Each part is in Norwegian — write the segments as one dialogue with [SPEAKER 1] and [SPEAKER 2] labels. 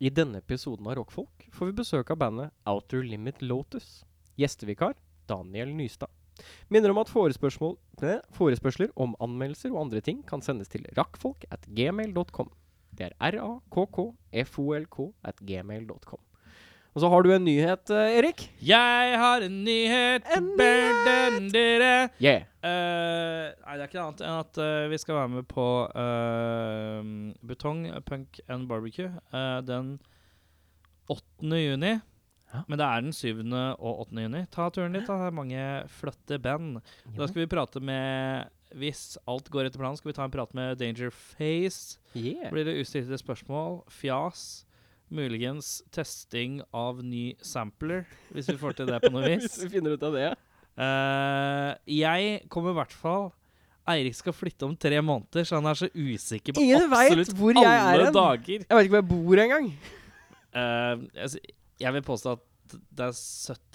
[SPEAKER 1] I denne episoden av Rockfolk får vi besøk av bandet Outer Limit Lotus. Gjestevikar Daniel Nystad. Minner om at forespørsmål, ne, forespørsler om anmeldelser og andre ting kan sendes til rakkfolk at gmail.com. Det er r-a-k-k-f-o-l-k at gmail.com. Og så har du en nyhet, eh, Erik.
[SPEAKER 2] Jeg har en nyhet
[SPEAKER 1] En nyhet!
[SPEAKER 2] Bør dere
[SPEAKER 1] Yeah.
[SPEAKER 2] Eh, Nei, det er ikke noe annet enn at eh, vi skal være med på eh, Betong, Punk and Barbecue eh, den 8. juni.
[SPEAKER 1] Ja.
[SPEAKER 2] Men det er den 7. og 8. juni. Ta turen dit, da. Det er mange flotte band. Da skal vi prate med Hvis alt går etter planen, skal vi ta en prat med Danger Face.
[SPEAKER 1] Yeah.
[SPEAKER 2] Blir det ustilte spørsmål, fjas, muligens testing av ny sampler, hvis vi får til det på noe vis.
[SPEAKER 1] Hvis vi finner ut av det.
[SPEAKER 2] Eh, jeg kommer i hvert fall Eirik skal flytte om tre måneder, så han er så usikker på
[SPEAKER 1] Ingen vet
[SPEAKER 2] absolutt
[SPEAKER 1] hvor jeg
[SPEAKER 2] alle
[SPEAKER 1] er hen.
[SPEAKER 2] dager.
[SPEAKER 1] Jeg veit ikke hvor jeg bor engang.
[SPEAKER 2] Eh, altså, jeg vil påstå at det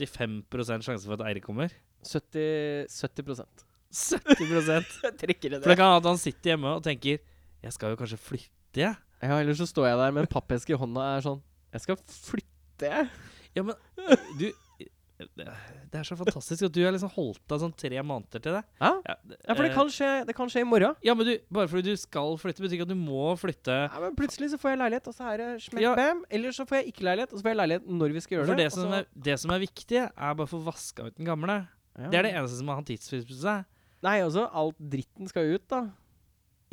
[SPEAKER 2] er 75 sjanse for at Eirik kommer.
[SPEAKER 1] 70, 70
[SPEAKER 2] 70
[SPEAKER 1] Jeg trekker i
[SPEAKER 2] For det kan være at han sitter hjemme og tenker Jeg skal jo kanskje flytte, jeg.
[SPEAKER 1] Ja, ellers så står jeg der med en pappeske i hånda og er sånn Jeg skal flytte, jeg.
[SPEAKER 2] Ja, men du Det er så fantastisk at du har liksom holdt deg sånn tre måneder til det.
[SPEAKER 1] Ja,
[SPEAKER 2] Ja,
[SPEAKER 1] ja for det
[SPEAKER 2] eh,
[SPEAKER 1] kan, skje, det kan skje i morgen.
[SPEAKER 2] ja, men du, bare fordi du skal flytte, betyr ikke at du må flytte.
[SPEAKER 1] Ja, men plutselig så får jeg leilighet, og så er det smekk
[SPEAKER 2] Ja.
[SPEAKER 1] bam. Eller så får jeg ikke leilighet, og så får jeg leilighet når vi skal gjøre
[SPEAKER 2] For
[SPEAKER 1] det. altså.
[SPEAKER 2] det som, er, det som er viktig, er bare å få vaska ut den gamle. Det er det eneste som har hatt tidsfrist på seg.
[SPEAKER 1] Nei, også alt dritten skal ut, da.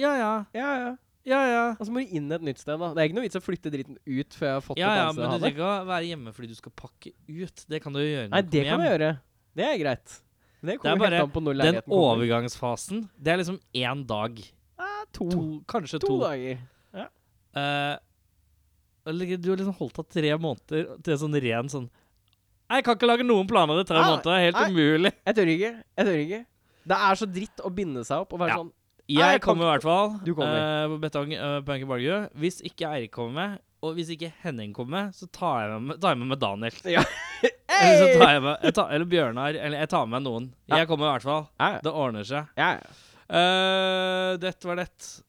[SPEAKER 2] Ja ja,
[SPEAKER 1] Ja, ja.
[SPEAKER 2] ja ja.
[SPEAKER 1] Og så må du inn et nytt sted, da. Det er ikke noe vits å flytte dritten ut før jeg har fått
[SPEAKER 2] Ja,
[SPEAKER 1] et
[SPEAKER 2] ja,
[SPEAKER 1] annet
[SPEAKER 2] men du
[SPEAKER 1] sted å
[SPEAKER 2] trenger
[SPEAKER 1] ha det.
[SPEAKER 2] ikke å være hjemme fordi du skal pakke ut. Det kan du jo gjøre når
[SPEAKER 1] Nei,
[SPEAKER 2] du
[SPEAKER 1] det
[SPEAKER 2] kommer
[SPEAKER 1] kan
[SPEAKER 2] hjem.
[SPEAKER 1] jeg gjøre. Det er greit. Det
[SPEAKER 2] Det er
[SPEAKER 1] kommer
[SPEAKER 2] bare
[SPEAKER 1] helt an på når
[SPEAKER 2] Den
[SPEAKER 1] leiligheten kommer.
[SPEAKER 2] overgangsfasen, det er liksom én dag.
[SPEAKER 1] Ja, Ah, to.
[SPEAKER 2] To,
[SPEAKER 1] To,
[SPEAKER 2] kanskje to.
[SPEAKER 1] dager.
[SPEAKER 2] Eh, eller du har liksom holdt av tre måneder til sånn ren sånn Jeg kan ikke lage noen planer i tre
[SPEAKER 1] Nei,
[SPEAKER 2] måneder. Det er helt
[SPEAKER 1] Ah, nei.
[SPEAKER 2] umulig.
[SPEAKER 1] Jeg tør ikke. Jeg tør ikke. Det er så dritt å binde seg opp og være
[SPEAKER 2] Ja.
[SPEAKER 1] sånn
[SPEAKER 2] Jeg,
[SPEAKER 1] jeg kan
[SPEAKER 2] kommer i hvert fall.
[SPEAKER 1] Du kommer.
[SPEAKER 2] eh, på betong uh, Punk Barbecue. Hvis ikke Eirik kommer med, og hvis ikke Henning kommer med, så tar jeg med, tar jeg med, med Daniel. Eller, så tar jeg med, jeg tar, eller Bjørnar. Eller jeg tar med noen.
[SPEAKER 1] Ja.
[SPEAKER 2] Jeg kommer i hvert fall.
[SPEAKER 1] Ja, ja.
[SPEAKER 2] Det ordner seg.
[SPEAKER 1] ja, ja.
[SPEAKER 2] Eh, dette var det.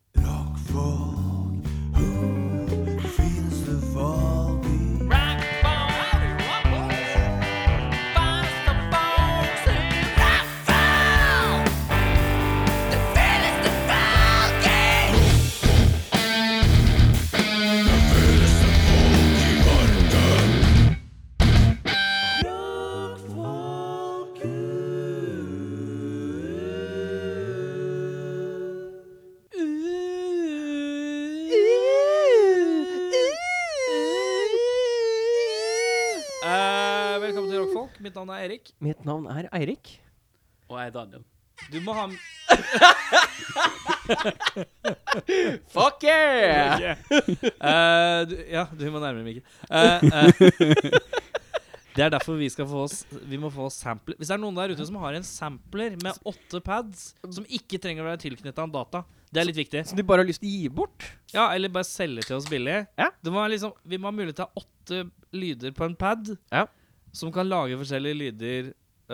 [SPEAKER 2] Eh, velkommen til Rockfolk. Mitt navn er Erik.
[SPEAKER 1] Mitt navn er Eirik.
[SPEAKER 3] Og jeg er Daniel.
[SPEAKER 2] Du må ha
[SPEAKER 1] Fuck yeah!
[SPEAKER 2] Eh, du, ja, du må nærmere, Mikkel. Eh, eh, det er derfor vi skal få oss Vi må få oss sampler. Hvis det er noen der ute som har en sampler med åtte pads, som ikke trenger å være tilknytta en data, det er litt viktig.
[SPEAKER 1] Som de bare har lyst til å gi bort.
[SPEAKER 2] Ja, Eller bare selge til oss billig.
[SPEAKER 1] Ja.
[SPEAKER 2] Det må være liksom, vi må ha mulighet til å ha åtte lyder på en pad
[SPEAKER 1] Ja.
[SPEAKER 2] som kan lage forskjellige lyder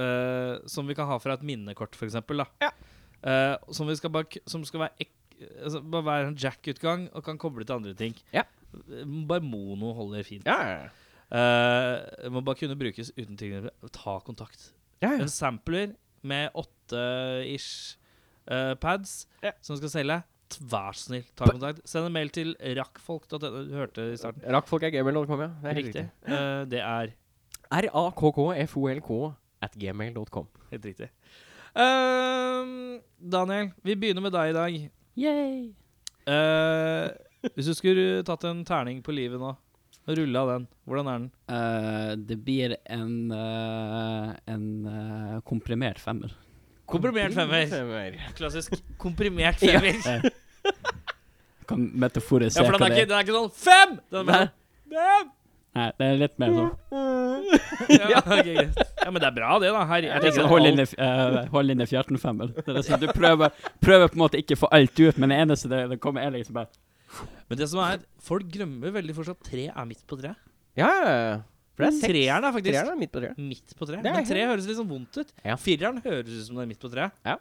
[SPEAKER 2] eh, som vi kan ha fra et minnekort, f.eks.
[SPEAKER 1] Ja.
[SPEAKER 2] Uh, som, vi skal bare, k- som skal være ek, altså, bare være en jack-utgang og kan koble til andre ting.
[SPEAKER 1] Ja.
[SPEAKER 2] Eh, Bare mono holder fint.
[SPEAKER 1] Ja,
[SPEAKER 2] Eh, må bare kunne brukes uten ting. Ta kontakt.
[SPEAKER 1] ja.
[SPEAKER 2] En sampler med åtte-ish eh, pads
[SPEAKER 1] Ja.
[SPEAKER 2] som skal selge. t- Vær så snill, ta kontakt. Send en mail til rakkfolk.no. Du hørte det i starten.
[SPEAKER 1] Rakk folk er gmail.com, ja. Det er
[SPEAKER 2] Riktig. Eh, det er
[SPEAKER 1] R-a-k-k-f-o-l-k at gmail.com.
[SPEAKER 2] helt riktig. Ehm, Daniel, vi begynner med deg i dag.
[SPEAKER 3] Yay.
[SPEAKER 2] Eh, hvis du skulle tatt en terning på livet nå og rulla den, hvordan er den?
[SPEAKER 3] Eh, det blir en, eh, en eh, komprimert femmer.
[SPEAKER 2] Komprimert femmer.
[SPEAKER 1] femmer.
[SPEAKER 2] Klassisk komprimert femmer.
[SPEAKER 3] Kan metaforisere
[SPEAKER 2] Ja, for den er,
[SPEAKER 3] hva det
[SPEAKER 2] ikke, den er ikke sånn fem! Den er
[SPEAKER 3] Nei.
[SPEAKER 2] bare sånn,
[SPEAKER 3] Nei, det er litt mer sånn
[SPEAKER 2] fem! Ja, ok, greit. ja, men det er bra, det, da. Her, jeg
[SPEAKER 3] Det er
[SPEAKER 2] tenker
[SPEAKER 3] sånn
[SPEAKER 2] at
[SPEAKER 3] hold
[SPEAKER 2] alt-
[SPEAKER 3] inne, uh, hold inne fjerten-femmer. Det er sånn, du prøver, prøver på en måte ikke å få alt ut, men det eneste det, det kommer, er liksom bare
[SPEAKER 2] Men det som er, folk glemmer veldig fort at tre er midt på tre.
[SPEAKER 1] Ja, ja, ja. For det er seks.
[SPEAKER 2] Treeren er faktisk
[SPEAKER 1] Treeren er midt på treet.
[SPEAKER 2] midt på tre.
[SPEAKER 1] Det er
[SPEAKER 2] Men tre
[SPEAKER 1] helt-
[SPEAKER 2] høres litt sånn vondt ut.
[SPEAKER 1] Ja.
[SPEAKER 2] Fireren høres ut som det er midt på tre.
[SPEAKER 1] Ja.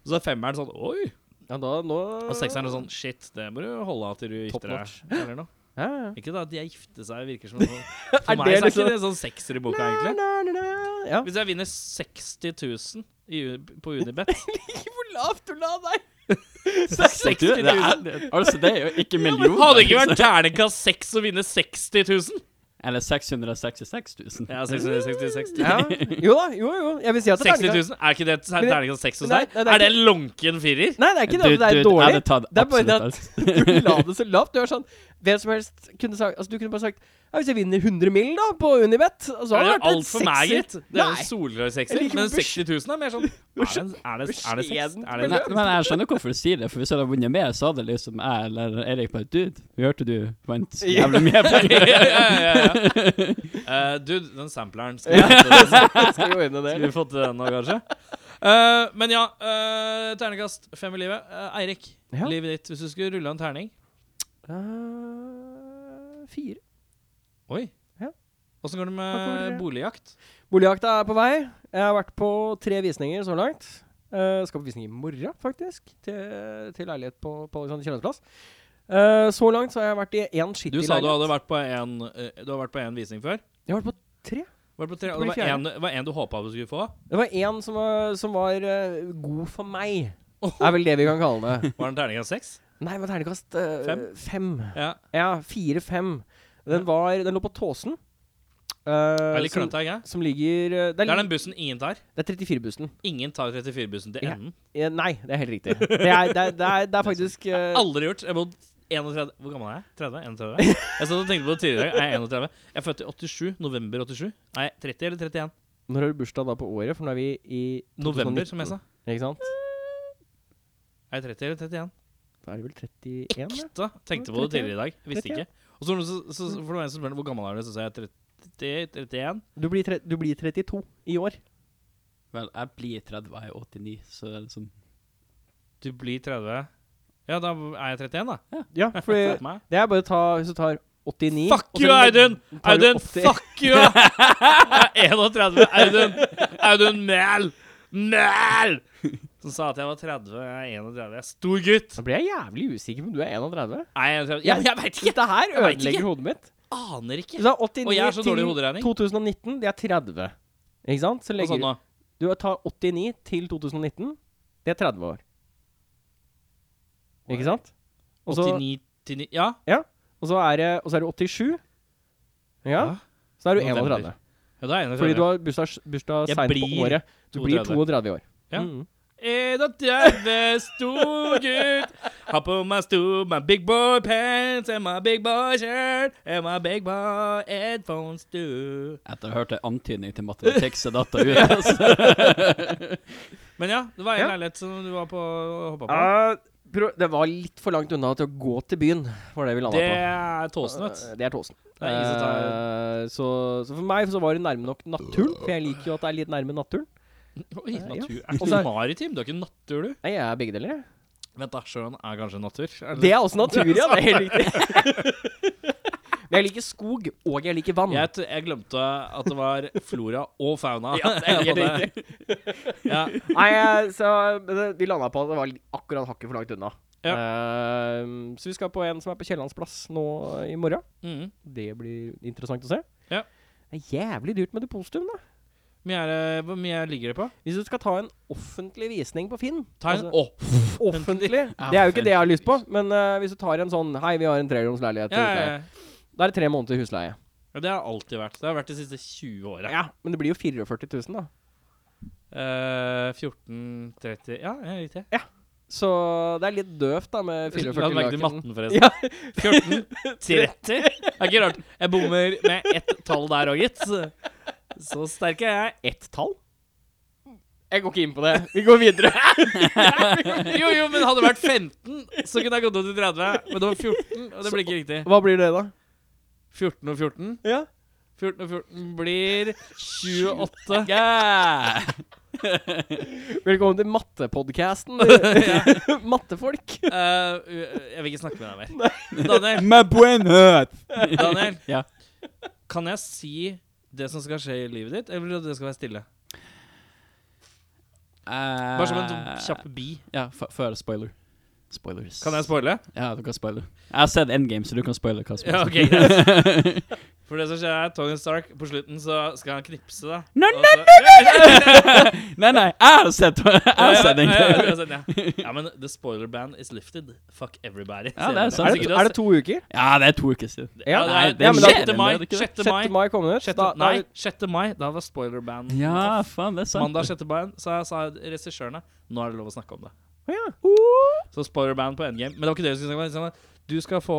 [SPEAKER 2] Og så er femmeren sånn oi.
[SPEAKER 1] Ja, da, nå
[SPEAKER 2] Og sekseren er sånn shit, det må du holde av til du
[SPEAKER 1] Top
[SPEAKER 2] gifter deg.
[SPEAKER 1] notch.
[SPEAKER 2] Eller noe.
[SPEAKER 1] Ja, ja.
[SPEAKER 2] Ikke da at de er gifte seg virker som noe.
[SPEAKER 1] Er
[SPEAKER 2] For meg
[SPEAKER 1] det
[SPEAKER 2] så er
[SPEAKER 1] liksom-
[SPEAKER 2] ikke det sånn sekser i boka, egentlig.
[SPEAKER 1] Na, na, na, ja.
[SPEAKER 2] Hvis jeg vinner 60 000 i, U- på Unibet
[SPEAKER 1] Hvor lavt du la deg!
[SPEAKER 3] Du,
[SPEAKER 2] 60
[SPEAKER 3] det er,
[SPEAKER 2] 000!
[SPEAKER 3] det- altså, det er jo ikke millioner. liksom.
[SPEAKER 2] Hadde det ikke vært terningkast 6 å vinne 60 000!
[SPEAKER 3] Eller 666 000.
[SPEAKER 2] Ja, 666 000.
[SPEAKER 1] Ja. Jo da, jo jo. Jeg vil si at det er
[SPEAKER 2] 60 000? Er ikke det ter-
[SPEAKER 1] Men det-
[SPEAKER 2] terningkast 6 hos
[SPEAKER 1] Nei,
[SPEAKER 2] deg?
[SPEAKER 1] nei, det er
[SPEAKER 2] Er det en lunken firer?
[SPEAKER 1] Nei, det er ikke det.
[SPEAKER 3] Du-
[SPEAKER 1] at det er
[SPEAKER 3] du,
[SPEAKER 1] dårlig.
[SPEAKER 3] Jeg hadde tatt
[SPEAKER 1] Det er bare
[SPEAKER 3] absolutt
[SPEAKER 1] det at-
[SPEAKER 3] alt.
[SPEAKER 1] du la det så lavt. Du er sånn Hvem som helst kunne sagt Altså, du kunne bare sagt ja, Hvis jeg vinner 100 mil, da, på Unibet og så har
[SPEAKER 2] Det er
[SPEAKER 1] det
[SPEAKER 2] jo
[SPEAKER 1] vært en
[SPEAKER 2] alt for meg,
[SPEAKER 1] sekser.
[SPEAKER 2] gitt. Det er jo
[SPEAKER 1] Nei.
[SPEAKER 2] en solklar sekser.
[SPEAKER 1] Jeg liker
[SPEAKER 2] Men
[SPEAKER 1] hvor
[SPEAKER 2] 60 000 er mer sånn Er det en- er det- er det seks?
[SPEAKER 1] beskjedent
[SPEAKER 2] Er det en
[SPEAKER 3] Men,
[SPEAKER 1] beløp.
[SPEAKER 3] men jeg skjønner hvorfor du sier det, for hvis jeg hadde vunnet mer, så hadde liksom jeg eller Erik bare Dude, vi hørte du vant så
[SPEAKER 1] Ja.
[SPEAKER 3] jævlig mye
[SPEAKER 2] ja,
[SPEAKER 3] penger.
[SPEAKER 2] ja, ja. Eh, du, den sampleren skal
[SPEAKER 1] Ja.
[SPEAKER 2] vi
[SPEAKER 1] Skal vi ordne
[SPEAKER 2] Skulle
[SPEAKER 1] det?
[SPEAKER 2] vi fått den nå, kanskje? Eh, men ja, eh, ternekast fem i livet. Eh, Eirik,
[SPEAKER 1] Ja.
[SPEAKER 2] livet ditt. Hvis du skulle rulle en terning
[SPEAKER 1] Eh, fire.
[SPEAKER 2] Oi.
[SPEAKER 1] Ja.
[SPEAKER 2] Åssen går det
[SPEAKER 1] Hva kommer
[SPEAKER 2] med
[SPEAKER 1] det?
[SPEAKER 2] boligjakt?
[SPEAKER 1] Boligjakta er på vei. Jeg har vært på tre visninger så langt. Eh, skal på visning i morgen, faktisk. Til, til leilighet på, på Alexander Kiellands plass. Eh, så langt så har jeg vært i én skittig
[SPEAKER 2] Du
[SPEAKER 1] leilighet.
[SPEAKER 2] sa du hadde vært på en, eh, du har vært på en visning før.
[SPEAKER 1] Jeg har vært på tre.
[SPEAKER 2] Var det, på tre,
[SPEAKER 1] Jeg
[SPEAKER 2] og
[SPEAKER 1] tror
[SPEAKER 2] det
[SPEAKER 1] det
[SPEAKER 2] var
[SPEAKER 1] er
[SPEAKER 2] en, det var en du håpa du skulle få?
[SPEAKER 1] Det var én som var, som var eh, god for meg.
[SPEAKER 2] Oh.
[SPEAKER 1] Er vel det vi kan kalle det.
[SPEAKER 2] Var det en terningkast seks?
[SPEAKER 1] Nei, det var terningkast eh,
[SPEAKER 2] Fem?
[SPEAKER 1] fem.
[SPEAKER 2] Ja.
[SPEAKER 1] Ja, 4-5. Den,
[SPEAKER 2] Ja.
[SPEAKER 1] var- den lå på Tåsen. eh,
[SPEAKER 2] Det er litt
[SPEAKER 1] som,
[SPEAKER 2] klønete, ikke sant?
[SPEAKER 1] som ligger eh, Det
[SPEAKER 2] Det
[SPEAKER 1] er,
[SPEAKER 2] er
[SPEAKER 1] li-
[SPEAKER 2] den bussen ingen tar.
[SPEAKER 1] det er 34-bussen.
[SPEAKER 2] Ingen tar 34-bussen til
[SPEAKER 1] Ja.
[SPEAKER 2] enden.
[SPEAKER 1] Eh, nei, det er helt riktig. Det er, det er, det er, det er faktisk eh,
[SPEAKER 2] Aldri gjort. Jeg bodde 31 Hvor gammel er jeg? 30? 31? Jeg satt og tenkte på det tidligere i dag. Er jeg 31? Jeg er født i 87. November 87. Nei, 30 eller 31?
[SPEAKER 1] Når har du bursdag da på året? For nå er vi i
[SPEAKER 2] November, som jeg sa.
[SPEAKER 1] Ikke sant?
[SPEAKER 2] Er jeg 30 eller 31?
[SPEAKER 1] Da er det vel 31? da?
[SPEAKER 2] Ekte. Tenkte på det tidligere i dag. Visste
[SPEAKER 1] 31.
[SPEAKER 2] ikke. Og så, var det noen som- så, så for noen som spør hvor gammel er du, så sa jeg 30, 31.
[SPEAKER 1] Du blir, tre, du blir 32 i år.
[SPEAKER 3] Vel, jeg blir 30, jeg er 89, så det er liksom
[SPEAKER 2] Du blir 30. Ja, da er jeg 31, da.
[SPEAKER 1] Ja, for det
[SPEAKER 2] Fuck meg.
[SPEAKER 1] er bare å ta Hvis du tar 89 og
[SPEAKER 2] Fuck
[SPEAKER 1] så
[SPEAKER 2] you,
[SPEAKER 1] legger-
[SPEAKER 2] Audun!
[SPEAKER 1] tar du
[SPEAKER 2] Audun,
[SPEAKER 1] 80.
[SPEAKER 2] fuck you! Jeg er 31, Audun. Audun Mæl! Mæl! Som sa at jeg var 30, jeg er 31. Jeg er stor gutt.
[SPEAKER 1] Da blir jeg jævlig usikker på om du er 31.
[SPEAKER 2] Nei, jeg, er 31. jeg, jeg veit ikke.
[SPEAKER 1] Dette her
[SPEAKER 2] Jeg vet
[SPEAKER 1] ødelegger hodet mitt.
[SPEAKER 2] Jeg aner
[SPEAKER 1] Hvis
[SPEAKER 2] ikke.
[SPEAKER 1] du har 89
[SPEAKER 2] Og jeg er så dårlig i hoderegning.
[SPEAKER 1] til 2019, det er 30. Ikke sant? Så
[SPEAKER 2] Hva sa
[SPEAKER 1] legger
[SPEAKER 2] du Sånn nå?
[SPEAKER 1] Du tar 89 til 2019. Det er 30 år. Ikke sant? Og så,
[SPEAKER 2] 89 til 90 Ja.
[SPEAKER 1] og så er det, og så er det 87. Ja.
[SPEAKER 2] Ja.
[SPEAKER 1] Så er du 31.
[SPEAKER 2] November. ja da er jeg
[SPEAKER 1] Fordi du
[SPEAKER 2] 31.
[SPEAKER 1] har bursdag, bursdag
[SPEAKER 2] Jeg
[SPEAKER 1] seint på
[SPEAKER 2] blir
[SPEAKER 1] året. Du blir
[SPEAKER 2] 32.
[SPEAKER 1] 32 i år.
[SPEAKER 2] Ja.
[SPEAKER 1] Mm.
[SPEAKER 2] 31, stor gutt. Har på meg stor, my big boy pants and my big boy shirt and my big boy headphones too.
[SPEAKER 3] Etter å ha hørt en antydning til matematikk, så datt jeg ut. Altså.
[SPEAKER 2] Men ja, det var en
[SPEAKER 1] Ja.
[SPEAKER 2] leilighet som du var på og hoppa på.
[SPEAKER 1] Eh, pro- det var litt for langt unna til å gå til byen, var det vi landa
[SPEAKER 2] Det
[SPEAKER 1] på.
[SPEAKER 2] er tåsen, vet du.
[SPEAKER 1] Eh, Det er tåsen.
[SPEAKER 2] Det er ingen som
[SPEAKER 1] Eh, så, så for meg så var det nærme nok naturen. For jeg liker jo at det er litt nærme naturen.
[SPEAKER 2] Oi, natur.
[SPEAKER 1] Eh, Og
[SPEAKER 2] Er
[SPEAKER 1] så
[SPEAKER 2] ikke du
[SPEAKER 1] er-
[SPEAKER 2] maritim? Du er ikke natur, du?
[SPEAKER 1] Nei, jeg er begge deler. jeg.
[SPEAKER 2] Vent, da. Sjøen er kanskje natur? Er
[SPEAKER 1] Det er også natur, ja. Det er helt riktig. Men jeg liker skog, og jeg liker vann.
[SPEAKER 2] Jeg, t jeg glemte at det var flora og fauna.
[SPEAKER 1] Ja, det er helt riktig.
[SPEAKER 2] ja.
[SPEAKER 1] Nei, jeg- så men det- vi landa på at det var litt- akkurat hakket for langt unna.
[SPEAKER 2] Ja.
[SPEAKER 1] Ehm, så vi skal på en som er på Kiellands plass nå i morgen.
[SPEAKER 2] Mhm.
[SPEAKER 1] Det blir interessant å se.
[SPEAKER 2] Ja.
[SPEAKER 1] Det er jævlig dyrt med depositum, da.
[SPEAKER 2] Hvor mye er det- Hvor mye ligger det på?
[SPEAKER 1] Hvis du skal ta en offentlig visning på Finn
[SPEAKER 2] Ta
[SPEAKER 1] altså-
[SPEAKER 2] en Å!
[SPEAKER 1] Offentlig? Det er jo ikke det jeg har lyst på. Men eh, hvis du tar en sånn Hei, vi har en treromsleilighet. til
[SPEAKER 2] Ja, ja,
[SPEAKER 1] husleie.
[SPEAKER 2] ja.
[SPEAKER 1] Da er det tre måneder husleie.
[SPEAKER 2] ja, det har alltid vært. Det har vært de siste 20 åra.
[SPEAKER 1] Ja, Men det blir jo 44 000, da.
[SPEAKER 2] Eh, 14, 30 Ja, ja riktig.
[SPEAKER 1] Så det er litt døvt, da, med 44
[SPEAKER 2] Hadde merket i
[SPEAKER 1] laken.
[SPEAKER 2] matten, forresten.
[SPEAKER 1] Ja.
[SPEAKER 2] 14, 30 Det er ikke rart. Jeg bommer med ett tall der òg, gitt. Så sterk er jeg.
[SPEAKER 1] Ett tall? Jeg går ikke inn på det. Vi går videre.
[SPEAKER 2] Jo, jo, men hadde det vært 15, så kunne jeg gått opp til 30. Men det var 14, og det blir ikke riktig.
[SPEAKER 1] Hva blir det, da?
[SPEAKER 2] 14 og 14.
[SPEAKER 1] Ja.
[SPEAKER 2] 14 og 14 blir 28.
[SPEAKER 3] Yeah.
[SPEAKER 1] Velkommen til mattepodkasten. dere. Mattefolk.
[SPEAKER 2] Eh, jeg vil ikke snakke med deg mer. Daniel,
[SPEAKER 3] Med buenhet!
[SPEAKER 2] Daniel,
[SPEAKER 3] Ja.
[SPEAKER 2] kan jeg si det som skal skje i livet ditt, eller vil du at det skal være stille? Bare som en sånn kjapp bi.
[SPEAKER 3] Ja, f Eh, før spoiler. Spoilers.
[SPEAKER 2] Kan jeg spoile?
[SPEAKER 3] Ja, du kan spoile. Jeg har sett Endgame, så du kan spoile hva som
[SPEAKER 2] Ja, ok,
[SPEAKER 3] greit.
[SPEAKER 2] For det som skjer er Tony Stark på slutten så skal han knipse deg.
[SPEAKER 3] Nei,
[SPEAKER 2] Og så- Ja,
[SPEAKER 3] nei, nei, jeg har sett Jeg har
[SPEAKER 2] ja,
[SPEAKER 3] sett
[SPEAKER 2] ja, ja, ja,
[SPEAKER 3] Endgame.
[SPEAKER 2] ja, sånn, ja. ja, men the spoiler ban is lifted. Fuck everybody.
[SPEAKER 3] Ja, det
[SPEAKER 1] Er
[SPEAKER 2] Senere.
[SPEAKER 3] er sant.
[SPEAKER 2] Sånn sikkert
[SPEAKER 1] det,
[SPEAKER 2] å
[SPEAKER 1] er det to uker?
[SPEAKER 3] Ja, det er to uker siden.
[SPEAKER 2] Ja,
[SPEAKER 3] Nei,
[SPEAKER 2] det er,
[SPEAKER 3] det
[SPEAKER 2] ja, men da-
[SPEAKER 3] skjer
[SPEAKER 2] 6.
[SPEAKER 3] enda,
[SPEAKER 2] mai.
[SPEAKER 3] er det ikke det?
[SPEAKER 2] 6.
[SPEAKER 1] 6.
[SPEAKER 2] mai.
[SPEAKER 1] mai kommer ut. Da,
[SPEAKER 2] 6.
[SPEAKER 1] da,
[SPEAKER 2] Nei, 6. mai. Da var spoilerban
[SPEAKER 3] Ja,
[SPEAKER 2] off.
[SPEAKER 3] faen, det er sant.
[SPEAKER 2] Mandag 6. mai sa, sa regissørene nå er det lov å snakke om det.
[SPEAKER 1] Å ja.
[SPEAKER 2] Så spoilerban på endgame. Men det var ikke det vi skulle snakke om. det var sånn at Du skal, få,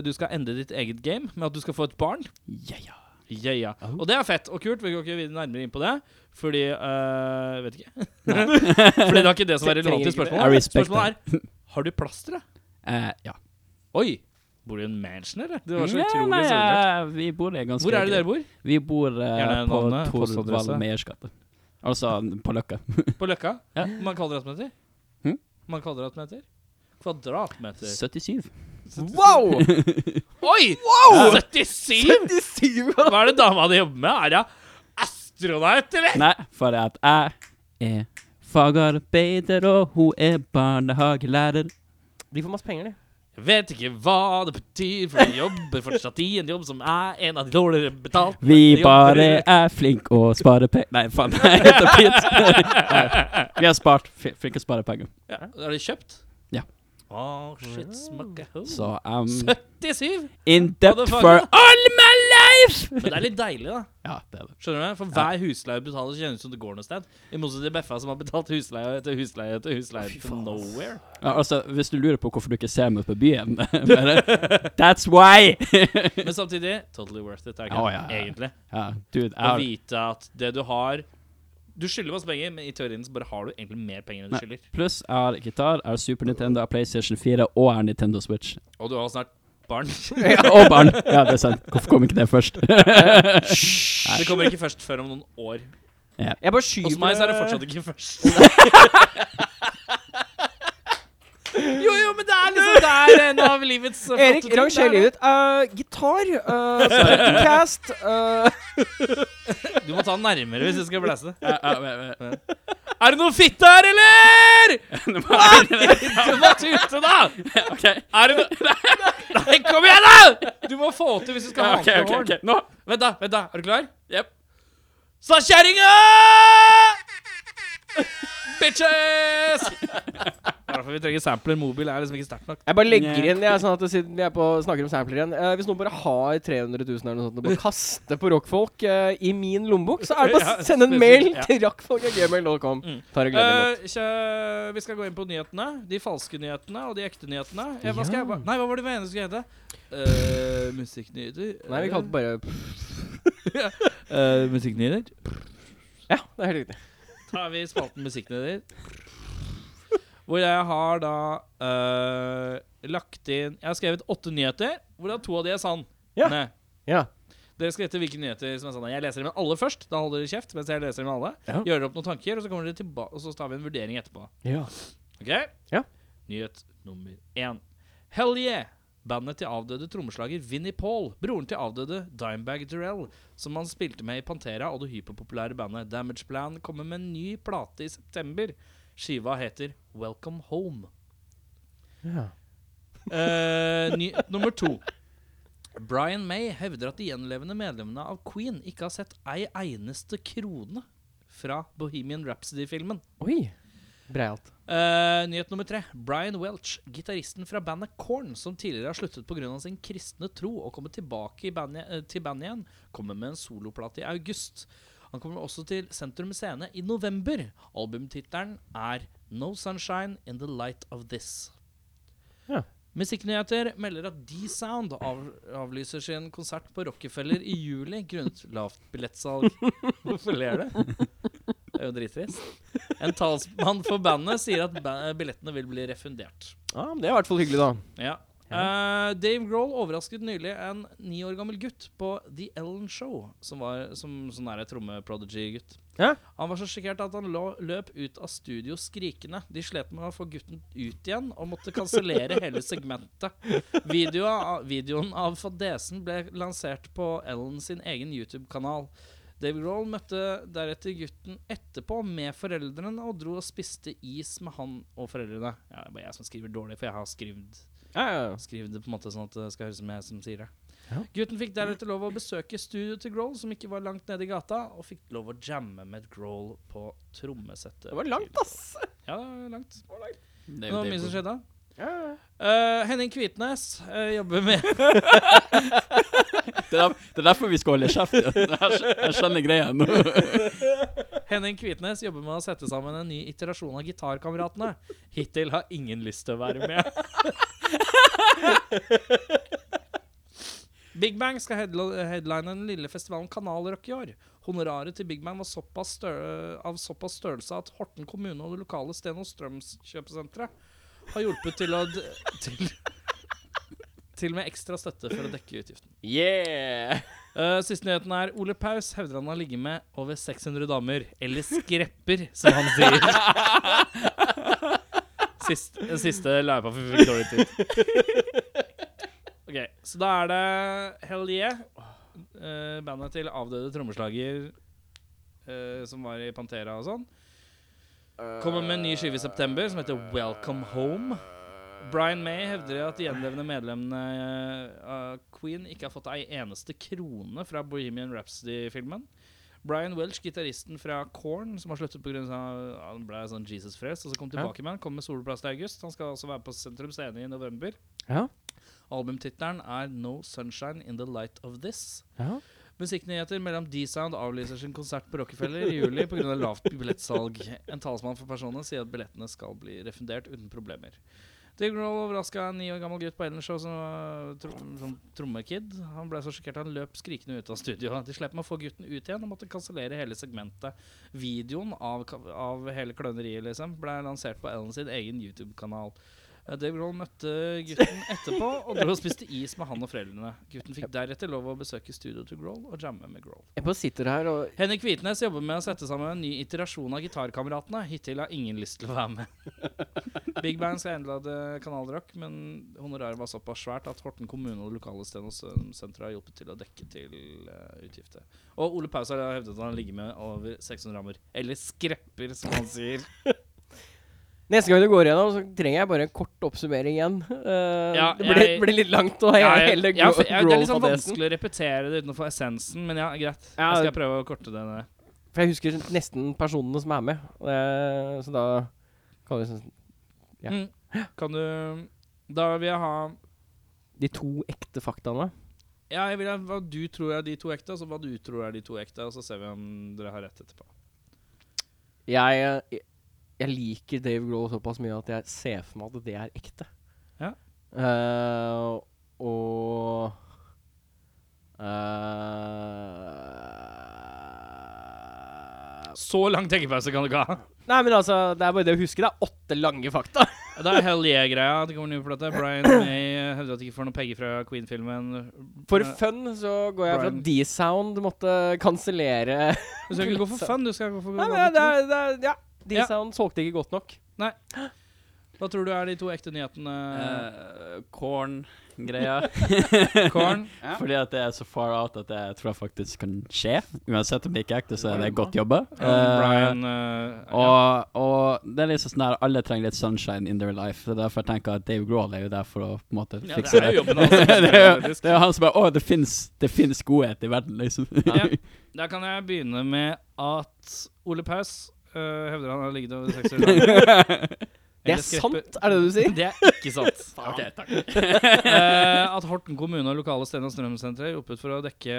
[SPEAKER 2] du skal endre ditt eget game med at du skal få et barn.
[SPEAKER 3] Ja, ja.
[SPEAKER 2] Ja, ja.
[SPEAKER 3] Oh.
[SPEAKER 2] Og det er fett og kult. Vi går ikke videre nærmere inn på det. Fordi øh, Vet ikke. fordi det var ikke det som var
[SPEAKER 1] Trenger
[SPEAKER 2] relevant
[SPEAKER 1] ikke
[SPEAKER 2] i
[SPEAKER 1] det.
[SPEAKER 3] I
[SPEAKER 2] spørsmålet.
[SPEAKER 3] respect
[SPEAKER 2] Spørsmålet er har du plasteret?
[SPEAKER 3] Eh, ja.
[SPEAKER 2] Oi! Bor du i en mansion, eller? Det var så
[SPEAKER 3] Ja,
[SPEAKER 2] utrolig
[SPEAKER 3] nei,
[SPEAKER 2] solrørt.
[SPEAKER 3] eh, vi bor det ganske
[SPEAKER 2] Hvor er det dere
[SPEAKER 3] greit.
[SPEAKER 2] bor?
[SPEAKER 3] Vi bor eh,
[SPEAKER 2] Gjerne
[SPEAKER 3] på
[SPEAKER 2] navnet, postadresse.
[SPEAKER 3] Torvald Meyers gate. Altså på Løkka.
[SPEAKER 2] På Løkka?
[SPEAKER 3] Ja.
[SPEAKER 2] Man kvadratmeter?
[SPEAKER 3] Hm?
[SPEAKER 2] Man kvadratmeter? Kvadratmeter
[SPEAKER 3] 77.
[SPEAKER 1] Wow!
[SPEAKER 2] Oi! 77?!
[SPEAKER 1] 97!
[SPEAKER 2] Hva er det dama di jobber med? Er hun astronaut, eller?
[SPEAKER 3] Nei, for at jeg er fagarbeider, og hun er barnehagelærer.
[SPEAKER 1] De får masse penger, de.
[SPEAKER 2] Jeg vet ikke hva det betyr, for jeg jobber fortsatt i en jobb som er en av de dårligere betalt
[SPEAKER 3] Vi bare er flinke å spare penger Nei, faen. Det er helt fint. Nei, Vi har spart. fl- Flinke å spare penger.
[SPEAKER 2] Ja. Er det kjøpt?
[SPEAKER 3] Ja.
[SPEAKER 2] Åh, shit, smakke ho.
[SPEAKER 3] Så um,
[SPEAKER 2] 77!
[SPEAKER 3] in debt for all my life!
[SPEAKER 2] Men det er litt deilig, da.
[SPEAKER 3] Ja, det er det.
[SPEAKER 2] Skjønner du? For hver husleie du betaler, så kjennes det ut som det går noe sted. I motsetning til Beffa, som har betalt husleie etter husleie etter husleie til nowhere.
[SPEAKER 3] Ja, altså, hvis du lurer på hvorfor du ikke ser meg på byen bare, That's why!
[SPEAKER 2] Men samtidig totally worth it, er ikke
[SPEAKER 3] Ja,
[SPEAKER 2] det?
[SPEAKER 3] ja, ja.
[SPEAKER 2] egentlig.
[SPEAKER 3] Ja, dude, jeg
[SPEAKER 2] Å
[SPEAKER 3] har
[SPEAKER 2] vite at det du har Du skylder masse penger, men i teorien så bare har du egentlig mer penger enn du
[SPEAKER 3] Nei.
[SPEAKER 2] skylder.
[SPEAKER 3] Pluss jeg har gitar, jeg har Super Nintendo, jeg har PlayStation 4 og jeg har Nintendo Switch.
[SPEAKER 2] Og du har snart barn.
[SPEAKER 3] og barn. Ja, det er sant. Hvorfor kom ikke det først?
[SPEAKER 2] Det kommer ikke først før om noen år.
[SPEAKER 1] Jeg bare skyver
[SPEAKER 2] Hos meg så er det fortsatt ikke først. jo, jo, men det er liksom der en av livets eh,
[SPEAKER 1] Erik,
[SPEAKER 2] flotte ting,
[SPEAKER 1] ranger
[SPEAKER 2] det er
[SPEAKER 1] livet. Eh, gitar, uh, cast eh,
[SPEAKER 2] det. Du må ta den nærmere hvis du skal blæse.
[SPEAKER 3] Ja, ja, ja, ja.
[SPEAKER 2] Er det noe fitte her, eller?!
[SPEAKER 3] Nå må jeg-
[SPEAKER 2] Du må tute, da!
[SPEAKER 3] OK.
[SPEAKER 2] Er det noe Nei, kom igjen, da! Du må få til hvis du skal
[SPEAKER 3] Ja,
[SPEAKER 2] ha
[SPEAKER 3] OK, OK. ok. Nå.
[SPEAKER 2] horn. Vent, da. vent da, Er du klar?
[SPEAKER 3] Jep.
[SPEAKER 2] Sa kjerringa! Bitches! Det er derfor vi trenger sampler. Mobil er liksom ikke sterkt nok.
[SPEAKER 1] Jeg bare legger inn, jeg, sånn at det, siden vi er på, snakker om sampler igjen eh, Hvis noen bare har 300 000 eller noe sånt og bare kaster på rockfolk eh, i min lommebok, så er det bare
[SPEAKER 2] Ja,
[SPEAKER 1] å sende en mail
[SPEAKER 2] spesielt, ja.
[SPEAKER 1] til rockfolk.gmail.com.
[SPEAKER 2] Mm.
[SPEAKER 1] Tar og gleder imot.
[SPEAKER 2] Eh, kjø- vi skal gå inn på nyhetene. De falske nyhetene og de ekte nyhetene. Eh, hva skal
[SPEAKER 1] Ja.
[SPEAKER 2] jeg ba- Nei, hva var det vi enige skulle hete? Eh, musikknyheter
[SPEAKER 1] Nei, vi kalte det bare
[SPEAKER 2] Eh, Musikknyheter.
[SPEAKER 1] Ja, det er helt riktig.
[SPEAKER 2] Da har vi spalten Musikknyheter. Hvor jeg har da eh, lagt inn Jeg har skrevet åtte nyheter, hvorav to av de er sann.
[SPEAKER 1] Ja.
[SPEAKER 2] Nei.
[SPEAKER 1] Ja.
[SPEAKER 2] Dere skal gjette hvilke nyheter som er sanne. Jeg leser dem alle først. Da holder dere kjeft. mens jeg leser dem alle
[SPEAKER 1] Ja.
[SPEAKER 2] Gjør dere opp noen tanker, og så kommer dere tilbake Og så tar vi en vurdering etterpå. Ok?
[SPEAKER 1] Ja.
[SPEAKER 2] Nyhet nummer én. Hell yeah! Bandet til avdøde trommeslager Vinnie Paul, broren til avdøde Dimebag Durrell, som han spilte med i Pantera og det hyperpopulære bandet Damage Plan, kommer med en ny plate i september. Skiva heter Welcome Home.
[SPEAKER 1] Ja.
[SPEAKER 2] Eh, ny, nummer to. Brian May hevder at de gjenlevende medlemmene av Queen ikke har sett ei eneste krone fra Bohemian Rhapsody-filmen.
[SPEAKER 1] Oi. Breialt.
[SPEAKER 2] Eh, nyhet nummer tre. Brian Welch, gitaristen fra bandet Korn, som tidligere har sluttet pga. sin kristne tro og kommer tilbake i bandet, eh, til bandet igjen, kommer med en soloplate i august. Han kommer også til Sentrum Scene i november. Albumtittelen er No Sunshine in the Light of This.
[SPEAKER 1] Ja.
[SPEAKER 2] Musikknyheter melder at D-Sound av, avlyser sin konsert på Rockefeller i juli grunnet lavt billettsalg. Hvorfor ler du? Det er jo drittrist. En talsmann for bandet sier at ba billettene vil bli refundert.
[SPEAKER 1] Ja, men Det er i hvert fall hyggelig, da.
[SPEAKER 2] Ja. Eh, Dave Grohl overrasket nylig en ni år gammel gutt på The Ellen Show, som var som sånn der tromme-prodigy-gutt.
[SPEAKER 1] Ja.
[SPEAKER 2] Han var så sjokkert at han lå, løp ut av studio skrikende. De slet med å få gutten ut igjen og måtte kansellere hele segmentet. Videoa, videoen av fadesen ble lansert på Ellen sin egen YouTube-kanal. Dave Grohl møtte deretter gutten etterpå med foreldrene og dro og spiste is med han og foreldrene. Ja, det er bare jeg som skriver dårlig, for jeg har skrevet
[SPEAKER 1] Ja, ja, ja.
[SPEAKER 2] Skriv det på en måte sånn at det skal høres ut som jeg som sier det.
[SPEAKER 1] Ja.
[SPEAKER 2] Gutten fikk deretter lov å besøke studioet til Grohl, som ikke var langt nede i gata, og fikk lov å jamme med Grohl på trommesettet.
[SPEAKER 1] Det var langt, ass!
[SPEAKER 2] Ja, det var langt.
[SPEAKER 3] Det
[SPEAKER 2] Det
[SPEAKER 3] er jo
[SPEAKER 2] var mye som
[SPEAKER 3] Dave Grohl.
[SPEAKER 2] skjedde.
[SPEAKER 1] Ja, ja.
[SPEAKER 2] Eh, Henning Kvitnes eh, jobber med
[SPEAKER 3] Det er der- det er derfor vi skal holde kjeft. Jeg skj- jeg skjønner greia nå.
[SPEAKER 2] Henning Kvitnes jobber med å sette sammen en ny iterasjon av Gitarkameratene. Hittil har ingen lyst til å være med. Big Bang skal headlo- headline den lille festivalen Kanalrock i år. Honoraret til Big Bang var såpass stør av såpass størrelse at Horten kommune og det lokale Steno Strøms kjøpesenteret har hjulpet til å d til, til med ekstra støtte for å dekke utgiften.
[SPEAKER 1] Yeah!
[SPEAKER 2] Eh, siste nyheten er Ole Paus hevder han har ligget med over 600 damer. Eller skrepper, som han sier. Sist, den siste la jeg på, for vi fikk dårlig tid. Ok, Så da er det Hell Yeah, eh, bandet til avdøde trommeslager eh, som var i Pantera og sånn. Kommer med en ny skive i september som heter Welcome Home. Brian May hevder at de gjenlevende medlemmene eh, av Queen ikke har fått ei eneste krone fra Bohemian Rhapsody-filmen. Brian Welch, gitaristen fra Korn, som har sluttet pga. han ble sånn Jesus-frelst, og så kom tilbake med han, kom med soloplass til august. Han skal også være på Sentrum Scene i november.
[SPEAKER 1] Ja.
[SPEAKER 2] Albumtittelen er No Sunshine In The Light Of This.
[SPEAKER 1] Ja.
[SPEAKER 2] Musikknyheter mellom D-Sound avlyser sin konsert på Rockefeller i juli pga. lavt billettsalg. En talsmann for personene sier at billettene skal bli refundert uten problemer. Dave Grohl overraska en ni år gammel gutt på Ellenshow som var trom- som trommekid. Han ble så sjokkert at han løp skrikende ut av studioet. De slapp med å få gutten ut igjen og måtte kansellere hele segmentet. Videoen av, ka- av hele kløneriet liksom ble lansert på Ellen sin egen YouTube-kanal. Eh, Dave Grohl møtte gutten etterpå og dro og spiste is med han og foreldrene. Gutten fikk deretter lov å besøke studioet til Grohl og jamme med Grohl.
[SPEAKER 1] Jeg bare sitter her og
[SPEAKER 2] Henrik Hvitnes jobber med å sette sammen en ny iterasjon av Gitarkameratene. Hittil har ingen lyst til å være med. Big Band skal endlade kanalrock, men honoraret var såpass svært at Horten kommune og det lokale Steno-senteret har hjulpet til å dekke til eh, utgifter. Og Ole Paus har hevdet at han ligger med over 600 rammer. Eller skrepper, som han sier.
[SPEAKER 1] Neste gang du går igjennom, så trenger jeg bare en kort oppsummering igjen. Eh,
[SPEAKER 2] Ja,
[SPEAKER 1] det ble,
[SPEAKER 2] jeg-
[SPEAKER 1] ble litt langt, og jeg
[SPEAKER 2] Ja,
[SPEAKER 1] er
[SPEAKER 2] jeg-
[SPEAKER 1] hele
[SPEAKER 2] ja, for- ja, det er litt sånn
[SPEAKER 1] Grohl-fadesen.
[SPEAKER 2] vanskelig å repetere det uten å få essensen, men ja, greit.
[SPEAKER 1] Ja,
[SPEAKER 2] Jeg skal
[SPEAKER 1] det-
[SPEAKER 2] prøve å korte det ned.
[SPEAKER 1] For jeg husker nesten personene som er med, og jeg- så da kan vi sånn Ja.
[SPEAKER 2] Mm. Kan du Da vil jeg ha
[SPEAKER 1] De to ekte faktaene.
[SPEAKER 2] Ja, jeg vil ha hva du tror er de to ekte, og så hva du tror er de to ekte, og så ser vi om dere har rett etterpå.
[SPEAKER 1] Jeg, jeg, jeg liker Dave Grohl såpass mye at jeg ser for meg at det er ekte.
[SPEAKER 2] Ja.
[SPEAKER 1] Eh, og eh,
[SPEAKER 2] Så lang tenkepause kan du ikke ha.
[SPEAKER 1] Nei, men altså, det er bare det å huske. Det er åtte lange fakta.
[SPEAKER 2] Det er hell yeah-greia. Det kommer en ny plate. Brian May eh, hevder at de ikke får noe penger fra Queen-filmen.
[SPEAKER 1] For
[SPEAKER 2] Eh,
[SPEAKER 1] fun så går jeg fra
[SPEAKER 2] Brian.
[SPEAKER 1] D-Sound måtte kansellere
[SPEAKER 2] Du skal ikke gå for fun, du skal gå for
[SPEAKER 1] Nei, men det er, det er Ja. D-Sound solgte ikke godt nok.
[SPEAKER 2] Hva tror du er de to ekte nyhetene,
[SPEAKER 3] Eh, Korn-greia.
[SPEAKER 2] Korn?
[SPEAKER 3] Fordi at det er så far out at jeg tror jeg faktisk kan skje. Uansett om det ikke er ekte, så er det godt jobba.
[SPEAKER 2] Eh, Brian eh, ja.
[SPEAKER 3] Og, og det er liksom sånn der alle trenger litt sunshine in their life. Det er derfor jeg tenker at Dave Grohl er jo der for å på en måte
[SPEAKER 2] Ja, det
[SPEAKER 3] fikse
[SPEAKER 2] er
[SPEAKER 3] det.
[SPEAKER 2] jo jobben hans.
[SPEAKER 3] det, er jo, det er jo han som bare Å, det fins, det finnes godhet i verden, liksom.
[SPEAKER 2] Ja. Da kan jeg begynne med at Ole Paus øh, hevder han har ligget over 600 dager.
[SPEAKER 1] Det
[SPEAKER 2] Eller
[SPEAKER 1] er
[SPEAKER 2] skreppe-
[SPEAKER 1] sant, er det det du sier?
[SPEAKER 2] Det er ikke sant.
[SPEAKER 3] Ok, takk.
[SPEAKER 2] Eh, at Horten kommune og lokale Sten- og Strømsenteret jobbet for å dekke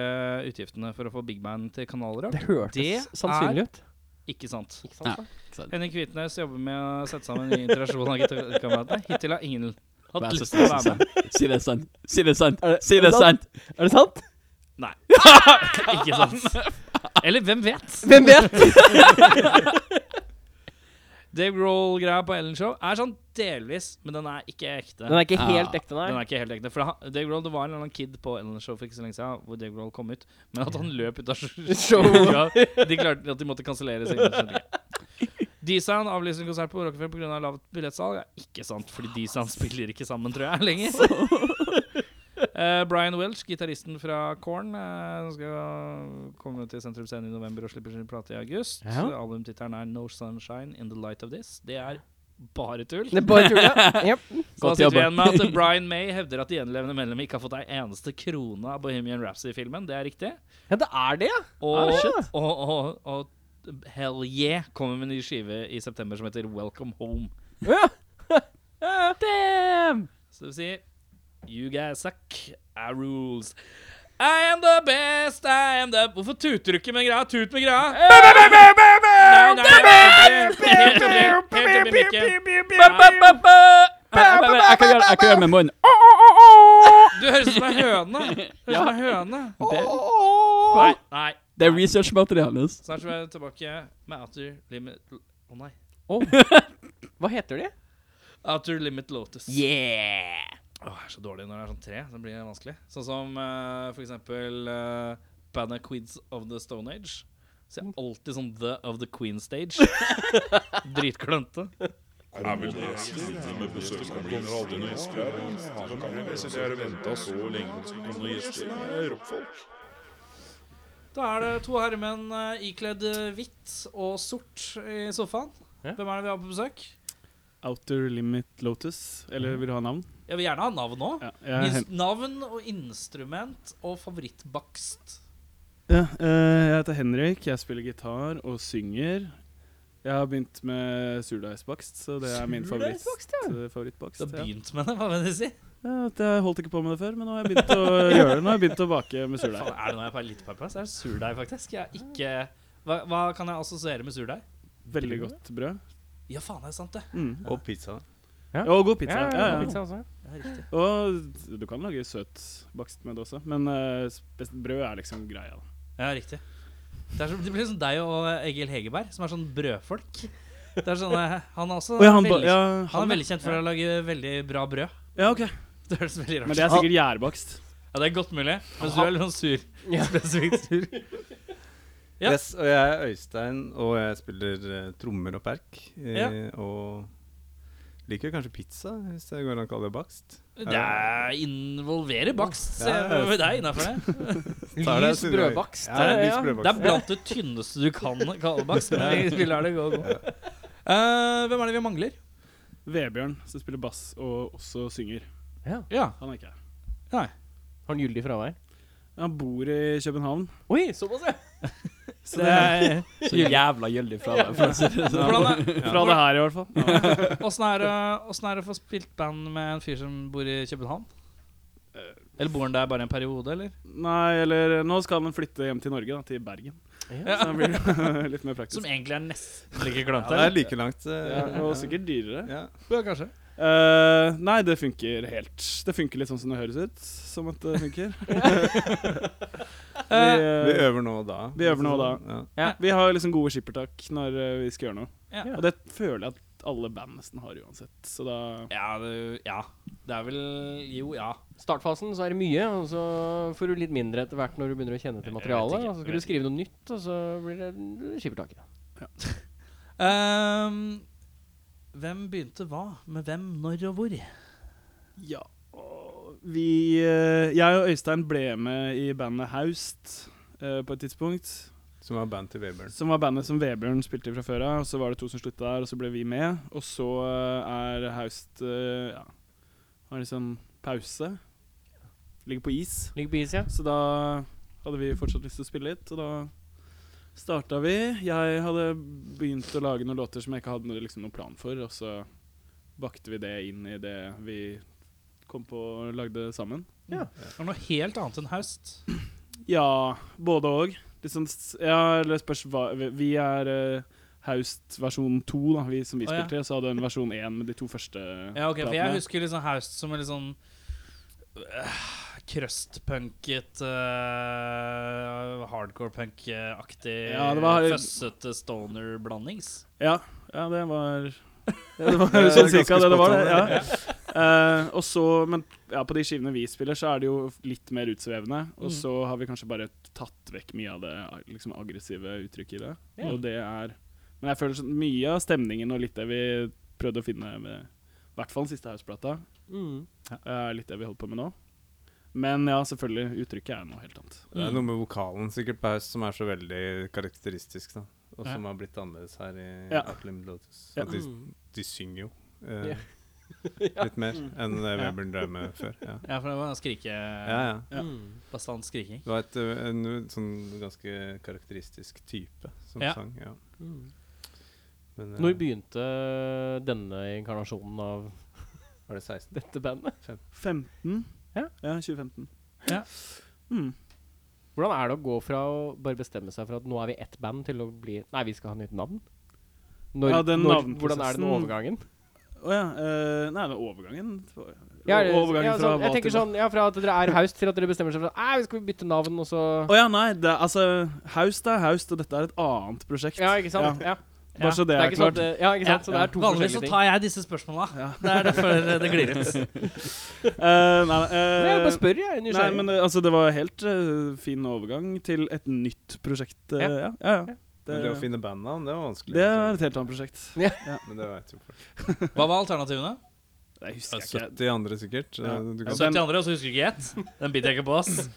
[SPEAKER 2] utgiftene for å få Big Band til kanalrock.
[SPEAKER 1] Det hørtes
[SPEAKER 2] Det
[SPEAKER 1] sannsynlig ut.
[SPEAKER 2] Ikke sant.
[SPEAKER 1] Ikke sant,
[SPEAKER 3] Ja.
[SPEAKER 1] da?
[SPEAKER 2] Henning Kvitnes jobber med å sette sammen en ny interasjon av gitarkameratene. Hittil har ingen hatt
[SPEAKER 3] Vær så
[SPEAKER 2] lyst til
[SPEAKER 3] snill,
[SPEAKER 2] å være med.
[SPEAKER 3] Si det er sant. Si det er sant.
[SPEAKER 1] Er det-
[SPEAKER 3] Si
[SPEAKER 1] er det
[SPEAKER 3] det er sant.
[SPEAKER 1] Er det sant?
[SPEAKER 2] Nei. ikke sant. Eller hvem vet?
[SPEAKER 1] Hvem vet?
[SPEAKER 2] Dave Grohl-greia på Ellen Show er sånn delvis, men den er ikke ekte.
[SPEAKER 1] Den er ikke
[SPEAKER 3] Ah,
[SPEAKER 1] helt ekte,
[SPEAKER 2] Den
[SPEAKER 1] nei.
[SPEAKER 2] er ikke helt ekte. For han, Dave Grohl, Det var en eller annen kid på Ellen Show for ikke så lenge siden hvor Dave Grohl kom ut, men at han løp ut av showet
[SPEAKER 1] Showet.
[SPEAKER 2] De klarte at de måtte kansellere seg. D-Sound avlyser en konsert på Rockefeller pga. lavt billettsalg. Det er ikke sant, fordi D-Sound spiller ikke sammen, tror jeg, lenger. Eh, Brian Welch, gitaristen fra Korn, eh, skal komme til Sentrum Scene i november og slipper sin plate i august.
[SPEAKER 1] Ja.
[SPEAKER 2] Albumtittelen er 'No Sunshine In The Light Of This'. Det er bare tull.
[SPEAKER 1] Det er bare tull, ja. Jep.
[SPEAKER 2] Så da sitter
[SPEAKER 3] Godt
[SPEAKER 2] vi
[SPEAKER 3] jobba.
[SPEAKER 2] igjen med at Brian May hevder at de gjenlevende medlemmene ikke har fått ei eneste krone av Bohemian Rhapsody-filmen. Det er riktig.
[SPEAKER 1] ja, det er det, ja.
[SPEAKER 2] Og,
[SPEAKER 1] Ah,
[SPEAKER 2] og, og, og, Hell Yeah kommer med en ny skive i september som heter Welcome Home.
[SPEAKER 1] ja.
[SPEAKER 3] Damn!
[SPEAKER 2] Så det vil si You guys suck. I rules. I am the best, I am the Hvorfor tuter du ikke med greia? Tut med greia! Nei, nei, nei, helt oppi- helt oppi- helt oppi mikken.
[SPEAKER 3] Jeg, jeg, jeg, kan gjøre, jeg kan gjøre med munnen. Å,
[SPEAKER 2] Du høres ut som ei høne. Høres ut som ei høne.
[SPEAKER 3] Det,
[SPEAKER 2] Nei, nei.
[SPEAKER 3] det er researchmaterialet.
[SPEAKER 2] Snart så er jeg tilbake med Outer Limit Å nei.
[SPEAKER 1] Hva heter de?
[SPEAKER 2] Outer Limit Lotus.
[SPEAKER 1] Yeah!
[SPEAKER 2] Åh, jeg er så dårlig når det er sånn tre. Så blir det vanskelig. Sånn som eh, for eksempel uh, bandet Queens of the Stone Age. Så jeg er alltid sånn The of the Queen Stage. Dritklønte. Da er det to herremenn eh, ikledd eh, hvitt og sort i sofaen.
[SPEAKER 1] Ja.
[SPEAKER 2] Hvem er det vi har på besøk?
[SPEAKER 4] Outer Limit Lotus. Eller vil du ha navn?
[SPEAKER 2] Jeg vil gjerne ha navn òg.
[SPEAKER 4] Ja, jeg, hen-
[SPEAKER 2] Navn og instrument og favorittbakst.
[SPEAKER 4] ja, eh, jeg heter Henrik, jeg spiller gitar og synger. Jeg har begynt med surdeigsbakst, så det er min favoritt, eh,
[SPEAKER 2] Du
[SPEAKER 4] favorittbakst.
[SPEAKER 2] har
[SPEAKER 4] Ja.
[SPEAKER 2] begynt med det, hva vil det si?
[SPEAKER 4] Ja, at jeg holdt ikke på med det før, men nå har jeg begynt å gjøre det. Nå har jeg begynt å bake med
[SPEAKER 2] Faen,
[SPEAKER 4] surdeig.
[SPEAKER 2] er det noe jeg får litt purpose? Er det surdeig, faktisk? Jeg er ikke hva, hva kan jeg assosiere med surdeig?
[SPEAKER 4] Veldig godt brød.
[SPEAKER 2] Ja, faen, er det sant, det?
[SPEAKER 4] Mm.
[SPEAKER 5] Og pizza.
[SPEAKER 4] Ja, og god pizza.
[SPEAKER 1] Ja,
[SPEAKER 4] Ja, ja.
[SPEAKER 1] pizza også.
[SPEAKER 2] Ja, riktig.
[SPEAKER 4] Og du kan lage søt bakst med det også, men eh, spes- brød er liksom greia. da.
[SPEAKER 2] Ja, riktig. Det, er så, det blir sånn deg og Egil Hegerberg, som er sånn brødfolk. Det er sånn, eh, han er også
[SPEAKER 4] Å ja, han, ba-
[SPEAKER 2] veldig,
[SPEAKER 4] ja,
[SPEAKER 2] han er veldig kjent for å lage veldig bra brød.
[SPEAKER 4] Ja, ok.
[SPEAKER 2] Det høres veldig rart
[SPEAKER 4] Men
[SPEAKER 2] ut.
[SPEAKER 4] det er sikkert gjærbakst.
[SPEAKER 2] Ja, det er godt mulig. Mens du er litt sånn sur.
[SPEAKER 1] Ja.
[SPEAKER 2] Spesifikt sur. Ja.
[SPEAKER 5] Yes, og jeg er Øystein, og jeg spiller eh, trommer og perk. eh,
[SPEAKER 2] Ja.
[SPEAKER 5] Og liker kanskje pizza, hvis det går an å kalle det bakst.
[SPEAKER 2] Det er involverer bakst
[SPEAKER 5] Ja,
[SPEAKER 2] ser jeg med deg innafor det.
[SPEAKER 5] Så er det
[SPEAKER 1] Lys
[SPEAKER 5] surdeig.
[SPEAKER 1] brødbakst.
[SPEAKER 5] Ja, det er lys
[SPEAKER 2] Det er
[SPEAKER 5] brødbakst.
[SPEAKER 2] blant det tynneste du kan kalle bakst. Men vi lar det gå. gå. Eh, hvem er det vi mangler?
[SPEAKER 4] Vebjørn, som spiller bass og også synger.
[SPEAKER 2] Ja.
[SPEAKER 4] Han er ikke her.
[SPEAKER 1] Har han gyldig fravær?
[SPEAKER 4] Han bor i København.
[SPEAKER 1] Oi, såpass, ja.
[SPEAKER 4] Så det er
[SPEAKER 3] Så jævla gyldig fra deg. For å si det sånn.
[SPEAKER 2] Hvordan er,
[SPEAKER 4] fra det her, i hvert fall. Ja.
[SPEAKER 2] åssen er, det- åssen er det å få spilt band med en fyr som bor i København? Eh, Eller bor han der bare en periode, eller?
[SPEAKER 4] Nei, eller Nå skal han flytte hjem til Norge, da, til Bergen.
[SPEAKER 1] Ja.
[SPEAKER 4] Så han blir det litt mer
[SPEAKER 2] Som
[SPEAKER 4] praktisk.
[SPEAKER 2] egentlig er nesten like
[SPEAKER 5] Ja,
[SPEAKER 2] glemt
[SPEAKER 5] det er
[SPEAKER 2] her.
[SPEAKER 5] like langt. eh,
[SPEAKER 4] Ja, og sikkert dyrere.
[SPEAKER 5] Ja.
[SPEAKER 2] Ja, kanskje.
[SPEAKER 4] Eh, nei, det funker helt. Det funker litt sånn som det høres ut. Som at det funker. vi,
[SPEAKER 2] Eh,
[SPEAKER 5] Vi
[SPEAKER 4] eh,
[SPEAKER 5] øver nå og da.
[SPEAKER 4] Vi øver nå og da.
[SPEAKER 5] Ja.
[SPEAKER 4] vi har liksom gode skippertak når eh, vi skal gjøre noe.
[SPEAKER 2] Ja.
[SPEAKER 4] Og det føler jeg at alle band nesten har uansett. Så da
[SPEAKER 2] ja, det, ja. Det er vel Jo, ja.
[SPEAKER 1] Startfasen så er det mye, og så får du litt mindre etter hvert når du begynner å kjenne til
[SPEAKER 2] Jeg vet
[SPEAKER 1] materialet.
[SPEAKER 2] ikke,
[SPEAKER 1] Og så
[SPEAKER 2] jeg
[SPEAKER 1] skal
[SPEAKER 2] vet
[SPEAKER 1] du skrive noe nytt, og så blir det skippertaket.
[SPEAKER 2] Ehm, hvem begynte hva? Med hvem, når og hvor?
[SPEAKER 4] Ja. og Vi eh, Jeg og Øystein ble med i bandet Haust eh, på et tidspunkt.
[SPEAKER 5] Som var band til Webern.
[SPEAKER 4] Som var bandet som Vebjørn spilte i fra før av. og Så var det to som slutta der, og så ble vi med. Og så eh, er Haust eh, Ja, har liksom pause. Ligger på is.
[SPEAKER 1] Ligger på is, ja.
[SPEAKER 4] Så da hadde vi fortsatt lyst til å spille litt, og da starta vi. Jeg hadde begynt å lage noen låter som jeg ikke hadde noe, liksom, noen plan for, og så bakte vi det inn i det vi kom på og lagde sammen.
[SPEAKER 2] Det var noe helt annet enn haust.
[SPEAKER 4] Ja, både og. Liksom, s- ja, eller spørs hva vi- Vi er eh, Haust versjon to, da, vi, som vi
[SPEAKER 2] Å, ja.
[SPEAKER 4] spilte. Så hadde en versjon én med de to første
[SPEAKER 2] Ja, ok, for jeg
[SPEAKER 4] platene.
[SPEAKER 2] husker liksom Haust som en litt sånn øh, Krøstpunket øh, Hardcore-punk-aktig
[SPEAKER 4] Ja, det var-
[SPEAKER 2] Føssete stoner-blandings
[SPEAKER 4] Ja, ja det var ja, Det var
[SPEAKER 5] Det er
[SPEAKER 4] sånn
[SPEAKER 5] ganske
[SPEAKER 4] cirka det det var.
[SPEAKER 5] spot
[SPEAKER 4] Det,
[SPEAKER 5] on,
[SPEAKER 4] ja. Eh, og så, Men ja, på de skivene vi spiller, så er det jo litt mer utsvevende. Og
[SPEAKER 2] Mm.
[SPEAKER 4] så har vi kanskje bare tatt vekk mye av det liksom, aggressive uttrykket i det.
[SPEAKER 2] Ja.
[SPEAKER 4] Og det er Men jeg føler sånn mye av stemningen og litt det vi prøvde å finne med i hvert fall den siste House-plata,
[SPEAKER 1] Mm.
[SPEAKER 4] er litt det vi holder på med nå. Men ja, selvfølgelig. Uttrykket er noe helt annet.
[SPEAKER 5] Det er noe med vokalen sikkert på Haus som er så veldig karakteristisk, da. Og
[SPEAKER 4] Ja.
[SPEAKER 5] som har blitt annerledes her i
[SPEAKER 4] Ja.
[SPEAKER 5] Out Limit Lotus.
[SPEAKER 4] Ja.
[SPEAKER 5] At de, de synger jo eh,
[SPEAKER 1] Mm. Ja.
[SPEAKER 5] litt mer enn det Webern drev med før. Ja.
[SPEAKER 2] Ja, for det var skrike...
[SPEAKER 5] Ja, ja.
[SPEAKER 4] Ja.
[SPEAKER 1] Mm.
[SPEAKER 2] Bastant skriking.
[SPEAKER 5] Det var et, eh, en sånn ganske karakteristisk type som
[SPEAKER 2] Ja.
[SPEAKER 5] sang. Ja.
[SPEAKER 1] Mm.
[SPEAKER 5] Men, eh,
[SPEAKER 1] Når begynte denne inkarnasjonen av
[SPEAKER 5] Var det 16?
[SPEAKER 1] dette bandet?
[SPEAKER 4] 15?
[SPEAKER 1] Ja.
[SPEAKER 4] ja 2015.
[SPEAKER 2] Ja.
[SPEAKER 4] Mm.
[SPEAKER 1] Hvordan er det å gå fra å bare bestemme seg for at nå er vi ett band, til å bli Nei, vi skal ha nytt navn? Når,
[SPEAKER 4] Ja, den
[SPEAKER 1] når,
[SPEAKER 4] navnprosessen-
[SPEAKER 1] hvordan er den overgangen?
[SPEAKER 4] Å ja. eh, nei, det er overgangen.
[SPEAKER 1] Ja, er det-
[SPEAKER 4] overgangen
[SPEAKER 1] ja,
[SPEAKER 4] fra
[SPEAKER 1] sånn, jeg
[SPEAKER 4] hva
[SPEAKER 1] tenker
[SPEAKER 4] til hva?
[SPEAKER 1] sånn, ja, Fra at dere er Haust, til at dere bestemmer seg for at Nei, vi skal bytte navn, og så
[SPEAKER 4] Å ja, nei. Det er, altså, Haust er Haust, og dette er et annet prosjekt.
[SPEAKER 1] Ja, ikke sant? Ja.
[SPEAKER 4] Bare så det
[SPEAKER 1] Det er
[SPEAKER 4] er,
[SPEAKER 1] ikke sant?
[SPEAKER 4] klart.
[SPEAKER 1] det- Ja, ikke sant? Så det er to
[SPEAKER 2] Vanligvis så
[SPEAKER 1] forskjellige ting.
[SPEAKER 2] tar jeg disse spørsmåla. Det er derfor det glir ut.
[SPEAKER 4] Eh, nei, eh,
[SPEAKER 1] Nei, jeg bare spør, jeg. er
[SPEAKER 4] nei,
[SPEAKER 1] Nysgjerrig.
[SPEAKER 4] men eh, altså, det var helt eh, fin overgang til et nytt prosjekt. eh,
[SPEAKER 1] Ja.
[SPEAKER 4] ja. ja, ja.
[SPEAKER 5] Men det å finne bandnavn, det var vanskelig. liksom.
[SPEAKER 4] det er et helt annet prosjekt.
[SPEAKER 5] Men det vet jo folk.
[SPEAKER 2] Hva var alternativene?
[SPEAKER 4] Det husker jeg ikke.
[SPEAKER 5] 70 andre, sikkert.
[SPEAKER 4] Ja.
[SPEAKER 5] Eh, Du kan,
[SPEAKER 2] 70 andre, og så husker du ikke ett? Den biter jeg ikke på, ass.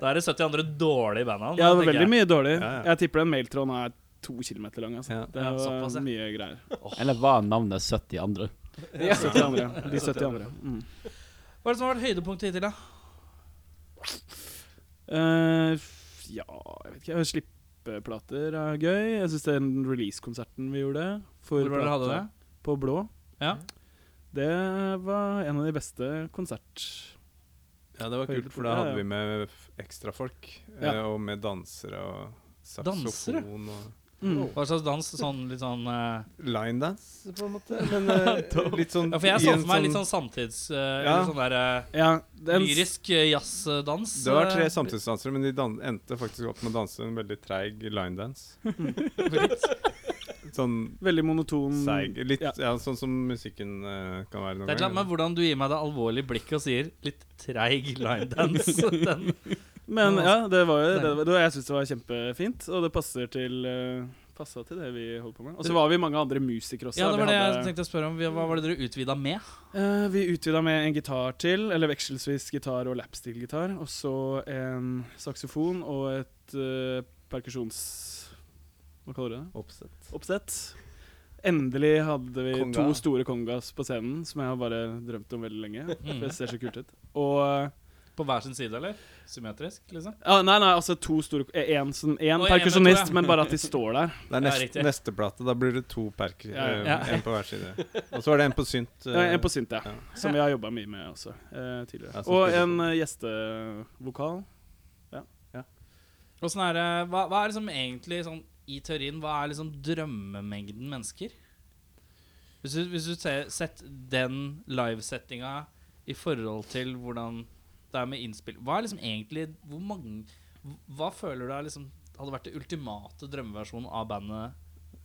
[SPEAKER 2] Da er det 70 andre dårlige bandnavn.
[SPEAKER 4] Ja, det var
[SPEAKER 2] tenker
[SPEAKER 4] veldig
[SPEAKER 2] jeg.
[SPEAKER 4] mye dårlig.
[SPEAKER 5] Ja, ja.
[SPEAKER 4] Jeg tipper den mailtråden er to kilometer lang. Altså.
[SPEAKER 5] Ja.
[SPEAKER 4] Det
[SPEAKER 2] Ja,
[SPEAKER 4] var
[SPEAKER 2] såpass, ja.
[SPEAKER 4] mye greier.
[SPEAKER 3] Eller var navnet 70 andre?
[SPEAKER 1] Ja.
[SPEAKER 4] 70 andre. De 70 andre. Mm.
[SPEAKER 2] Hva er det som har vært høydepunktet hittil, da?
[SPEAKER 4] Eh, f- ja, jeg vet ikke. Slippeplater er gøy. Jeg syns den releasekonserten vi gjorde for
[SPEAKER 2] Hvor var det dere hadde det?
[SPEAKER 4] plata På Blå.
[SPEAKER 2] Ja.
[SPEAKER 4] Det var en av de beste konsert...
[SPEAKER 5] ja, det var kult, for da
[SPEAKER 4] Ja, ja.
[SPEAKER 5] hadde vi med f- ekstra folk. eh,
[SPEAKER 4] Ja.
[SPEAKER 5] Og med dansere og
[SPEAKER 2] Dansere?
[SPEAKER 5] saksofon og
[SPEAKER 4] Mm.
[SPEAKER 2] Hva slags dans? Sånn litt sånn eh,
[SPEAKER 5] Linedance, på en måte. Men eh, litt sånn
[SPEAKER 2] Ja, for jeg
[SPEAKER 5] i
[SPEAKER 2] så
[SPEAKER 5] en
[SPEAKER 2] for meg litt sånn samtids... eh,
[SPEAKER 5] Ja.
[SPEAKER 2] Eller sånn der eh,
[SPEAKER 4] Ja, den s-
[SPEAKER 2] lyrisk eh, jazzdans.
[SPEAKER 5] Det var tre
[SPEAKER 2] eh,
[SPEAKER 5] samtidsdansere, men de dan endte faktisk opp med å danse en veldig treig linedance. sånn
[SPEAKER 4] Veldig monoton
[SPEAKER 5] seig Litt ja.
[SPEAKER 4] Mm, Ja.
[SPEAKER 5] sånn som musikken eh, kan være
[SPEAKER 2] Det er et
[SPEAKER 5] noen
[SPEAKER 2] eller annet med
[SPEAKER 5] ganger.
[SPEAKER 2] hvordan du gir meg det alvorlige blikket og sier 'litt treig linedance'. Den,
[SPEAKER 4] Men
[SPEAKER 2] Ja,
[SPEAKER 4] ja, det var jo det, var- det var, jeg syns det var kjempefint, og det passer til eh, Passa til det vi holdt på med. Og så var vi mange andre musikere også.
[SPEAKER 2] ja, det var
[SPEAKER 4] vi,
[SPEAKER 2] det jeg
[SPEAKER 4] hadde-
[SPEAKER 2] tenkte å spørre om. Hva var det dere utvida med?
[SPEAKER 4] Eh, vi utvida med en gitar til, eller vekselvis gitar og lapsteel-gitar. Og så en saksofon og et eh, perkusjons... Hva kaller du det?
[SPEAKER 5] Oppsett.
[SPEAKER 4] Oppsett. Endelig hadde vi
[SPEAKER 5] Konga.
[SPEAKER 4] to store kongas på scenen, som jeg har bare drømt om veldig lenge.
[SPEAKER 2] Mm.
[SPEAKER 4] For det ser så kult ut. Og
[SPEAKER 2] På hver sin side, eller? Symmetrisk, liksom?
[SPEAKER 4] ja, Nei, nei, altså to store Én sånn, en
[SPEAKER 2] Oi, en med to,
[SPEAKER 4] perkusjonist,
[SPEAKER 2] ja.
[SPEAKER 4] men bare at de står der.
[SPEAKER 5] Det er
[SPEAKER 2] Ja,
[SPEAKER 5] nest,
[SPEAKER 2] riktig.
[SPEAKER 5] neste plate. Da blir det to perker. eh,
[SPEAKER 4] Ja, ja.
[SPEAKER 2] Ja.
[SPEAKER 5] En på hver side. Og så var det en på synt.
[SPEAKER 4] Ja,
[SPEAKER 5] eh,
[SPEAKER 4] en på synt, ja.
[SPEAKER 5] ja.
[SPEAKER 4] Som vi har jobba mye med også eh, tidligere.
[SPEAKER 5] Ja, så
[SPEAKER 4] Og
[SPEAKER 5] spiller-
[SPEAKER 4] en eh, gjestevokal.
[SPEAKER 2] Åssen sånn er det hva, hva er liksom egentlig sånn i teorien Hva er liksom drømmemengden mennesker? Hvis du, hvis du ser, sett den livesettinga i forhold til hvordan det er med innspill Hva er liksom egentlig Hvor mange Hva føler du er liksom hadde vært det ultimate drømmeversjonen av bandet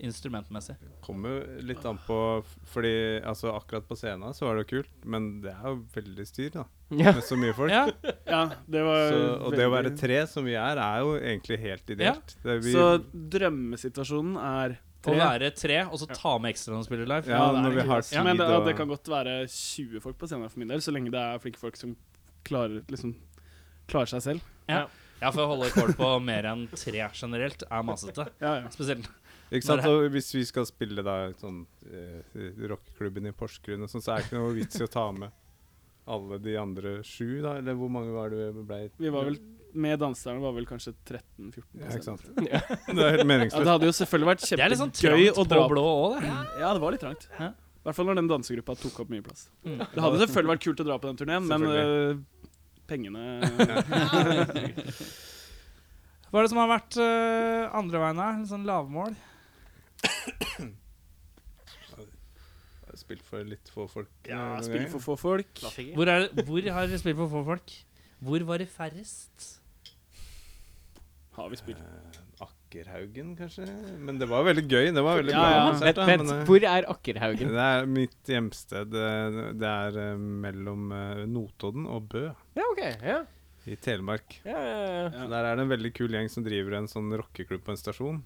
[SPEAKER 2] instrumentmessig?
[SPEAKER 5] Kommer jo litt an på f- Fordi altså, akkurat på scenen så var det jo kult, men det er jo veldig styr, da.
[SPEAKER 1] Ja.
[SPEAKER 5] Med så mye folk.
[SPEAKER 2] Ja,
[SPEAKER 4] Ja, det var
[SPEAKER 5] Så, og det å være
[SPEAKER 4] veldig-
[SPEAKER 5] tre, som vi er, er jo egentlig helt ideelt. Det er vi,
[SPEAKER 4] Så drømmesituasjonen er
[SPEAKER 2] Å være tre og så ta med ekstra når du spiller live?
[SPEAKER 5] ja,
[SPEAKER 4] Ja, det er
[SPEAKER 5] når vi
[SPEAKER 4] ikke
[SPEAKER 5] har
[SPEAKER 4] godt.
[SPEAKER 5] tid
[SPEAKER 4] Men det,
[SPEAKER 5] og
[SPEAKER 4] det kan godt være 20 folk på scenen for min del, så lenge det er flinke folk som klarer, liksom, klarer seg selv.
[SPEAKER 2] Ja, for å holde rekord på mer enn tre generelt er masete.
[SPEAKER 4] Ja, ja.
[SPEAKER 2] Spesielt
[SPEAKER 5] Ikke sant?
[SPEAKER 2] Når
[SPEAKER 5] Og hvis vi skal spille da sånn eh, rockeklubben i Porsgrunn og sånn, så er det ikke noe vits i å ta med alle de andre sju, da? Eller hvor mange var det vi ble?
[SPEAKER 4] Vi var vel med danserne var vel kanskje 13-14 på
[SPEAKER 5] Ja, ikke
[SPEAKER 4] scenen.
[SPEAKER 5] sant? Det er helt
[SPEAKER 4] Ja, det
[SPEAKER 5] meningsløst.
[SPEAKER 4] hadde jo selvfølgelig vært
[SPEAKER 2] Det er litt sånn
[SPEAKER 4] kjempegøy
[SPEAKER 2] trangt
[SPEAKER 4] å dra
[SPEAKER 2] på blå òg, det.
[SPEAKER 4] Ja, det var litt trangt.
[SPEAKER 2] Ja.
[SPEAKER 4] I hvert fall når den dansegruppa tok opp mye plass.
[SPEAKER 2] Mm.
[SPEAKER 4] Det hadde selvfølgelig vært kult å dra på den turneen, men øh, pengene
[SPEAKER 2] Hva er det som har vært øh, andre veien her? Litt sånn lavmål?
[SPEAKER 5] Spilt for litt få folk. eh,
[SPEAKER 4] Ja,
[SPEAKER 5] noen
[SPEAKER 4] spiller
[SPEAKER 5] ganger.
[SPEAKER 4] for få folk.
[SPEAKER 2] Hvor, er, det- hvor har dere spilt for få folk? Hvor var det færrest?
[SPEAKER 4] Har vi spilt.
[SPEAKER 5] Eh, Akkerhaugen, kanskje? Men det var veldig gøy. Det var veldig
[SPEAKER 4] Ja,
[SPEAKER 5] bra
[SPEAKER 4] ja.
[SPEAKER 5] konsert.
[SPEAKER 1] Vent,
[SPEAKER 5] Da,
[SPEAKER 1] vent,
[SPEAKER 5] men, eh,
[SPEAKER 1] hvor er Akkerhaugen?
[SPEAKER 5] det er mitt hjemsted. eh, Det er eh, mellom eh, Notodden og Bø
[SPEAKER 1] Ja, OK. Ja.
[SPEAKER 5] i Telemark.
[SPEAKER 1] Ja, ja, ja.
[SPEAKER 4] Ja.
[SPEAKER 5] Så Der er det en veldig kul gjeng som driver en sånn rockeklubb på en stasjon.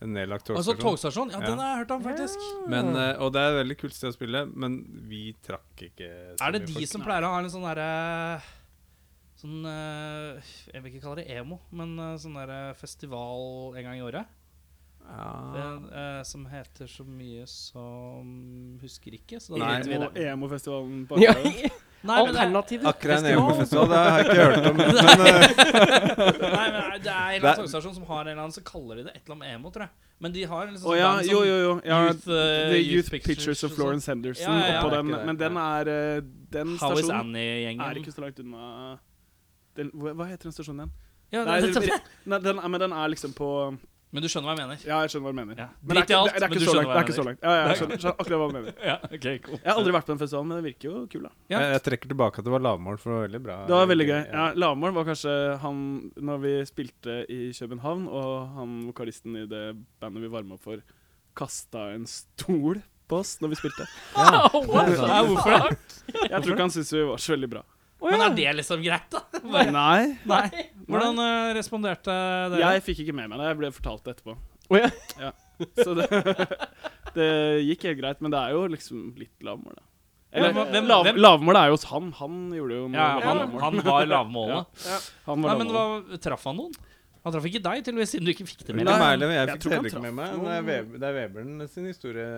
[SPEAKER 5] En nedlagt
[SPEAKER 2] Altså
[SPEAKER 5] togstasjon.
[SPEAKER 2] togstasjon? Ja,
[SPEAKER 5] Ja.
[SPEAKER 2] den har jeg hørt om, faktisk.
[SPEAKER 5] Men, eh, og det er et veldig kult sted å spille, men vi trakk ikke så
[SPEAKER 2] Er det
[SPEAKER 5] mye
[SPEAKER 2] de
[SPEAKER 5] folk.
[SPEAKER 2] som pleier å ha en sånn derre sånn eh, Jeg vil ikke kalle det emo, men eh, sånn der eh, festival en gang i året. Det, eh, som heter så mye som Husker ikke. Så da driter vi i
[SPEAKER 4] Emo-
[SPEAKER 2] det.
[SPEAKER 4] EMO-festivalen på
[SPEAKER 1] Ja,
[SPEAKER 4] Arendal.
[SPEAKER 2] Nei, men det er-
[SPEAKER 1] alternativet.
[SPEAKER 5] Akkurat en EMO-festival, det har jeg ikke hørt om. Men eh,
[SPEAKER 2] Nei, men det er- det er en eller
[SPEAKER 5] Det er-
[SPEAKER 2] annen organisasjon som har en eller annen, så kaller de det et eller annet med emo, tror jeg. Men de har en liksom
[SPEAKER 4] Å ja,
[SPEAKER 2] band som-
[SPEAKER 4] jo, jo, jo. Ja,
[SPEAKER 2] Youth, eh,
[SPEAKER 4] the
[SPEAKER 2] Youth
[SPEAKER 4] Youth
[SPEAKER 2] Pictures
[SPEAKER 4] Pictures
[SPEAKER 2] og
[SPEAKER 4] of
[SPEAKER 2] sånn.
[SPEAKER 4] Florence Henderson
[SPEAKER 2] Ja, ja, ja.
[SPEAKER 4] oppå den.
[SPEAKER 5] Det er ikke det.
[SPEAKER 4] Men den er eh, Den
[SPEAKER 2] How is
[SPEAKER 4] stasjonen er
[SPEAKER 2] Annie-gjengen.
[SPEAKER 4] ikke så langt unna eh, den, Hva hva heter den stasjonen igjen?
[SPEAKER 2] Ja,
[SPEAKER 4] Nei,
[SPEAKER 2] det-
[SPEAKER 4] re- nei, den, er- men den er liksom på
[SPEAKER 2] men du skjønner hva jeg mener.
[SPEAKER 4] Ja, jeg skjønner hva du mener.
[SPEAKER 2] Ja.
[SPEAKER 4] Men det
[SPEAKER 2] Drit
[SPEAKER 4] er
[SPEAKER 2] i
[SPEAKER 4] ikke,
[SPEAKER 2] alt,
[SPEAKER 4] det, det
[SPEAKER 2] men
[SPEAKER 4] er ikke
[SPEAKER 2] du
[SPEAKER 4] så
[SPEAKER 2] skjønner hva
[SPEAKER 4] langt. Det er
[SPEAKER 2] jeg
[SPEAKER 4] ikke så
[SPEAKER 2] mener.
[SPEAKER 4] langt. Ja, ja, jeg skjønner, skjønner akkurat hva du mener.
[SPEAKER 3] Ja, ok, cool.
[SPEAKER 4] Jeg har aldri vært på den festivalen, men den virker jo kul, da.
[SPEAKER 2] Ja.
[SPEAKER 5] jeg trekker tilbake at det var lavmål, for det var veldig bra.
[SPEAKER 4] Det var veldig gøy. Ja, Lavmål var kanskje han Når vi spilte i København, og han vokalisten i det bandet vi varma opp for, kasta en stol på oss når vi spilte.
[SPEAKER 2] Ja, hvorfor det?
[SPEAKER 4] Jeg tror ikke han syntes vi var så veldig bra.
[SPEAKER 2] Men er det liksom greit, da? Bare-
[SPEAKER 4] Nei.
[SPEAKER 2] Nei. Hvordan eh, responderte dere?
[SPEAKER 4] Jeg fikk ikke med meg det. Jeg ble fortalt det etterpå.
[SPEAKER 1] Å ja.
[SPEAKER 4] Ja. Så det, det gikk helt greit, men det er jo liksom litt lavmål, da.
[SPEAKER 2] Ja,
[SPEAKER 4] Eller,
[SPEAKER 2] men hvem-
[SPEAKER 4] lav,
[SPEAKER 2] hvem-
[SPEAKER 4] lavmål er jo hos han. Han gjorde jo
[SPEAKER 2] ja, han,
[SPEAKER 4] lavmål.
[SPEAKER 2] han var lavmålet.
[SPEAKER 4] Han
[SPEAKER 2] Nei,
[SPEAKER 4] var
[SPEAKER 2] men
[SPEAKER 4] lavmål.
[SPEAKER 2] hva, Traff han noen? Han traff ikke deg, tydeligvis, siden du ikke fikk det med
[SPEAKER 5] Nei,
[SPEAKER 2] deg.
[SPEAKER 5] Merlin og jeg
[SPEAKER 4] jeg
[SPEAKER 5] fikk
[SPEAKER 4] tror ikke
[SPEAKER 5] det ikke
[SPEAKER 4] han
[SPEAKER 5] med
[SPEAKER 4] traff
[SPEAKER 5] meg. men Det er, Weber, det er Weberen sin historie.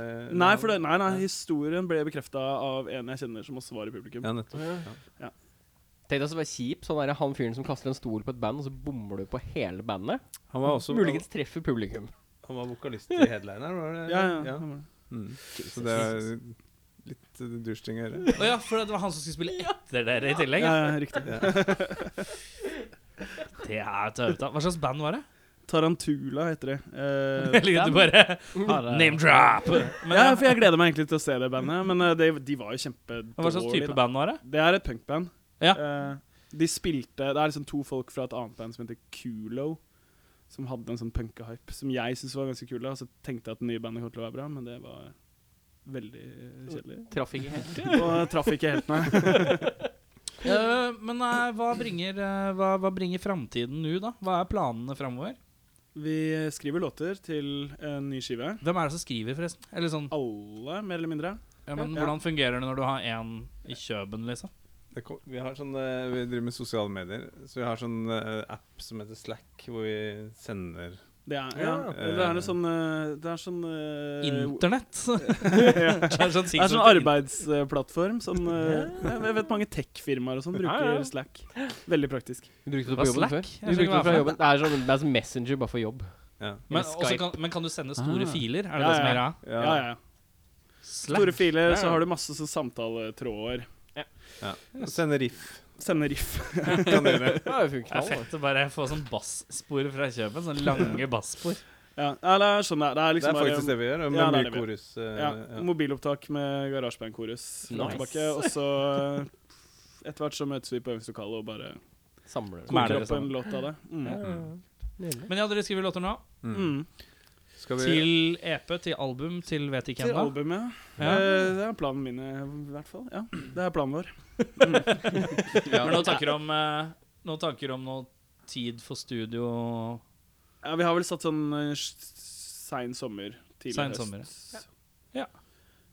[SPEAKER 4] Nei, for det, nei, nei, historien ble bekrefta av en jeg kjenner som også var i publikum.
[SPEAKER 5] Ja, nettopp. Ja.
[SPEAKER 1] Tenk deg å være kjip, sånn der, han fyren som kaster en stol på et band, og så bommer du på hele bandet.
[SPEAKER 5] Han var også
[SPEAKER 1] Muligens treffer publikum.
[SPEAKER 5] Han var vokalist i Headliner, var det?
[SPEAKER 4] Ja, ja, han var det.
[SPEAKER 5] Mm. Så det er litt eh, dusjting å gjøre.
[SPEAKER 2] Å ja, for det var han som skulle spille etter dere i tillegg.
[SPEAKER 4] ja,
[SPEAKER 2] ja.
[SPEAKER 4] ja, riktig.
[SPEAKER 2] Det er tøvete. Hva slags band var det?
[SPEAKER 4] Tarantula heter det. Eh,
[SPEAKER 2] Jeg liker at du bare Name drop! Men,
[SPEAKER 4] ja, for jeg gleder meg egentlig til å se det bandet, men eh, de, de var
[SPEAKER 2] hva
[SPEAKER 4] jo
[SPEAKER 2] slags
[SPEAKER 4] kjempedårlige.
[SPEAKER 2] type
[SPEAKER 4] da.
[SPEAKER 2] band var det?
[SPEAKER 4] Det er et punkband.
[SPEAKER 2] Ja.
[SPEAKER 4] Eh, de spilte Det er liksom to folk fra et annet band som heter Kulo, som hadde en sånn punkehype som jeg syntes var ganske kul. da, Og så tenkte jeg at det nye bandet kom til å være bra, men det var veldig eh, kjedelig.
[SPEAKER 1] Traff ikke helt.
[SPEAKER 4] Og traff ikke helt, nei.
[SPEAKER 2] Eh, men eh, hva bringer, eh, hva, hva bringer framtiden nå, da? Hva er planene framover?
[SPEAKER 4] Vi skriver låter til en ny skive.
[SPEAKER 2] Hvem er det som skriver, forresten? Eller sånn,
[SPEAKER 4] Alle, mer eller mindre.
[SPEAKER 2] ja, men Hvordan fungerer det når du har én i kjøben, liksom?
[SPEAKER 5] Det kom, vi, har sånn, eh, vi driver med sosiale medier, så vi har sånn eh, app som heter Slack, hvor vi sender
[SPEAKER 4] Det er, ja.
[SPEAKER 5] Ja.
[SPEAKER 4] det er noe sånn eh, Det er sånn eh,
[SPEAKER 2] Internett?
[SPEAKER 4] ja.
[SPEAKER 2] Det er sånn,
[SPEAKER 4] Det er sånn arbeidsplattform som eh, Jeg vet mange tech-firmaer og sånn
[SPEAKER 1] Ja, ja.
[SPEAKER 4] bruker Slack. Veldig praktisk.
[SPEAKER 1] Du brukte det
[SPEAKER 2] Hva,
[SPEAKER 1] på jobben
[SPEAKER 2] Slack?
[SPEAKER 1] før? Du
[SPEAKER 2] Jeg skjønner
[SPEAKER 1] brukte det
[SPEAKER 2] hva
[SPEAKER 1] fra
[SPEAKER 2] jeg
[SPEAKER 1] jobben. Det er som, det er som Messenger, bare for jobb.
[SPEAKER 5] Ja.
[SPEAKER 2] Men,
[SPEAKER 1] Eller
[SPEAKER 2] også
[SPEAKER 1] Skype.
[SPEAKER 2] kan, men kan du sende store
[SPEAKER 3] Ah.
[SPEAKER 2] filer? Er det
[SPEAKER 4] Ja,
[SPEAKER 2] det som
[SPEAKER 4] ja.
[SPEAKER 2] er greia?
[SPEAKER 5] Ja.
[SPEAKER 4] Ja, ja, ja. Store filer, så har du masse sånn samtaletråder.
[SPEAKER 5] Sender riff.
[SPEAKER 4] Sende riff.
[SPEAKER 5] Kan dere.
[SPEAKER 1] Det er jo
[SPEAKER 2] Det er
[SPEAKER 1] funksjonalt.
[SPEAKER 2] fett å bare få sånn basspor fra kjøben. Sånn lange basspor.
[SPEAKER 4] Ja, ja, det er sånn det er. Det er
[SPEAKER 5] Det er
[SPEAKER 4] liksom
[SPEAKER 5] faktisk
[SPEAKER 4] bare
[SPEAKER 5] det vi gjør, med
[SPEAKER 4] Ja, det er
[SPEAKER 5] mye
[SPEAKER 4] det vi gjør.
[SPEAKER 5] korus. eh,
[SPEAKER 4] ja,
[SPEAKER 5] ja.
[SPEAKER 4] mobilopptak med garasjebandkorus fram og
[SPEAKER 1] Nice.
[SPEAKER 4] tilbake. Og så eh, etter hvert så møtes vi på øvingslokalet og bare
[SPEAKER 1] Samler det.
[SPEAKER 2] Kom igjen.
[SPEAKER 4] koker
[SPEAKER 2] dere
[SPEAKER 4] opp en låt av det. Mm.
[SPEAKER 2] Ja.
[SPEAKER 5] Mm.
[SPEAKER 1] Nydelig.
[SPEAKER 2] Men ja, dere skriver låter nå?
[SPEAKER 5] Mm.
[SPEAKER 4] Mm.
[SPEAKER 5] Skal vi
[SPEAKER 2] Til EP, til album, til vet ikke
[SPEAKER 4] Til
[SPEAKER 2] ennå?
[SPEAKER 4] albumet.
[SPEAKER 2] Ja.
[SPEAKER 4] Eh, det er planen min, i hvert fall. Ja, det er planen vår.
[SPEAKER 5] ja.
[SPEAKER 2] Har du noen tanker om eh, Noen tanker om noe tid for studio?
[SPEAKER 4] Ja, vi har vel satt sånn eh, s- sein sommer, tidlig
[SPEAKER 2] Sein
[SPEAKER 4] høst.
[SPEAKER 2] sommer, Ja.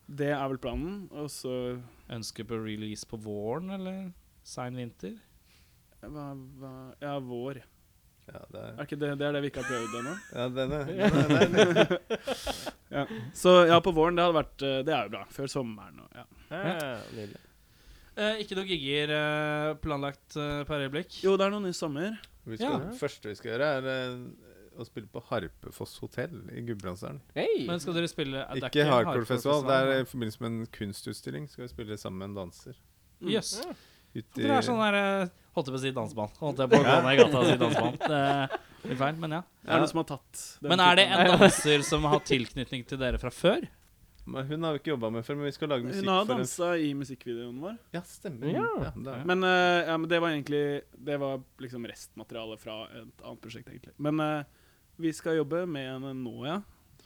[SPEAKER 4] Det er vel planen. Og så
[SPEAKER 2] Ønske på release på våren, eller sein vinter?
[SPEAKER 4] hva, hva, Ja, vår.
[SPEAKER 5] Ja, det er,
[SPEAKER 4] Er ikke det, det er det vi ikke har prøvd ennå?
[SPEAKER 5] ja, den er, den er, den er.
[SPEAKER 4] Så ja, på våren, det hadde vært eh, Det er jo bra. Før sommeren og ja.
[SPEAKER 1] Ja, nydelig.
[SPEAKER 2] Eh, ikke noen gigger eh, planlagt eh, per øyeblikk?
[SPEAKER 4] Jo, det er noe ny sommer.
[SPEAKER 5] Vi skal,
[SPEAKER 1] Ja.
[SPEAKER 5] Det første vi skal gjøre, er eh, å spille på Harpefoss hotell i Gudbrandsdalen.
[SPEAKER 1] Hei!
[SPEAKER 2] Men skal dere spille eh, det er
[SPEAKER 5] Ikke Hardcore-festival. Det er
[SPEAKER 2] hardcore-festival.
[SPEAKER 5] i forbindelse med en kunstutstilling. Skal vi spille sammen med en danser.
[SPEAKER 2] Jøss.
[SPEAKER 5] Ute i
[SPEAKER 2] Dere Mm. er sånn der eh, Holdt jeg på å si dansband. Holdt jeg på å gå ned i gata og si dansband. Det er litt feil, men ja.
[SPEAKER 4] Er det noen som har tatt den
[SPEAKER 2] Men er det
[SPEAKER 4] typen?
[SPEAKER 2] en danser som har tilknytning til dere fra før?
[SPEAKER 5] Men Hun har vi ikke jobba med før, men vi skal lage musikk
[SPEAKER 4] Hun har
[SPEAKER 5] for en-
[SPEAKER 4] dansa i musikkvideoen vår.
[SPEAKER 5] Ja, stemmer.
[SPEAKER 1] Ja.
[SPEAKER 5] det er.
[SPEAKER 4] Men, eh, ja, men det var egentlig Det var liksom restmateriale fra et annet prosjekt, egentlig. Men eh, vi skal jobbe med henne nå, ja.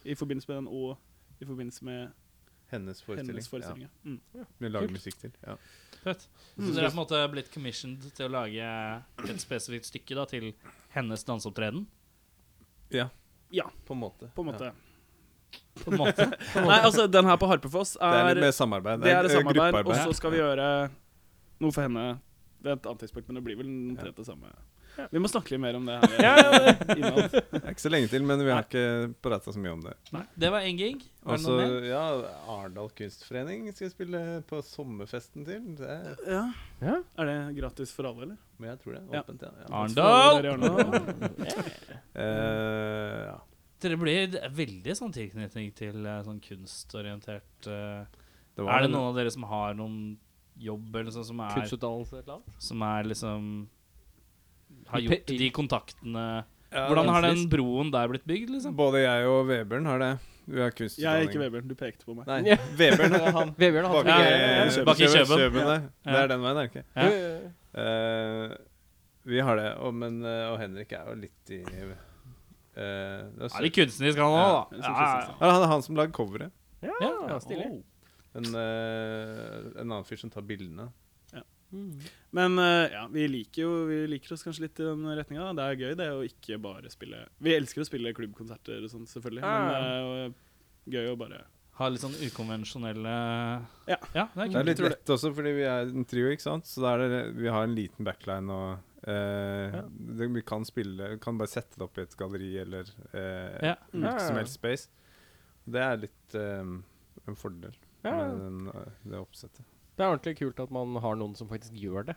[SPEAKER 4] I forbindelse med den og i forbindelse med
[SPEAKER 5] Hennes forestilling.
[SPEAKER 4] hennes forestilling. Ja. Mm.
[SPEAKER 5] Ja. Vi lager musikk til. Ja.
[SPEAKER 2] Fett. Så dere er på en måte blitt commissioned til å lage et spesifikt stykke da, til hennes danseopptreden?
[SPEAKER 5] På en måte.
[SPEAKER 4] På en måte.
[SPEAKER 2] På en måte.
[SPEAKER 4] Nei, altså, den her på Harpefoss
[SPEAKER 5] Det er
[SPEAKER 4] er
[SPEAKER 5] litt mer samarbeid.
[SPEAKER 4] Det er et
[SPEAKER 5] eh,
[SPEAKER 4] samarbeid, og
[SPEAKER 5] gruppearbeid.
[SPEAKER 4] så skal vi gjøre noe for henne Det er et annet tidspunkt, men det blir vel omtrent det samme.
[SPEAKER 1] Ja.
[SPEAKER 4] Vi må snakke litt mer om det her.
[SPEAKER 1] Ja, ja,
[SPEAKER 4] innad.
[SPEAKER 5] Det er ikke så lenge til, men vi har ikke prata så mye om det.
[SPEAKER 2] Det var én gig. Var
[SPEAKER 5] Og
[SPEAKER 2] det
[SPEAKER 5] så,
[SPEAKER 2] noe mer?
[SPEAKER 5] ja, Arendal kunstforening skal jeg spille på sommerfesten til. Det er,
[SPEAKER 4] ja.
[SPEAKER 1] Ja.
[SPEAKER 4] Er det gratis for alle, eller?
[SPEAKER 5] men jeg tror det.
[SPEAKER 4] Ja.
[SPEAKER 5] er Åpent, ja. ja.
[SPEAKER 2] Arendal!
[SPEAKER 4] Dere i Arendal.
[SPEAKER 5] Eh, ja.
[SPEAKER 2] Dere blir veldig sånn tilknytning til eh, sånn kunstorientert eh,
[SPEAKER 5] Det var
[SPEAKER 2] Er det
[SPEAKER 5] vel-
[SPEAKER 2] noen av dere som har noen jobb eller sånn som er,
[SPEAKER 1] Kunstutdannelse eller noe?
[SPEAKER 2] som er liksom Har
[SPEAKER 1] I
[SPEAKER 2] gjort
[SPEAKER 1] P- i-
[SPEAKER 2] de kontaktene
[SPEAKER 5] Ja,
[SPEAKER 2] Hvordan har den
[SPEAKER 5] Frisk.
[SPEAKER 2] broen der blitt bygd, liksom?
[SPEAKER 5] Både jeg og Vebjørn har det. Vi har kunstutdanning.
[SPEAKER 4] Jeg er ikke Vebjørn, du pekte på meg.
[SPEAKER 5] Nei, Vebjørn er han.
[SPEAKER 1] Vebjørn har hatt
[SPEAKER 2] Ja,
[SPEAKER 1] mye-
[SPEAKER 2] ja, ja.
[SPEAKER 5] Kjøben.
[SPEAKER 2] Bak i Kjøben.
[SPEAKER 5] der.
[SPEAKER 2] Ja.
[SPEAKER 5] Det er den veien, er det ikke?
[SPEAKER 2] Ja.
[SPEAKER 5] Eh, vi har det, og, men, eh, og Henrik er jo litt i uh, det er
[SPEAKER 2] Er det
[SPEAKER 5] sø-
[SPEAKER 2] kunstnerisk han òg, da?
[SPEAKER 5] Ja,
[SPEAKER 4] det er
[SPEAKER 2] Ja,
[SPEAKER 4] kunstnerisk,
[SPEAKER 2] ja,
[SPEAKER 5] Ja, han er han som lager coveret.
[SPEAKER 1] Ja, Oh.
[SPEAKER 2] Ja.
[SPEAKER 1] stilig.
[SPEAKER 5] En, eh, en annen fyr som tar bildene.
[SPEAKER 1] Mm.
[SPEAKER 4] Men eh, ja, vi liker, jo, vi liker oss kanskje litt i den retninga. Det er gøy det å ikke bare spille Vi elsker å spille klubbkonserter og sånn, selvfølgelig. Men det er jo gøy å bare
[SPEAKER 2] ja. Har litt sånn ukonvensjonelle
[SPEAKER 4] Ja.
[SPEAKER 2] det er
[SPEAKER 5] Det er
[SPEAKER 2] kult.
[SPEAKER 5] litt lett også, fordi vi er en trio, ikke sant? Så da er det, vi har en liten backline og eh, det, Vi kan spille Kan bare sette det opp i et galleri eller eh,
[SPEAKER 2] Ja.
[SPEAKER 4] Mm.
[SPEAKER 5] hvilken som helst space. Det er litt eh, en fordel
[SPEAKER 1] Ja.
[SPEAKER 5] med den, eh, det oppsettet.
[SPEAKER 1] Det er ordentlig kult at man har noen som faktisk gjør det.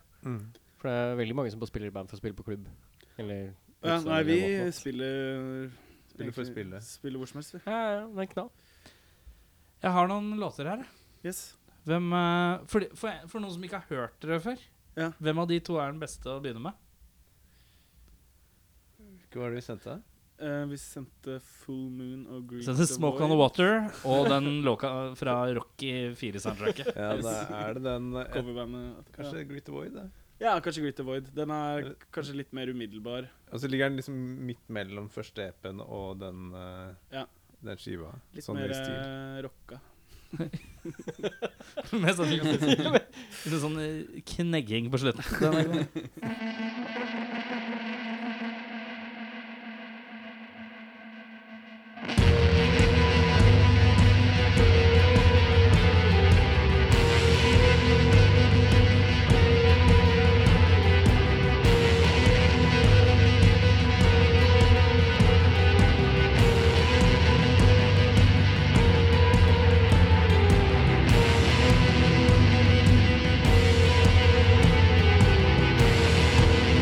[SPEAKER 1] For det er veldig mange som bare spiller i band for å spille på klubb. Eller
[SPEAKER 4] ja,
[SPEAKER 1] utsteder
[SPEAKER 4] Nei, vi
[SPEAKER 1] eller whatnot.
[SPEAKER 4] spiller
[SPEAKER 5] Spiller for
[SPEAKER 4] egentlig-
[SPEAKER 5] spillet.
[SPEAKER 4] Spiller hvor som helst, vi.
[SPEAKER 1] Ja, ja, det er en knall.
[SPEAKER 2] Jeg har noen låter her.
[SPEAKER 4] Yes.
[SPEAKER 2] Hvem, eh, for, de- for, for noen som ikke har hørt dere før,
[SPEAKER 4] Ja.
[SPEAKER 2] hvem av de to er den beste å begynne med?
[SPEAKER 5] Hva var det vi sendte?
[SPEAKER 4] Eh, vi sendte Full Moon og Green
[SPEAKER 2] Så det er Smoke on the Water og den låta fra Rocky 4-soundtracket.
[SPEAKER 5] Ja, da er det den eh, et,
[SPEAKER 4] Coverbandet.
[SPEAKER 5] Kanskje Greet the Void? da?
[SPEAKER 4] Ja, kanskje Greet the Void. Den er kanskje litt mer umiddelbar.
[SPEAKER 5] Og så ligger den liksom midt mellom første EP-en og den, eh,
[SPEAKER 4] Ja.
[SPEAKER 5] den skiva.
[SPEAKER 4] Litt
[SPEAKER 5] sånn
[SPEAKER 4] mer
[SPEAKER 5] i stil.
[SPEAKER 4] eh, rocka.
[SPEAKER 2] Med sånn, med sånn eh, knegging på slutten.
[SPEAKER 6] Thank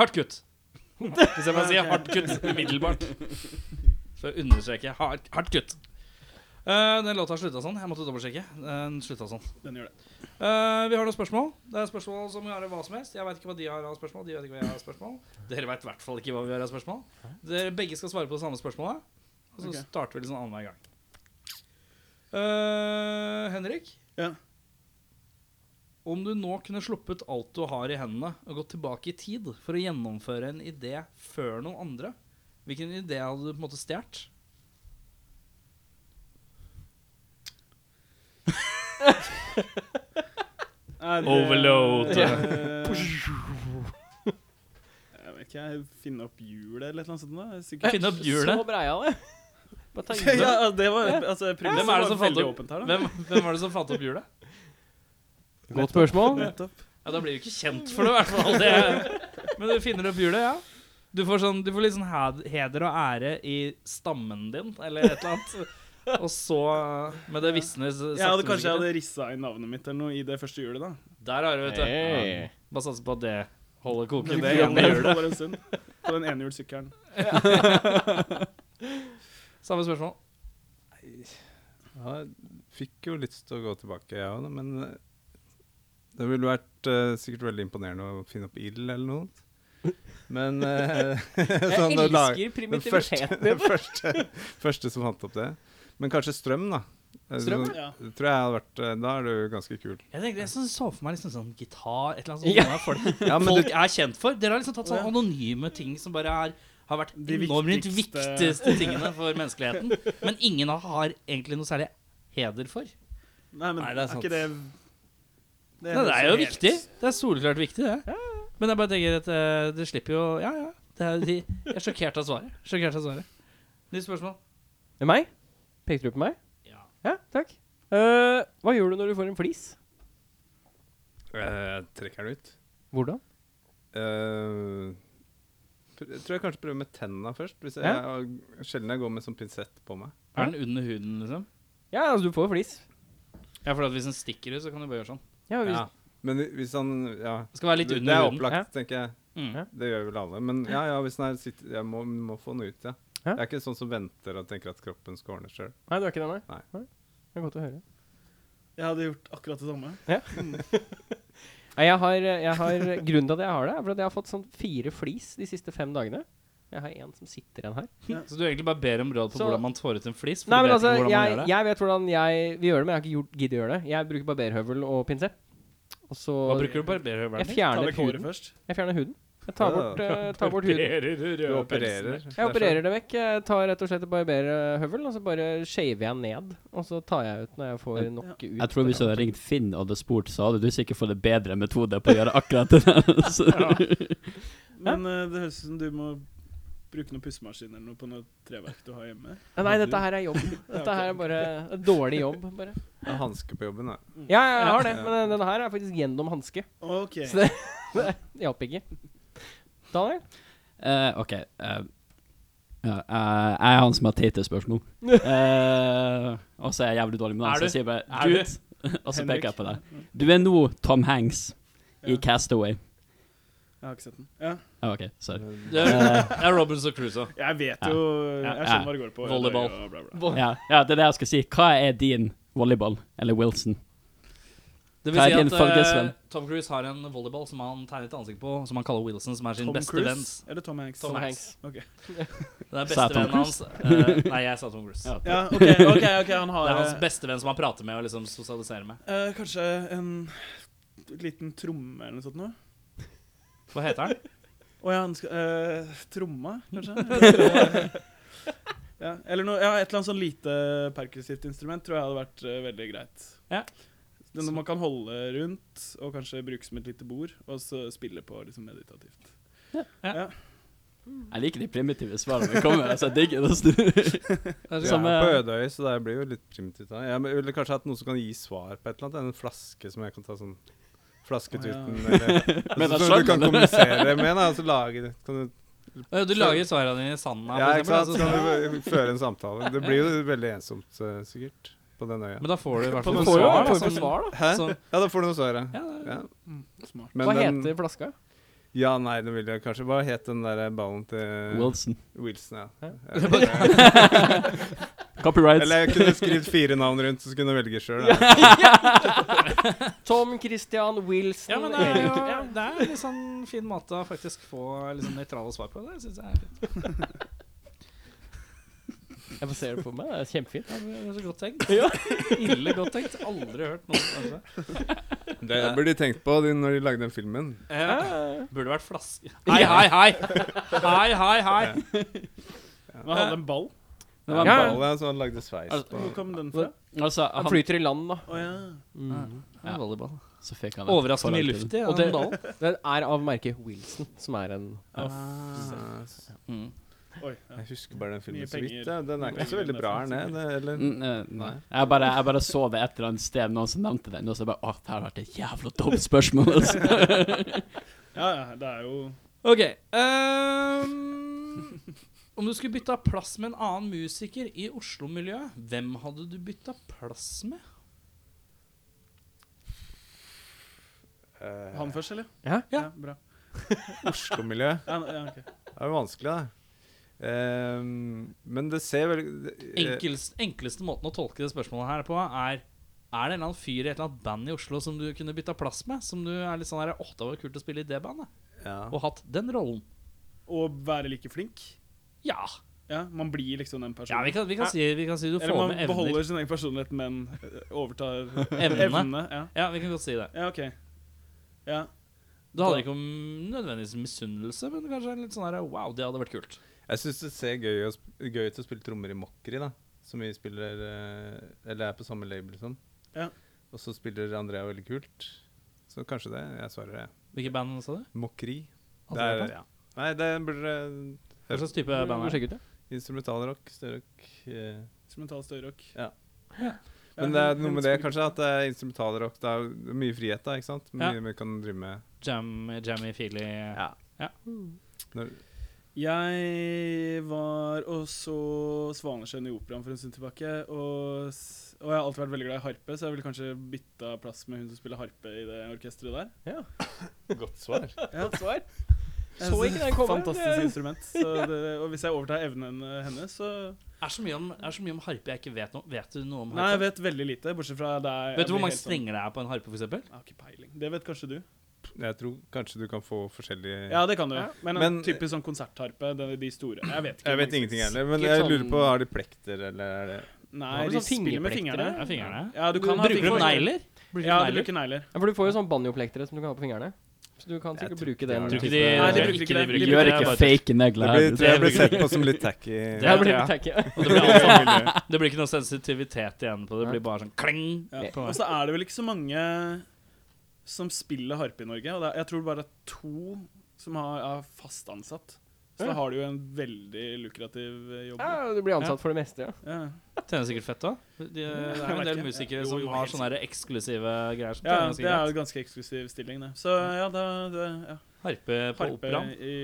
[SPEAKER 2] Hardt kutt. Hvis jeg bare sier hardt kutt umiddelbart. Så understreker jeg hardt, hardt kutt. Eh, den låta slutta sånn. Jeg måtte dobbeltsjekke. Den slutta sånn.
[SPEAKER 4] Den gjør det.
[SPEAKER 2] Eh, vi har noen spørsmål. Det er spørsmål som vi har av hva som helst. Jeg vet ikke hva de har av spørsmål. De vet ikke hva jeg har av spørsmål. Dere vet i hvert fall ikke hva vi har av spørsmål. Dere begge skal svare på det samme spørsmålet. Og så
[SPEAKER 4] Ok.
[SPEAKER 2] starter vi litt sånn annenhver gang. Eh, Henrik,
[SPEAKER 4] Ja.
[SPEAKER 2] om du nå kunne sluppet alt du har i hendene, og gått tilbake i tid for å gjennomføre en idé før noen andre, hvilken idé hadde du på en måte stjålet?
[SPEAKER 4] Er det-
[SPEAKER 2] Overload.
[SPEAKER 4] Eh, Jeg vet ikke, jeg finne opp hjulet eller noe sånt? da? Sikkert.
[SPEAKER 2] Finne opp hjulet?
[SPEAKER 1] Så breia det. Bare ta
[SPEAKER 4] Ja,
[SPEAKER 1] hjulet.
[SPEAKER 4] ja, det var altså,
[SPEAKER 2] Hvem er det som fant opp,
[SPEAKER 4] åpent her, da.
[SPEAKER 2] hvem, hvem var det som fant opp hjulet?
[SPEAKER 1] Godt spørsmål.
[SPEAKER 4] Nettopp.
[SPEAKER 2] Ja, da blir du ikke kjent for det, i hvert fall. Det. Men du finner opp hjulet, ja. Du får, sånn, du får litt sånn hed- heder og ære i stammen din, eller et eller annet. Og så med det visne s-
[SPEAKER 4] Jeg hadde
[SPEAKER 2] sakte,
[SPEAKER 4] kanskje jeg
[SPEAKER 2] men
[SPEAKER 4] hadde rissa inn navnet mitt eller noe i det første hjulet, da.
[SPEAKER 2] sikkert. Der har du, vet du.
[SPEAKER 1] Hey.
[SPEAKER 2] Bare satse på at det holder koken.
[SPEAKER 4] Men
[SPEAKER 2] Det
[SPEAKER 4] det
[SPEAKER 2] ene hjulet.
[SPEAKER 4] holder en stund. På den enhjulssykkelen.
[SPEAKER 2] Samme spørsmål.
[SPEAKER 5] Ja, jeg fikk jo lyst til å gå tilbake, jeg òg, men eh, det ville vært eh, sikkert veldig imponerende å finne opp ild eller noe. Men eh, sånn å lage- den første, den første, første som fant opp det. Men kanskje strøm, da. Eh,
[SPEAKER 1] Strøm,
[SPEAKER 5] sånn-
[SPEAKER 4] ja.
[SPEAKER 5] Det tror jeg hadde vært eh, Da er du ganske kul.
[SPEAKER 2] Jeg tenkte, jeg sånn- så for meg liksom sånn gitar, et eller annet sånt.
[SPEAKER 1] Ja.
[SPEAKER 2] som Folk,
[SPEAKER 5] Ja, men
[SPEAKER 2] folk
[SPEAKER 5] det-
[SPEAKER 2] er kjent for. Dere har liksom tatt sånn
[SPEAKER 4] Ja.
[SPEAKER 2] anonyme ting som bare er, har vært
[SPEAKER 4] De
[SPEAKER 2] enormt
[SPEAKER 4] viktigste-
[SPEAKER 2] viktigste tingene for menneskeligheten. Men ingen har egentlig noe særlig heder for.
[SPEAKER 4] Nei, men
[SPEAKER 2] Nei, det er
[SPEAKER 4] er,
[SPEAKER 2] sant.
[SPEAKER 4] ikke det
[SPEAKER 2] Nei, det er jo
[SPEAKER 4] helt-
[SPEAKER 2] viktig. Det er soleklart viktig, det. Men jeg bare tenker at eh, det slipper jo Ja, ja. Det er, de, jeg er sjokkert av svaret. Sjokkert av svaret. Nytt spørsmål.
[SPEAKER 1] Det er meg? Pekte du på meg?
[SPEAKER 2] Ja.
[SPEAKER 1] Ja, takk. Eh, hva gjør du når du får en flis?
[SPEAKER 5] eh, trekker den ut.
[SPEAKER 1] Hvordan?
[SPEAKER 5] Eh, pr- jeg tror jeg kanskje prøver med tenna først. Hvis jeg,
[SPEAKER 1] Ja.
[SPEAKER 5] jeg- sjelden jeg går med sånn pinsett på meg.
[SPEAKER 2] Er den under huden, liksom?
[SPEAKER 1] Ja, altså, du får flis.
[SPEAKER 2] Ja, for at hvis den stikker ut, så kan du bare gjøre sånn.
[SPEAKER 1] Ja, hvis,
[SPEAKER 5] Ja. Men hvis han Ja.
[SPEAKER 2] Det skal være litt
[SPEAKER 5] Det,
[SPEAKER 2] under
[SPEAKER 5] det er
[SPEAKER 2] huden.
[SPEAKER 5] opplagt,
[SPEAKER 1] Ja.
[SPEAKER 5] tenker jeg.
[SPEAKER 2] Mm.
[SPEAKER 1] Ja.
[SPEAKER 5] Det gjør vel alle. Men ja, ja, hvis den er sitt- Jeg må, må få den ut, ja.
[SPEAKER 1] Ja.
[SPEAKER 5] Jeg er ikke sånn som venter og tenker at kroppen skal ordne sjøl.
[SPEAKER 1] Nei, du er ikke det,
[SPEAKER 5] Nei.
[SPEAKER 1] Det er godt å høre.
[SPEAKER 4] Jeg hadde gjort akkurat det samme.
[SPEAKER 1] Nei, jeg har, eh, jeg har, grunnen til at jeg har det, er for at jeg har fått sånn fire flis de siste fem dagene. Jeg har en som sitter igjen her.
[SPEAKER 2] Så du egentlig bare ber om råd på
[SPEAKER 1] Så-
[SPEAKER 2] hvordan man får ut en flis? For
[SPEAKER 1] Nei, men
[SPEAKER 2] du vet
[SPEAKER 1] altså,
[SPEAKER 2] ikke hvordan man
[SPEAKER 1] jeg,
[SPEAKER 2] gjør det.
[SPEAKER 1] jeg vet hvordan jeg vil gjøre det, men jeg har ikke gjort, giddet å gjøre det. Jeg bruker barberhøvel og pinsett. Og så
[SPEAKER 2] Hva bruker du
[SPEAKER 1] Jeg
[SPEAKER 2] barberhøvelen til?
[SPEAKER 4] Ta
[SPEAKER 1] fjerner
[SPEAKER 4] vekk håret
[SPEAKER 1] huden.
[SPEAKER 4] først.
[SPEAKER 1] Jeg fjerner huden. Jeg tar
[SPEAKER 5] Ja.
[SPEAKER 1] bort, eh, tar bort huden.
[SPEAKER 5] Du opererer. sånn
[SPEAKER 1] Jeg opererer det vekk. Jeg tar rett og slett et barberhøvel, og så bare shaver jeg ned. Og så tar jeg ut når jeg får nok ut.
[SPEAKER 3] Jeg tror hvis du hadde ringt Finn og hadde spurt, så hadde du sikkert fått en bedre metode på å gjøre akkurat det. der. Så-
[SPEAKER 4] Men eh, det høres ut som du må bruke noen pussemaskin eller noe på noe treverk du har hjemme.
[SPEAKER 1] Nei, dette her er jobb. Dette her er bare en dårlig jobb. Bare.
[SPEAKER 5] Det er hanske på jobben, da.
[SPEAKER 1] Ja, jeg har det, men denne her er faktisk gjennom hanske.
[SPEAKER 4] OK.
[SPEAKER 1] Så det, det hjalp ikke. Daniel?
[SPEAKER 3] Eh, OK. eh, ja, eh, jeg er han som har teite spørsmål. Eh, og så er jeg jævlig dårlig med
[SPEAKER 2] Er du?
[SPEAKER 3] det, så jeg sier bare
[SPEAKER 2] Er du?
[SPEAKER 3] «Dude», Og så
[SPEAKER 4] Henrik.
[SPEAKER 3] peker jeg på deg. Du er nå Tom Hanks i
[SPEAKER 4] Ja.
[SPEAKER 3] Castaway.
[SPEAKER 4] Jeg har ikke sett den. Ja.
[SPEAKER 3] Ah, OK, sorry.
[SPEAKER 2] Det er, det er Robinson Crusoe.
[SPEAKER 4] Jeg vet jo
[SPEAKER 3] Ja.
[SPEAKER 4] Jeg skjønner hva det går på.
[SPEAKER 2] Volleyball.
[SPEAKER 4] Og bla, bla.
[SPEAKER 3] Ja, ja, det er det jeg skal si. Hva er din volleyball? Eller Wilson?
[SPEAKER 2] Det
[SPEAKER 3] Hva er
[SPEAKER 2] vil
[SPEAKER 3] din
[SPEAKER 2] si at
[SPEAKER 3] fargesvenn?
[SPEAKER 2] eh, Tom Cruise har en volleyball som han tegnet ansiktet på, som han kaller Wilson, som er sin
[SPEAKER 4] Tom
[SPEAKER 2] beste
[SPEAKER 4] Cruise
[SPEAKER 2] venn.
[SPEAKER 4] eller Tom Hanks?
[SPEAKER 2] Tom
[SPEAKER 1] Hanks.
[SPEAKER 2] Det er
[SPEAKER 3] Sa jeg Tom
[SPEAKER 2] bestevennen hans.
[SPEAKER 3] Cruise?
[SPEAKER 2] eh, nei, jeg sa Tom Cruise.
[SPEAKER 3] Ja.
[SPEAKER 4] Ja, OK, ok, ok, han
[SPEAKER 2] Det
[SPEAKER 4] har
[SPEAKER 2] er hans bestevenn som han prater med og liksom sosialiserer med.
[SPEAKER 4] eh, Kanskje en liten tromme eller noe sånt noe?
[SPEAKER 2] Hva heter han?
[SPEAKER 4] Å ja, han skal eh, Tromma, kanskje? ja, eller noe, ja, et eller annet sånn lite perkussivt instrument tror jeg hadde vært eh, veldig greit.
[SPEAKER 2] Ja.
[SPEAKER 4] Det er noe man kan holde rundt, og kanskje bruke som et lite bord, og så spille på liksom meditativt.
[SPEAKER 3] Jeg liker de primitive svarene vi kommer med. Altså, jeg digger det.
[SPEAKER 5] Du
[SPEAKER 3] Som,
[SPEAKER 5] er på
[SPEAKER 3] eh,
[SPEAKER 5] Ødøy, så det blir jo litt primitivt. da. Jeg ville kanskje hatt noen som kan gi svar på et eller annet. En flaske som jeg kan ta sånn Flasketuten
[SPEAKER 4] Å,
[SPEAKER 5] eller
[SPEAKER 3] Men da
[SPEAKER 5] altså, Som du kan
[SPEAKER 3] skjønner
[SPEAKER 5] kommunisere med. Da, altså, lage, det. kan du,
[SPEAKER 2] Eh, Du lager svarene dine i sanda.
[SPEAKER 5] ja,
[SPEAKER 2] for
[SPEAKER 5] ikke sant?
[SPEAKER 2] eksempel, altså,
[SPEAKER 5] Så kan du føre en samtale. Det blir jo veldig ensomt, eh, sikkert, på den øya.
[SPEAKER 2] altså. Men da får du i hvert fall
[SPEAKER 1] Du
[SPEAKER 2] noe
[SPEAKER 1] får jo
[SPEAKER 2] svar. altså.
[SPEAKER 1] en form
[SPEAKER 2] da,
[SPEAKER 1] for
[SPEAKER 2] som-
[SPEAKER 1] svar, da.
[SPEAKER 5] Hæ?
[SPEAKER 2] som-
[SPEAKER 5] Ja, da får du noe svar, ja.
[SPEAKER 2] ja, det-
[SPEAKER 5] ja.
[SPEAKER 4] Mm, smart.
[SPEAKER 5] Men
[SPEAKER 1] Hva
[SPEAKER 5] den-
[SPEAKER 1] heter flaska?
[SPEAKER 5] Ja, nei, nå vil jeg kanskje Hva het den der ballen til
[SPEAKER 3] Wilson.
[SPEAKER 5] Wilson, ja.
[SPEAKER 1] Hæ?
[SPEAKER 5] Jeg- Eller
[SPEAKER 3] Copyrights.
[SPEAKER 5] jeg kunne skrevet fire navn rundt, så skulle jeg velge sjøl.
[SPEAKER 1] Tom Christian Wilson
[SPEAKER 2] Ja, men det er, jo,
[SPEAKER 1] Erik.
[SPEAKER 2] ja, det er en litt sånn fin måte å faktisk få liksom, nøytrale svar på. Det synes jeg er fint.
[SPEAKER 1] Jeg får se det for meg. Det er kjempefint.
[SPEAKER 2] Ja, det er så godt tenkt. Ille godt tenkt. Aldri hørt noe om det.
[SPEAKER 5] Det burde de tenkt på de, når de lagde den filmen.
[SPEAKER 2] Burde vært flaske. Hei, hei, hei! Hei, hei, hei!
[SPEAKER 4] Hva hadde en ball?
[SPEAKER 3] Det var
[SPEAKER 5] Ja.
[SPEAKER 3] en ball.
[SPEAKER 5] Ballen, så han lagde sveis
[SPEAKER 3] Altså,
[SPEAKER 5] på.
[SPEAKER 4] Hvor kom den fra?
[SPEAKER 3] Altså,
[SPEAKER 1] Han
[SPEAKER 3] han,
[SPEAKER 1] flyter i land, da.
[SPEAKER 4] Å ja.
[SPEAKER 3] Ja.
[SPEAKER 2] Volleyball.
[SPEAKER 3] så fikk han et
[SPEAKER 2] Overraskende mye
[SPEAKER 3] forhold til
[SPEAKER 2] luft i
[SPEAKER 1] Og det,
[SPEAKER 2] den ballen.
[SPEAKER 1] det er av merket Wilson, som er en
[SPEAKER 5] Ah,
[SPEAKER 2] Mm.
[SPEAKER 4] Oi. Ja.
[SPEAKER 5] Jeg husker bare den filmen
[SPEAKER 4] Mye
[SPEAKER 5] så vidt.
[SPEAKER 4] penger.
[SPEAKER 5] ja. Den er ikke så veldig bra her nede, det- eller?
[SPEAKER 3] Mm, eh,
[SPEAKER 5] Nei.
[SPEAKER 3] Jeg bare, jeg bare så det et eller annet sted noen som nevnte den, og så bare Å, det her har vært et jævla dumt spørsmål. Altså.
[SPEAKER 4] ja, ja, det er jo
[SPEAKER 2] OK. ehm, om du skulle bytta plass med en annen musiker i Oslo-miljøet, hvem hadde du bytta plass med?
[SPEAKER 5] Eh,
[SPEAKER 4] han først, eller?
[SPEAKER 1] Ja.
[SPEAKER 4] ja bra.
[SPEAKER 5] Oslo-miljø.
[SPEAKER 4] Ja, ja, ok.
[SPEAKER 5] Det er jo vanskelig, da. Ehm, men det ser veldig
[SPEAKER 2] Enkelst, enkleste måten å tolke det spørsmålet her på er er det en eller annen fyr i et eller annet band i Oslo som du kunne bytta plass med? Som du er litt sånn her, åh, det var kult å spille i det bandet.
[SPEAKER 5] eh, ja.
[SPEAKER 2] Og hatt den rollen.
[SPEAKER 4] Å være like flink.
[SPEAKER 2] Ja.
[SPEAKER 4] Ja, Man blir liksom den
[SPEAKER 2] ja
[SPEAKER 4] personen.
[SPEAKER 2] vi, kan, vi, kan si, vi kan si du får
[SPEAKER 4] eller man
[SPEAKER 2] med evner.
[SPEAKER 4] beholder sin egen personlighet, men eh, overtar
[SPEAKER 2] Evnene.
[SPEAKER 4] evnene. Ja.
[SPEAKER 2] Ja, vi kan godt si det.
[SPEAKER 4] ja, OK. Ja.
[SPEAKER 2] Du hadde ikke om nødvendigvis misunnelse, men kanskje litt sånn her, wow, det hadde vært kult.
[SPEAKER 5] Jeg syns det ser gøy, å sp- gøy ut å spille trommer i Mockery, da. Som vi spiller eh, Eller er på samme label som.
[SPEAKER 4] Ja.
[SPEAKER 5] Og så spiller Andrea veldig kult. Så kanskje det. Jeg svarer det.
[SPEAKER 2] Hvilket band sa du?
[SPEAKER 5] Mockery. Det
[SPEAKER 2] Hadde du
[SPEAKER 5] er,
[SPEAKER 2] det?
[SPEAKER 5] ja. Nei, det burde eh,
[SPEAKER 2] Hva slags type
[SPEAKER 1] Ja,
[SPEAKER 2] band er det?
[SPEAKER 1] sjekk ut, ja.
[SPEAKER 5] Instrumentalrock, støyrock eh.
[SPEAKER 4] Instrumental støyrock.
[SPEAKER 5] Ja.
[SPEAKER 2] Ja.
[SPEAKER 5] Men det er noe med det kanskje at det er instrumentalrock. Det er jo mye frihet, da. ikke sant? Mye
[SPEAKER 2] Ja.
[SPEAKER 5] vi kan drive med.
[SPEAKER 2] Jam, jammy, feely
[SPEAKER 5] Ja. Når,
[SPEAKER 4] Jeg var og så Svanesjøen i operaen for en stund tilbake. Og, s- og jeg har alltid vært veldig glad i harpe, så jeg ville kanskje bytta plass med hun som spiller harpe i det orkesteret der.
[SPEAKER 5] godt svar.
[SPEAKER 1] Svar?
[SPEAKER 4] Jeg
[SPEAKER 1] Så
[SPEAKER 4] synes
[SPEAKER 1] ikke
[SPEAKER 4] det er
[SPEAKER 1] den komme.
[SPEAKER 4] Fantastisk instrument. Så det, og hvis jeg overtar evnen hennes, så
[SPEAKER 2] Er så mye om, er så mye om harpe jeg ikke vet noe Vet du noe om
[SPEAKER 4] Nei, jeg
[SPEAKER 2] harpe?
[SPEAKER 4] vet veldig lite, bortsett fra det er- jeg
[SPEAKER 2] vet du hvor
[SPEAKER 4] blir
[SPEAKER 2] mange
[SPEAKER 4] helt sånn-
[SPEAKER 2] strenger det er på en harpe, for eksempel?
[SPEAKER 4] Jeg har ikke peiling. Det vet kanskje du.
[SPEAKER 5] Jeg tror kanskje du kan få forskjellige
[SPEAKER 4] Ja, det kan du. Men, en
[SPEAKER 5] Men-
[SPEAKER 4] typisk sånn konsertharpe, den- de store Jeg vet, ikke
[SPEAKER 5] Jeg
[SPEAKER 4] hvor
[SPEAKER 5] vet
[SPEAKER 4] mange-
[SPEAKER 5] ingenting heller, men
[SPEAKER 1] Sikkert
[SPEAKER 5] jeg lurer
[SPEAKER 1] sånn-
[SPEAKER 5] på Har de plekter, eller er det
[SPEAKER 1] Har
[SPEAKER 4] Nei,
[SPEAKER 1] du
[SPEAKER 4] de
[SPEAKER 1] sånn
[SPEAKER 4] spiller med
[SPEAKER 1] fingerplekter,
[SPEAKER 4] fingrene.
[SPEAKER 2] Ja, fingrene.
[SPEAKER 4] Ja, du kan ha
[SPEAKER 2] Bruker du
[SPEAKER 4] fingre-
[SPEAKER 2] negler? Bruker du
[SPEAKER 4] Ja, du
[SPEAKER 2] negler?
[SPEAKER 4] bruker negler.
[SPEAKER 1] Ja, for du får jo sånn banjoplektere som du kan ha på fingrene. Så du kan
[SPEAKER 5] Jeg
[SPEAKER 1] sikkert
[SPEAKER 5] tror
[SPEAKER 1] bruke
[SPEAKER 5] ikke de
[SPEAKER 1] den.
[SPEAKER 5] har det.
[SPEAKER 1] typen-
[SPEAKER 2] jeg
[SPEAKER 4] Nei, de
[SPEAKER 5] de-
[SPEAKER 2] tror
[SPEAKER 4] bruker
[SPEAKER 2] ikke
[SPEAKER 4] det.
[SPEAKER 2] de bruker
[SPEAKER 4] De
[SPEAKER 3] Gjør
[SPEAKER 2] det,
[SPEAKER 3] ikke
[SPEAKER 2] bare-
[SPEAKER 3] fake
[SPEAKER 5] Det
[SPEAKER 3] negler
[SPEAKER 5] blir,
[SPEAKER 3] her.
[SPEAKER 5] tror jeg blir
[SPEAKER 2] bruker
[SPEAKER 5] sett
[SPEAKER 2] du.
[SPEAKER 5] på som litt tacky.
[SPEAKER 1] Ja,
[SPEAKER 2] Det
[SPEAKER 1] det blir
[SPEAKER 2] tror
[SPEAKER 1] litt tacky.
[SPEAKER 2] Og det blir altså, det blir ikke noe sensitivitet igjen på det. Det blir bare sånn kling.
[SPEAKER 4] Ja.
[SPEAKER 2] på
[SPEAKER 4] Og
[SPEAKER 2] meg.
[SPEAKER 4] så er det vel ikke så mange som spiller harpe i Norge. Og det er, jeg tror bare det er to som har, er fast ansatt. Så da har de jo en veldig lukrativ eh, jobb.
[SPEAKER 1] Ja,
[SPEAKER 4] da.
[SPEAKER 1] du blir ansatt for det meste, ja.
[SPEAKER 4] Ja.
[SPEAKER 2] Tjener sikkert fett òg. Det er
[SPEAKER 4] Jeg
[SPEAKER 2] en
[SPEAKER 4] vet
[SPEAKER 2] del
[SPEAKER 4] ikke.
[SPEAKER 2] musikere
[SPEAKER 4] Jo,
[SPEAKER 2] som
[SPEAKER 4] jo,
[SPEAKER 2] har
[SPEAKER 4] helt
[SPEAKER 2] sånne her eksklusive greier. Som
[SPEAKER 4] ja,
[SPEAKER 2] tjener ganske
[SPEAKER 4] det er
[SPEAKER 2] greit.
[SPEAKER 4] jo en ganske eksklusiv stilling, det. Så ja, da det, ja.
[SPEAKER 2] Harpe på
[SPEAKER 4] Harpe
[SPEAKER 2] operaen.
[SPEAKER 4] i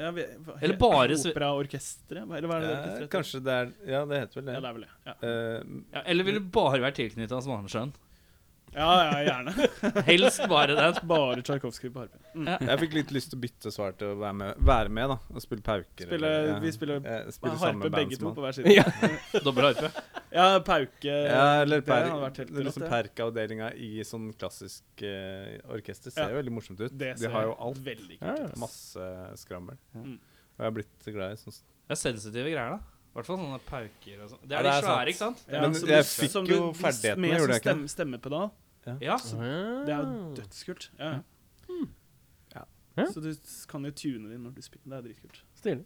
[SPEAKER 4] ja, vi, hva-
[SPEAKER 2] Eller bare sve-
[SPEAKER 4] Operaorkesteret? Hva- Eller hva er det det
[SPEAKER 5] Ja,
[SPEAKER 4] orkesteret heter?
[SPEAKER 5] kanskje det er Ja, det heter vel
[SPEAKER 4] Ja, det
[SPEAKER 5] det.
[SPEAKER 4] er vel det. Ja,
[SPEAKER 5] Eh,
[SPEAKER 2] Ja, eller vil du bare være tilknytta Svanesjøen?
[SPEAKER 4] ja, ja gjerne.
[SPEAKER 2] Helst bare den.
[SPEAKER 4] Bare Tsjajkovskij på harpe.
[SPEAKER 5] jeg fikk litt lyst til å bytte svar til å være med, være med da. Og spille pauker.
[SPEAKER 4] Spille-
[SPEAKER 5] eller,
[SPEAKER 4] vi spiller
[SPEAKER 5] eh, spille samme
[SPEAKER 4] Harpe
[SPEAKER 5] band
[SPEAKER 4] begge
[SPEAKER 5] som
[SPEAKER 4] to
[SPEAKER 5] han.
[SPEAKER 4] på hver side.
[SPEAKER 2] Dobbel harpe.
[SPEAKER 4] Ja, pauke
[SPEAKER 5] Ja, eller
[SPEAKER 4] Det hadde
[SPEAKER 5] per,
[SPEAKER 4] vært helt rått.
[SPEAKER 5] liksom
[SPEAKER 4] det.
[SPEAKER 5] perkeavdelinga i sånn klassisk eh, orkester
[SPEAKER 4] Ja.
[SPEAKER 5] ser jo veldig morsomt ut.
[SPEAKER 4] Det
[SPEAKER 5] De
[SPEAKER 4] ser
[SPEAKER 5] har jo alt.
[SPEAKER 4] veldig
[SPEAKER 1] Ja,
[SPEAKER 4] kult
[SPEAKER 1] ja.
[SPEAKER 4] ut.
[SPEAKER 5] Masse skrammel.
[SPEAKER 4] Mm.
[SPEAKER 5] Og jeg har blitt glad i sånn.
[SPEAKER 2] Det er sensitive greier, da. I hvert fall sånne pauker og sånn. Det
[SPEAKER 5] Ja,
[SPEAKER 2] er de
[SPEAKER 5] det er sant.
[SPEAKER 2] svære, ikke sant?
[SPEAKER 4] Ja,
[SPEAKER 5] Men
[SPEAKER 4] som
[SPEAKER 5] jeg
[SPEAKER 4] du-
[SPEAKER 5] fikk
[SPEAKER 4] som
[SPEAKER 5] jo
[SPEAKER 4] du-
[SPEAKER 5] ferdighetene,
[SPEAKER 4] med
[SPEAKER 5] gjorde
[SPEAKER 4] som
[SPEAKER 5] jeg ikke det?
[SPEAKER 4] stemme, Stemmepedal.
[SPEAKER 2] Ja.
[SPEAKER 4] Det er jo dødskult. Ja. ja.
[SPEAKER 5] Ja.
[SPEAKER 1] Ja.
[SPEAKER 4] Så du s- kan jo tune det inn når du spiller. Det er dritkult.
[SPEAKER 1] Stilig.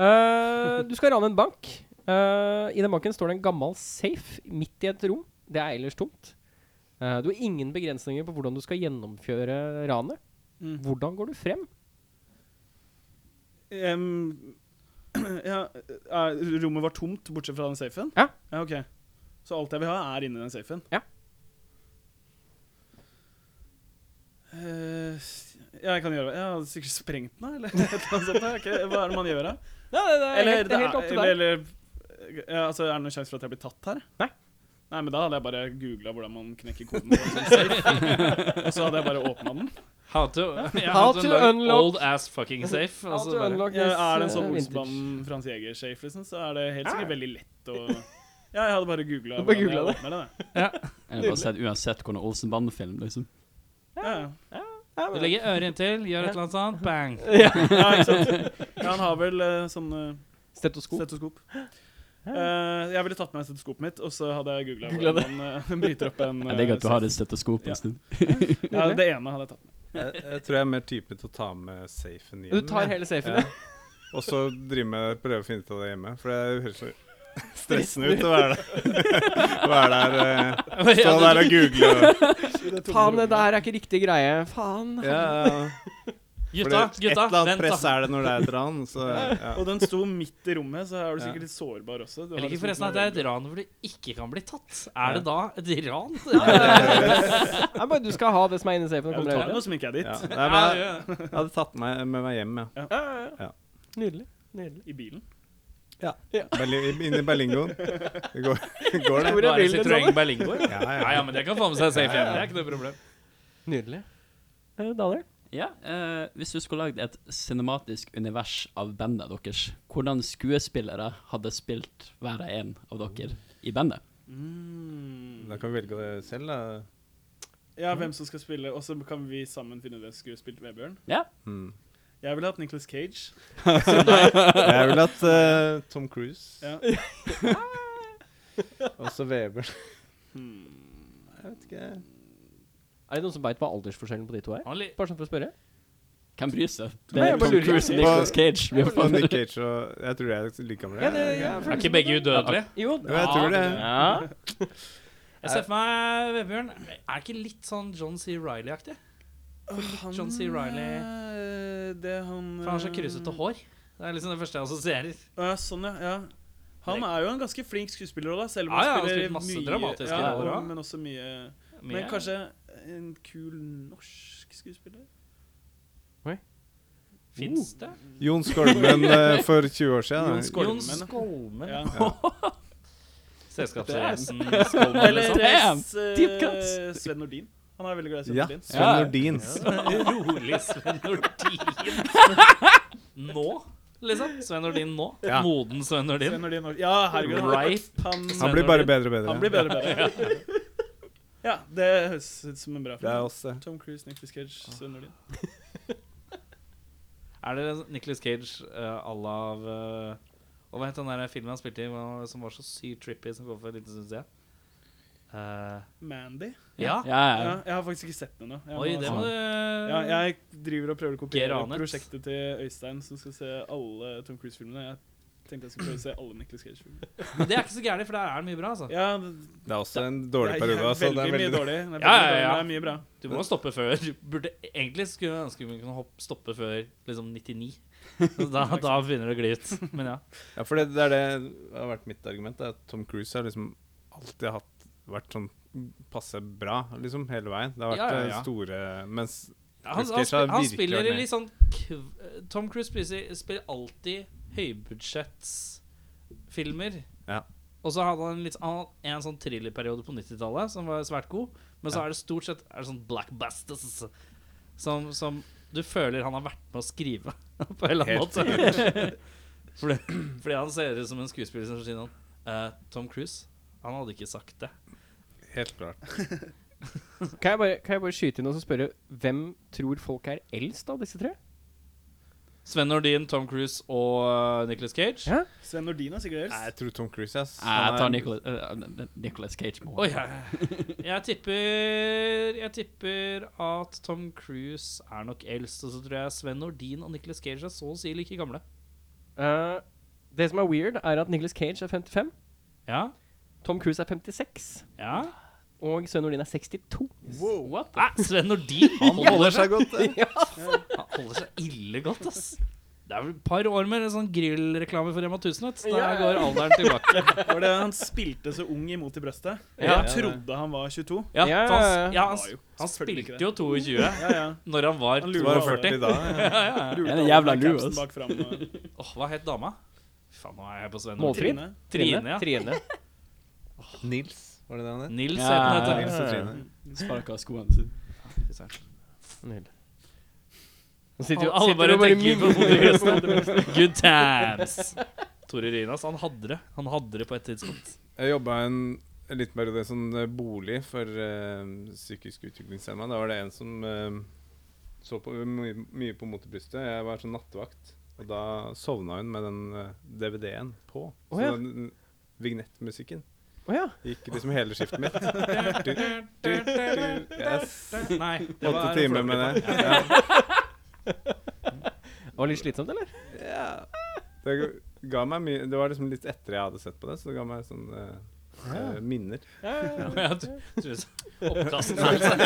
[SPEAKER 1] Eh, du skal rane en bank. Eh, I den banken står det en gammel safe midt i et rom. Det er ellers tomt. Eh, du har ingen begrensninger på hvordan du skal gjennomføre ranet.
[SPEAKER 4] Mm.
[SPEAKER 1] Hvordan går du frem?
[SPEAKER 4] Em, ja, eh, er, rommet var tomt, bortsett fra den safen?
[SPEAKER 1] Ja.
[SPEAKER 4] ja. Ok. Så alt jeg vil ha, er inni den safen?
[SPEAKER 1] Ja.
[SPEAKER 4] Eh, ja, jeg kan gjøre det. Jeg hadde sikkert sprengt den, da, eller et eller annet sånt. da. Ok, Hva er det man gjør, da? Eller, eh,
[SPEAKER 1] helt, det er helt opp til deg.
[SPEAKER 4] eller, ja, altså, Er det noen sjanse for at jeg blir tatt her?
[SPEAKER 1] Nei.
[SPEAKER 4] Nei, men Da hadde jeg bare googla hvordan man knekker koden. på en sånn safe. Og så hadde jeg bare åpna den.
[SPEAKER 2] How to, ja,
[SPEAKER 1] How to
[SPEAKER 2] unlock
[SPEAKER 1] unlock-
[SPEAKER 2] Old ass fucking safe.
[SPEAKER 1] How
[SPEAKER 2] Altså,
[SPEAKER 1] to
[SPEAKER 2] bare-
[SPEAKER 1] unlock
[SPEAKER 4] Ja, er det en
[SPEAKER 1] this,
[SPEAKER 4] sånn
[SPEAKER 1] uh, vintage.
[SPEAKER 4] Olsbanen Frans Jæger-safe, liksom, så er det helt sikkert
[SPEAKER 1] Ja.
[SPEAKER 4] veldig lett å Ja, jeg hadde bare googla
[SPEAKER 1] Du bare googlet
[SPEAKER 4] åpner det. da.
[SPEAKER 3] Eller bare sett uansett hvordan Olsenbanden-film, liksom.
[SPEAKER 4] Ja, ja.
[SPEAKER 1] Ja,
[SPEAKER 2] Du
[SPEAKER 1] men-
[SPEAKER 2] legger øret inntil, gjør et eller annet sånt, bang.
[SPEAKER 4] ja, ikke sant. Ja, han har vel eh, sånn eh,
[SPEAKER 1] Stetoskop.
[SPEAKER 4] stetoskop. Eh, jeg ville tatt med stetoskopet mitt, og så hadde jeg googla
[SPEAKER 1] Googlet
[SPEAKER 4] hvordan man eh, bryter opp en
[SPEAKER 3] Jeg liker
[SPEAKER 4] eh,
[SPEAKER 3] at du har
[SPEAKER 4] safe.
[SPEAKER 3] et stetoskop
[SPEAKER 4] Ja.
[SPEAKER 3] en stund.
[SPEAKER 4] Ja, det ene hadde jeg tatt med.
[SPEAKER 5] Jeg, jeg tror jeg er mer type til å ta med safen hjem.
[SPEAKER 1] Du tar
[SPEAKER 5] jeg.
[SPEAKER 1] hele safen,
[SPEAKER 5] Ja.
[SPEAKER 1] ja.
[SPEAKER 5] Og så drive med prøve å finne ut av det hjemme. For det høres så stressende ut å være der. være der eh, Stå der og google. og-
[SPEAKER 1] Faen, det der er ikke riktig greie. Faen.
[SPEAKER 5] Ja, ja. For
[SPEAKER 2] Gutta,
[SPEAKER 5] det- Et
[SPEAKER 2] gutta,
[SPEAKER 5] eller annet
[SPEAKER 2] vent
[SPEAKER 5] press
[SPEAKER 2] da.
[SPEAKER 5] er det når det er et ran. Så, ja.
[SPEAKER 4] Og den sto midt i rommet, så er du
[SPEAKER 5] Ja.
[SPEAKER 4] sikkert litt sårbar også. Du
[SPEAKER 2] Jeg
[SPEAKER 4] har
[SPEAKER 2] liker
[SPEAKER 4] liksom
[SPEAKER 2] forresten
[SPEAKER 4] ikke
[SPEAKER 2] at det
[SPEAKER 4] noe
[SPEAKER 2] er et ran hvor du ikke kan bli tatt. Er det da et ran?
[SPEAKER 1] Nei, bare du skal ha det som er inni safen. og
[SPEAKER 4] Ja, du
[SPEAKER 1] kommer deg
[SPEAKER 4] tar
[SPEAKER 1] ut.
[SPEAKER 4] noe som ikke er ditt.
[SPEAKER 5] Ja. Nei, men jeg, jeg hadde tatt meg med meg hjem, ja.
[SPEAKER 1] Ja, ja, ja.
[SPEAKER 5] Ja.
[SPEAKER 1] Nydelig. Nydelig.
[SPEAKER 4] I bilen.
[SPEAKER 5] Berli- Inn i Berlingoen. Det går, går det.
[SPEAKER 1] Hvor er
[SPEAKER 2] Bare
[SPEAKER 1] bilen din,
[SPEAKER 2] Citroën
[SPEAKER 1] sa du?
[SPEAKER 2] Berlingo?
[SPEAKER 5] Ja,
[SPEAKER 2] Ja, ja, men det kan få med seg safe hjem. Det er ikke noe problem.
[SPEAKER 1] Nydelig. Eh, Daniel?
[SPEAKER 3] Ja, eh, Hvis du skulle lagd et cinematisk univers av bandet deres, hvordan skuespillere hadde spilt hver og en av dere i bandet?
[SPEAKER 5] Da kan vi velge det selv, da.
[SPEAKER 4] Ja, hvem som skal spille. Og så kan vi sammen finne ut hvem som skulle spilt Vebjørn.
[SPEAKER 3] Ja,
[SPEAKER 5] Mm.
[SPEAKER 4] Jeg ville hatt Nicholas Cage.
[SPEAKER 5] Jeg vil at eh, Tom Cruise
[SPEAKER 4] Ja.
[SPEAKER 5] og så Weber
[SPEAKER 4] Hmm.
[SPEAKER 5] Jeg vet ikke.
[SPEAKER 1] Er det noen som veit hva aldersforskjellen på de to er?
[SPEAKER 2] Han li-
[SPEAKER 1] Bare sånn for å spørre.
[SPEAKER 3] hvem bryr seg? Det
[SPEAKER 1] Nei,
[SPEAKER 3] er
[SPEAKER 1] jeg bare
[SPEAKER 3] Tom
[SPEAKER 1] lurer.
[SPEAKER 3] Cruise og Nicolas Cage. Vi har
[SPEAKER 5] Og Nick Cage og Jeg tror jeg er like
[SPEAKER 1] Ja,
[SPEAKER 5] gammel.
[SPEAKER 1] det,
[SPEAKER 5] jeg.
[SPEAKER 1] ja,
[SPEAKER 2] Er ikke begge udødelige?
[SPEAKER 1] Jo,
[SPEAKER 5] Jo, jeg tror det.
[SPEAKER 1] Ja.
[SPEAKER 2] Jeg ser for meg Vebjørn. Er ikke litt sånn John C. Riley-aktig?
[SPEAKER 4] Han,
[SPEAKER 2] John C. Reilly.
[SPEAKER 4] eh, Det han
[SPEAKER 2] For han har så
[SPEAKER 4] eh,
[SPEAKER 2] krusete hår. Det er liksom det første jeg assosierer.
[SPEAKER 4] Ja, sånn, ja. ja. Han er jo en ganske flink skuespiller òg, da. Selv
[SPEAKER 2] Ja,
[SPEAKER 4] om
[SPEAKER 2] ja, han
[SPEAKER 4] han
[SPEAKER 2] har
[SPEAKER 4] spiller
[SPEAKER 2] spilt masse
[SPEAKER 4] mye
[SPEAKER 2] dramatiske
[SPEAKER 4] ja,
[SPEAKER 2] roller
[SPEAKER 4] og-
[SPEAKER 2] også.
[SPEAKER 4] Men også mye Men kanskje en kul norsk skuespiller?
[SPEAKER 2] Fins det?
[SPEAKER 5] Jon Skolmen eh, for 20 år siden. eh,
[SPEAKER 4] Jon
[SPEAKER 5] da.
[SPEAKER 4] Skolmen.
[SPEAKER 2] Jon Skolmen.
[SPEAKER 4] Ja.
[SPEAKER 2] Selskapsreisen Skolmen.
[SPEAKER 4] Eller
[SPEAKER 2] liksom.
[SPEAKER 4] eh,
[SPEAKER 3] Damn,
[SPEAKER 4] s-
[SPEAKER 3] deep cuts.
[SPEAKER 4] eh, Sven Nordin. Han er veldig glad i Sven
[SPEAKER 5] Ja,
[SPEAKER 4] Nordin.
[SPEAKER 5] Sven
[SPEAKER 3] Ja.
[SPEAKER 5] Nordin.
[SPEAKER 2] Rolig Sven Nordin. Nå, liksom. Sven Nordin nå.
[SPEAKER 5] Ja.
[SPEAKER 2] Moden Sven
[SPEAKER 4] Sven
[SPEAKER 2] Nordin.
[SPEAKER 4] Nordin og- ja, herregud. Han,
[SPEAKER 2] Ripe.
[SPEAKER 4] han,
[SPEAKER 5] Han blir bare bedre og bedre.
[SPEAKER 4] han blir bedre og bedre. Ja, det høres ut som en bra
[SPEAKER 5] Det er
[SPEAKER 4] film.
[SPEAKER 5] oss, det.
[SPEAKER 4] Tom Cruise, Nicholas Cage, Sven Nordin.
[SPEAKER 2] Er det Nicolas Cage eh, à la av eh, Og hva het den der filmen han spilte i hvor- som var så sykt trippy, som kom for en liten stund siden? Eh,
[SPEAKER 4] Mandy?
[SPEAKER 2] ja.
[SPEAKER 3] Ja, ja.
[SPEAKER 4] Ja, jeg har faktisk ikke sett den ennå. Jeg
[SPEAKER 2] Oi,
[SPEAKER 4] må-
[SPEAKER 2] det må du
[SPEAKER 4] ja, jeg driver og prøver å kopiere
[SPEAKER 2] Geranet.
[SPEAKER 4] prosjektet til Øystein, som skal se alle Tom Cruise-filmene. Jeg tenkte jeg skulle prøve å se alle Nicholas Cage-filmene.
[SPEAKER 2] Men Det er ikke så gærent, for der er det mye bra. altså
[SPEAKER 4] Ja, det-
[SPEAKER 5] Det er også en dårlig
[SPEAKER 4] det er
[SPEAKER 5] periode. Altså. Det
[SPEAKER 4] veldig
[SPEAKER 5] er
[SPEAKER 4] mye
[SPEAKER 5] veldig dårlig.
[SPEAKER 4] dårlig. Det er, veldig
[SPEAKER 2] Ja, ja,
[SPEAKER 4] dårlig,
[SPEAKER 2] ja.
[SPEAKER 4] men det er mye bra.
[SPEAKER 2] Du må stoppe før du burde, Egentlig skulle jeg ønske vi kunne hoppe, stoppe før liksom 99. Så Da, da begynner det å gli ut. Men ja.
[SPEAKER 5] Ja, for det, det er det har vært mitt argument. Det er at Tom Cruise har liksom alltid hatt, vært sånn passe bra liksom hele veien. Det har vært
[SPEAKER 2] Ja, ja,
[SPEAKER 5] eh,
[SPEAKER 2] ja.
[SPEAKER 5] store Mens
[SPEAKER 2] Han, han,
[SPEAKER 5] Nicolas Cage
[SPEAKER 2] sp-
[SPEAKER 5] har
[SPEAKER 2] han
[SPEAKER 5] virkelig
[SPEAKER 2] spiller i
[SPEAKER 5] vært med.
[SPEAKER 2] litt sånn kv- Tom Cruise spiller, spiller alltid høybudsjettsfilmer.
[SPEAKER 5] Ja.
[SPEAKER 2] Og så hadde han litt, han hadde en sånn thrillerperiode på 90-tallet som var svært god. Men så
[SPEAKER 5] Ja.
[SPEAKER 2] er det stort sett er det sånn blackbusters som, som du føler han har vært med å skrive. På en eller annen
[SPEAKER 5] Helt
[SPEAKER 2] måte. fordi, fordi han ser ut som en skuespiller som sier noe. Eh, Tom Cruise, han hadde ikke sagt det.
[SPEAKER 5] Helt klart.
[SPEAKER 1] Kan jeg, bare, kan jeg bare skyte inn og så spørre hvem tror folk er eldst av disse tre?
[SPEAKER 2] Sven Nordin, Tom Cruise og Nicholas Cage.
[SPEAKER 1] Ja.
[SPEAKER 4] Sven Nordin er sikkert
[SPEAKER 5] Nei,
[SPEAKER 4] eldst.
[SPEAKER 5] jeg tror Tom Cruise, ass.
[SPEAKER 3] Nei, Jeg tar
[SPEAKER 5] Han er-
[SPEAKER 3] Nicolas, eh, Nicolas Cage. Må.
[SPEAKER 2] Oi, ja. jeg tipper Jeg tipper at Tom Cruise er nok eldst, og så tror jeg Sven Nordin og Nicholas Cage er så å si like gamle.
[SPEAKER 1] Eh, det som er weird, er at Nicholas Cage er 55,
[SPEAKER 2] Ja?
[SPEAKER 1] Tom Cruise er 56,
[SPEAKER 2] Ja?
[SPEAKER 1] og Svein Nordin er 62.
[SPEAKER 2] What? Nei, Sven Nordin han holder,
[SPEAKER 5] holder seg godt. eh.
[SPEAKER 2] han holder seg ille godt, ass. Det er vel et par år med en sånn grillreklame for Rema 1000. vet du. Da
[SPEAKER 1] Ja.
[SPEAKER 2] går alderen tilbake.
[SPEAKER 4] Var det han spilte så ung imot i brøstet?
[SPEAKER 2] Ja.
[SPEAKER 4] Jeg trodde han var 22.
[SPEAKER 2] Ja,
[SPEAKER 1] Ja,
[SPEAKER 2] for
[SPEAKER 1] ja, ja.
[SPEAKER 2] han, ja, han,
[SPEAKER 4] var jo
[SPEAKER 2] han
[SPEAKER 4] selvfølgelig ikke
[SPEAKER 2] spilte
[SPEAKER 4] det.
[SPEAKER 2] jo 22
[SPEAKER 4] Ja, ja.
[SPEAKER 2] når han var
[SPEAKER 4] Han
[SPEAKER 5] Så
[SPEAKER 4] lurer
[SPEAKER 5] var
[SPEAKER 2] 42.
[SPEAKER 5] det 40 da. Ja.
[SPEAKER 4] Lurte
[SPEAKER 3] en
[SPEAKER 4] alle
[SPEAKER 3] jævla
[SPEAKER 4] med
[SPEAKER 3] lue,
[SPEAKER 4] capsen
[SPEAKER 3] ass.
[SPEAKER 4] bak fram eh, og
[SPEAKER 2] Åh, hva het dama? Faen, nå er jeg på Sven
[SPEAKER 1] Målfrid?
[SPEAKER 2] Nordin.
[SPEAKER 4] Trine.
[SPEAKER 2] Trine, ja.
[SPEAKER 1] Trine.
[SPEAKER 5] Nils, var det det han het?
[SPEAKER 2] Nils
[SPEAKER 3] Ja,
[SPEAKER 2] het
[SPEAKER 3] ja,
[SPEAKER 2] den,
[SPEAKER 3] ja.
[SPEAKER 2] heter
[SPEAKER 5] Nils og Trine.
[SPEAKER 3] Sparka skoene sine.
[SPEAKER 2] hun.
[SPEAKER 1] Nydelig. Nå sitter jo
[SPEAKER 2] Alle
[SPEAKER 1] sitter
[SPEAKER 2] bare
[SPEAKER 1] og bare
[SPEAKER 2] tenker på
[SPEAKER 1] mimrer
[SPEAKER 2] Bodø
[SPEAKER 1] om det
[SPEAKER 2] Glimt. Good times! Tore Rynas, han hadde det. Han hadde det på et tidspunkt.
[SPEAKER 5] Jeg jobba en, en liten periode i sånn eh, bolig for eh, psykisk utviklingshemma. Da var det en som eh, så på, mye, mye på motebrystet. Jeg var sånn nattevakt, og da sovna hun med den eh, DVD-en på.
[SPEAKER 1] Å, ja.
[SPEAKER 5] Så den vignettmusikken
[SPEAKER 1] Å ja.
[SPEAKER 5] gikk liksom hele skiftet mitt. Du, du, du. Yes.
[SPEAKER 2] Nei, det
[SPEAKER 5] Åtte
[SPEAKER 2] var
[SPEAKER 5] timer med det. Ja.
[SPEAKER 1] Det var litt slitsomt, eller?
[SPEAKER 5] Det ga meg mye Det var liksom litt etter jeg hadde sett på det, så det ga meg sånn eh, eh, minner.
[SPEAKER 2] Ja, du- du-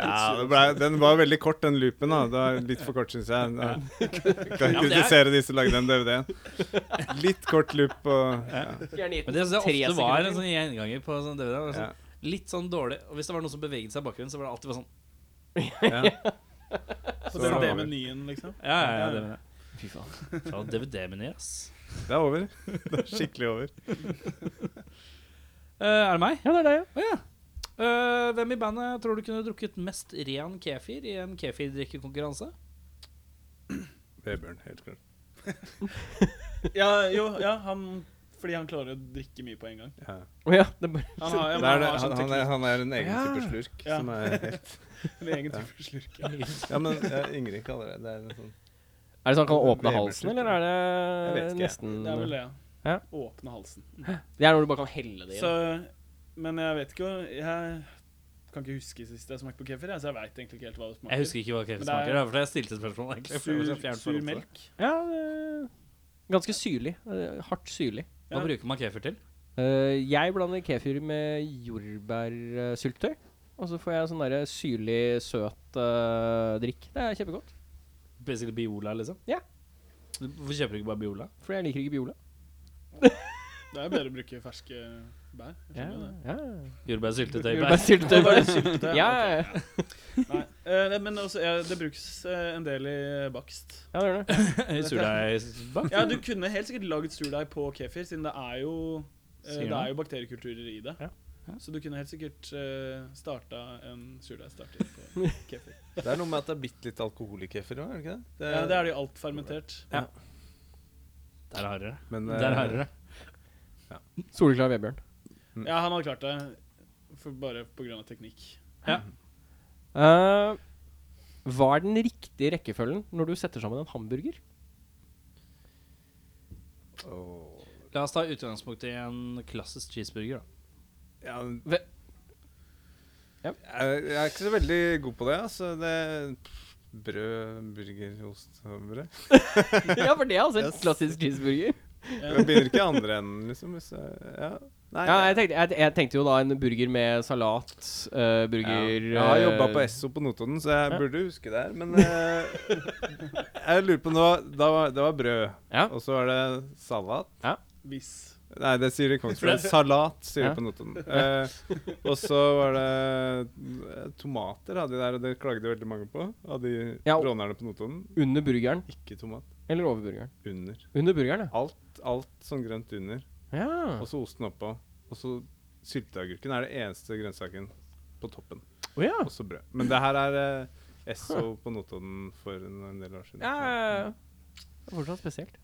[SPEAKER 5] Ja, det ble, den var veldig kort, den loopen. da det var Litt for kort, syns jeg. Da. Kan
[SPEAKER 2] Ja,
[SPEAKER 5] ikke
[SPEAKER 2] men det er-
[SPEAKER 5] kritisere de som lagde den DVD-en. Litt kort loop og ja.
[SPEAKER 2] Men det synes jeg ofte var en sånn gjenganger på sånn DVD. var
[SPEAKER 5] Ja,
[SPEAKER 2] Sånn, litt sånn dårlig. Og hvis det var noen som beveget seg i bakgrunnen, så var det alltid bare sånn
[SPEAKER 5] ja.
[SPEAKER 4] Så
[SPEAKER 5] Så
[SPEAKER 4] det
[SPEAKER 5] var
[SPEAKER 4] er
[SPEAKER 5] det
[SPEAKER 4] det
[SPEAKER 5] over.
[SPEAKER 4] menyen, liksom.
[SPEAKER 2] Ja, ja, ja, det mener jeg. Fy faen. Faen, DVD-meny, ass.
[SPEAKER 5] Det er over. Det er skikkelig over.
[SPEAKER 2] Eh, er det meg?
[SPEAKER 1] Ja, det er det, ja.
[SPEAKER 2] Å ja. Eh, hvem i bandet tror du kunne drukket mest ren kefir i en kefirdrikkekonkurranse?
[SPEAKER 5] Vebjørn, helt klart.
[SPEAKER 4] Ja, jo, ja, han Fordi han klarer å drikke mye på en gang.
[SPEAKER 5] Ja.
[SPEAKER 1] Å ja, det er bare
[SPEAKER 4] Han har, ja,
[SPEAKER 5] Det
[SPEAKER 4] men
[SPEAKER 5] er
[SPEAKER 4] han
[SPEAKER 5] det,
[SPEAKER 4] har sånn
[SPEAKER 5] han, han, er,
[SPEAKER 4] teknikk
[SPEAKER 5] han er en egen
[SPEAKER 1] Ja.
[SPEAKER 5] type slurk
[SPEAKER 4] Ja.
[SPEAKER 5] som er helt
[SPEAKER 4] med egen type slurk.
[SPEAKER 5] Ja, men ja, Ingrid kaller det det. Er en sånn,
[SPEAKER 1] Er det sånn han kan åpne
[SPEAKER 5] Vebjørn
[SPEAKER 1] halsen, eller er
[SPEAKER 5] Jeg
[SPEAKER 1] det
[SPEAKER 5] vet ikke.
[SPEAKER 1] nesten
[SPEAKER 4] Det er vel det,
[SPEAKER 1] Ja.
[SPEAKER 4] ja. Åpne halsen.
[SPEAKER 1] Det er når du bare kan helle det i.
[SPEAKER 4] Så, men jeg vet ikke Jeg kan ikke huske sist jeg smakte på kefir, jeg, så jeg veit egentlig ikke helt hva det smaker.
[SPEAKER 2] Jeg husker ikke hva kefir
[SPEAKER 4] Men det er-
[SPEAKER 2] smaker. Det er fordi jeg stilte spørsmål, egentlig. for jeg var så
[SPEAKER 4] Sur,
[SPEAKER 2] fjern
[SPEAKER 4] sur
[SPEAKER 2] forhold til det.
[SPEAKER 4] melk.
[SPEAKER 1] Ja, det- ganske syrlig. eh, Hardt syrlig.
[SPEAKER 2] Hva
[SPEAKER 4] Ja.
[SPEAKER 2] bruker man kefir til?
[SPEAKER 1] Eh, jeg blander kefir med jordbærsyltetøy. Og så får jeg sånn derre syrlig, søt eh, drikk. Det er kjempegodt.
[SPEAKER 2] Basically Biola, liksom?
[SPEAKER 1] Ja.
[SPEAKER 2] Du- Hvorfor kjøper du ikke bare Biola?
[SPEAKER 1] For jeg liker ikke Biola.
[SPEAKER 4] Det er bedre å bruke ferske bær. Jeg
[SPEAKER 1] Ja,
[SPEAKER 4] skjønner
[SPEAKER 1] ja.
[SPEAKER 2] Jordbærsyltetøy.
[SPEAKER 1] Jordbærsyltetøy.
[SPEAKER 4] det.
[SPEAKER 1] Ja,
[SPEAKER 4] Det er-
[SPEAKER 1] ja, ja.
[SPEAKER 4] Nei, eh, det- men også, ja, det brukes eh, en del i bakst.
[SPEAKER 1] ja, det gjør det.
[SPEAKER 2] I Surdeigsbakt?
[SPEAKER 4] Ja, du kunne helt sikkert lagd surdeig på kefir, siden det er jo eh,
[SPEAKER 2] Sier
[SPEAKER 4] det
[SPEAKER 2] man.
[SPEAKER 4] er jo bakteriekulturer i det.
[SPEAKER 1] Ja.
[SPEAKER 4] Så du kunne helt sikkert eh, starta en surdeigstarter på kefir.
[SPEAKER 5] det er noe med at det er bitte litt alkohol i kefir òg, er det ikke det? det?
[SPEAKER 4] Ja, det er det jo alt fermentert.
[SPEAKER 5] Ja.
[SPEAKER 2] Der har dere det.
[SPEAKER 5] Men, eh,
[SPEAKER 2] Der har dere det.
[SPEAKER 1] Soleklar Vebjørn. Mm.
[SPEAKER 4] Ja, han hadde klart det. For bare pga. teknikk.
[SPEAKER 1] Eh, hva er den riktige rekkefølgen når du setter sammen en hamburger?
[SPEAKER 5] Åh.
[SPEAKER 2] La oss ta utgangspunkt i en klassisk cheeseburger, da.
[SPEAKER 5] Ja, men-
[SPEAKER 1] Ve- Ja.
[SPEAKER 5] jeg, jeg er ikke så veldig god på det. Altså. det pff, brød, burger, ost og brød.
[SPEAKER 1] ja, for det er altså en
[SPEAKER 5] Yes.
[SPEAKER 1] klassisk cheeseburger.
[SPEAKER 5] Jeg begynner ikke i andre enden, liksom. Hvis jeg, ja. Nei,
[SPEAKER 1] Ja, jeg tenkte, jeg, jeg tenkte jo da en burger med salat, eh, burger
[SPEAKER 5] Jeg har jobba på
[SPEAKER 1] eh,
[SPEAKER 5] Esso på Notodden, så jeg
[SPEAKER 1] Ja.
[SPEAKER 5] burde huske det her. Men eh, jeg lurer på nå da var, Det var brød,
[SPEAKER 1] Ja.
[SPEAKER 5] og så var det salat.
[SPEAKER 4] Hvis
[SPEAKER 5] Nei, det sier de i Kongsberg. Salat sier
[SPEAKER 1] Ja.
[SPEAKER 5] de på Notodden. Eh, og så var det eh, Tomater hadde de der, og det klagde veldig mange på. Av de
[SPEAKER 1] Ja, og-
[SPEAKER 5] rånerne på Notodden.
[SPEAKER 1] Under burgeren
[SPEAKER 5] Ikke tomat.
[SPEAKER 1] eller over burgeren?
[SPEAKER 5] Under.
[SPEAKER 1] Under burgeren, ja.
[SPEAKER 5] Alt, alt sånn grønt under,
[SPEAKER 1] ja.
[SPEAKER 5] og så osten oppå. Og så sylteagurken er det eneste grønnsaken på toppen.
[SPEAKER 1] Å ja.
[SPEAKER 5] Og så brød. Men det her er eh, Esso på Notodden for en, en del år siden.
[SPEAKER 1] Ja, ja, ja. Det er fortsatt spesielt.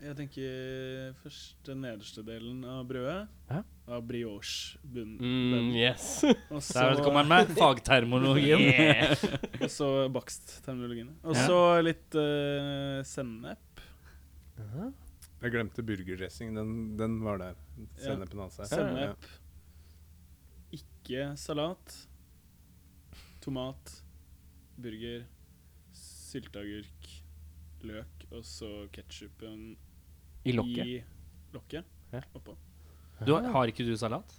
[SPEAKER 4] Jeg tenker først den nederste delen av brødet.
[SPEAKER 1] Ja.
[SPEAKER 4] Av brioche-bunnen.
[SPEAKER 1] yes.
[SPEAKER 4] Og
[SPEAKER 2] Mm, Der
[SPEAKER 4] så-
[SPEAKER 2] kommer han med fagtermologien.
[SPEAKER 4] Og så bakstterminologien. Og så litt eh, sennep.
[SPEAKER 5] Jeg glemte burgerdressing. Den, den var der. Sennepen hans her. Ja.
[SPEAKER 4] Sennep. Ikke salat. Tomat. Burger. Sylteagurk. Løk. Og så ketsjupen
[SPEAKER 1] I lokket.
[SPEAKER 4] i lokket.
[SPEAKER 1] Ja.
[SPEAKER 4] Oppå.
[SPEAKER 2] Du har, har ikke du salat?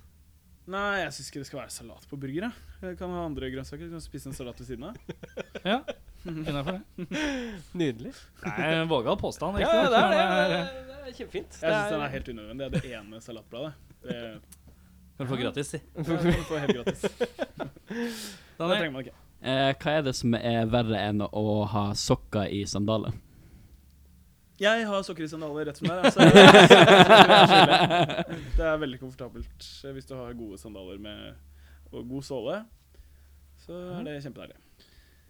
[SPEAKER 4] Nei, jeg syns ikke det skal være salat på burger. Jeg. jeg kan ha andre grønnsaker. Jeg kan spise en salat ved siden av.
[SPEAKER 2] Ja. Innafor det.
[SPEAKER 1] Nydelig.
[SPEAKER 2] Nei, en vågal påstand.
[SPEAKER 1] Ja,
[SPEAKER 2] ikke sant?
[SPEAKER 1] det er det.
[SPEAKER 2] Men, eh,
[SPEAKER 1] Det er kjempefint.
[SPEAKER 4] Jeg syns den er helt unødvendig. Det er det ene salatbladet. Det,
[SPEAKER 2] Kan du få gratis, si.
[SPEAKER 4] det kan du få helt gratis. Det
[SPEAKER 2] Daniel?
[SPEAKER 4] trenger man ikke.
[SPEAKER 3] Eh, hva er det som er verre enn å ha sokker i sandaler?
[SPEAKER 4] Jeg har sokker i sandaler rett som det er. Altså, det, er det er veldig komfortabelt eh, hvis du har gode sandaler med, og god såle. Så er det kjempedeilig.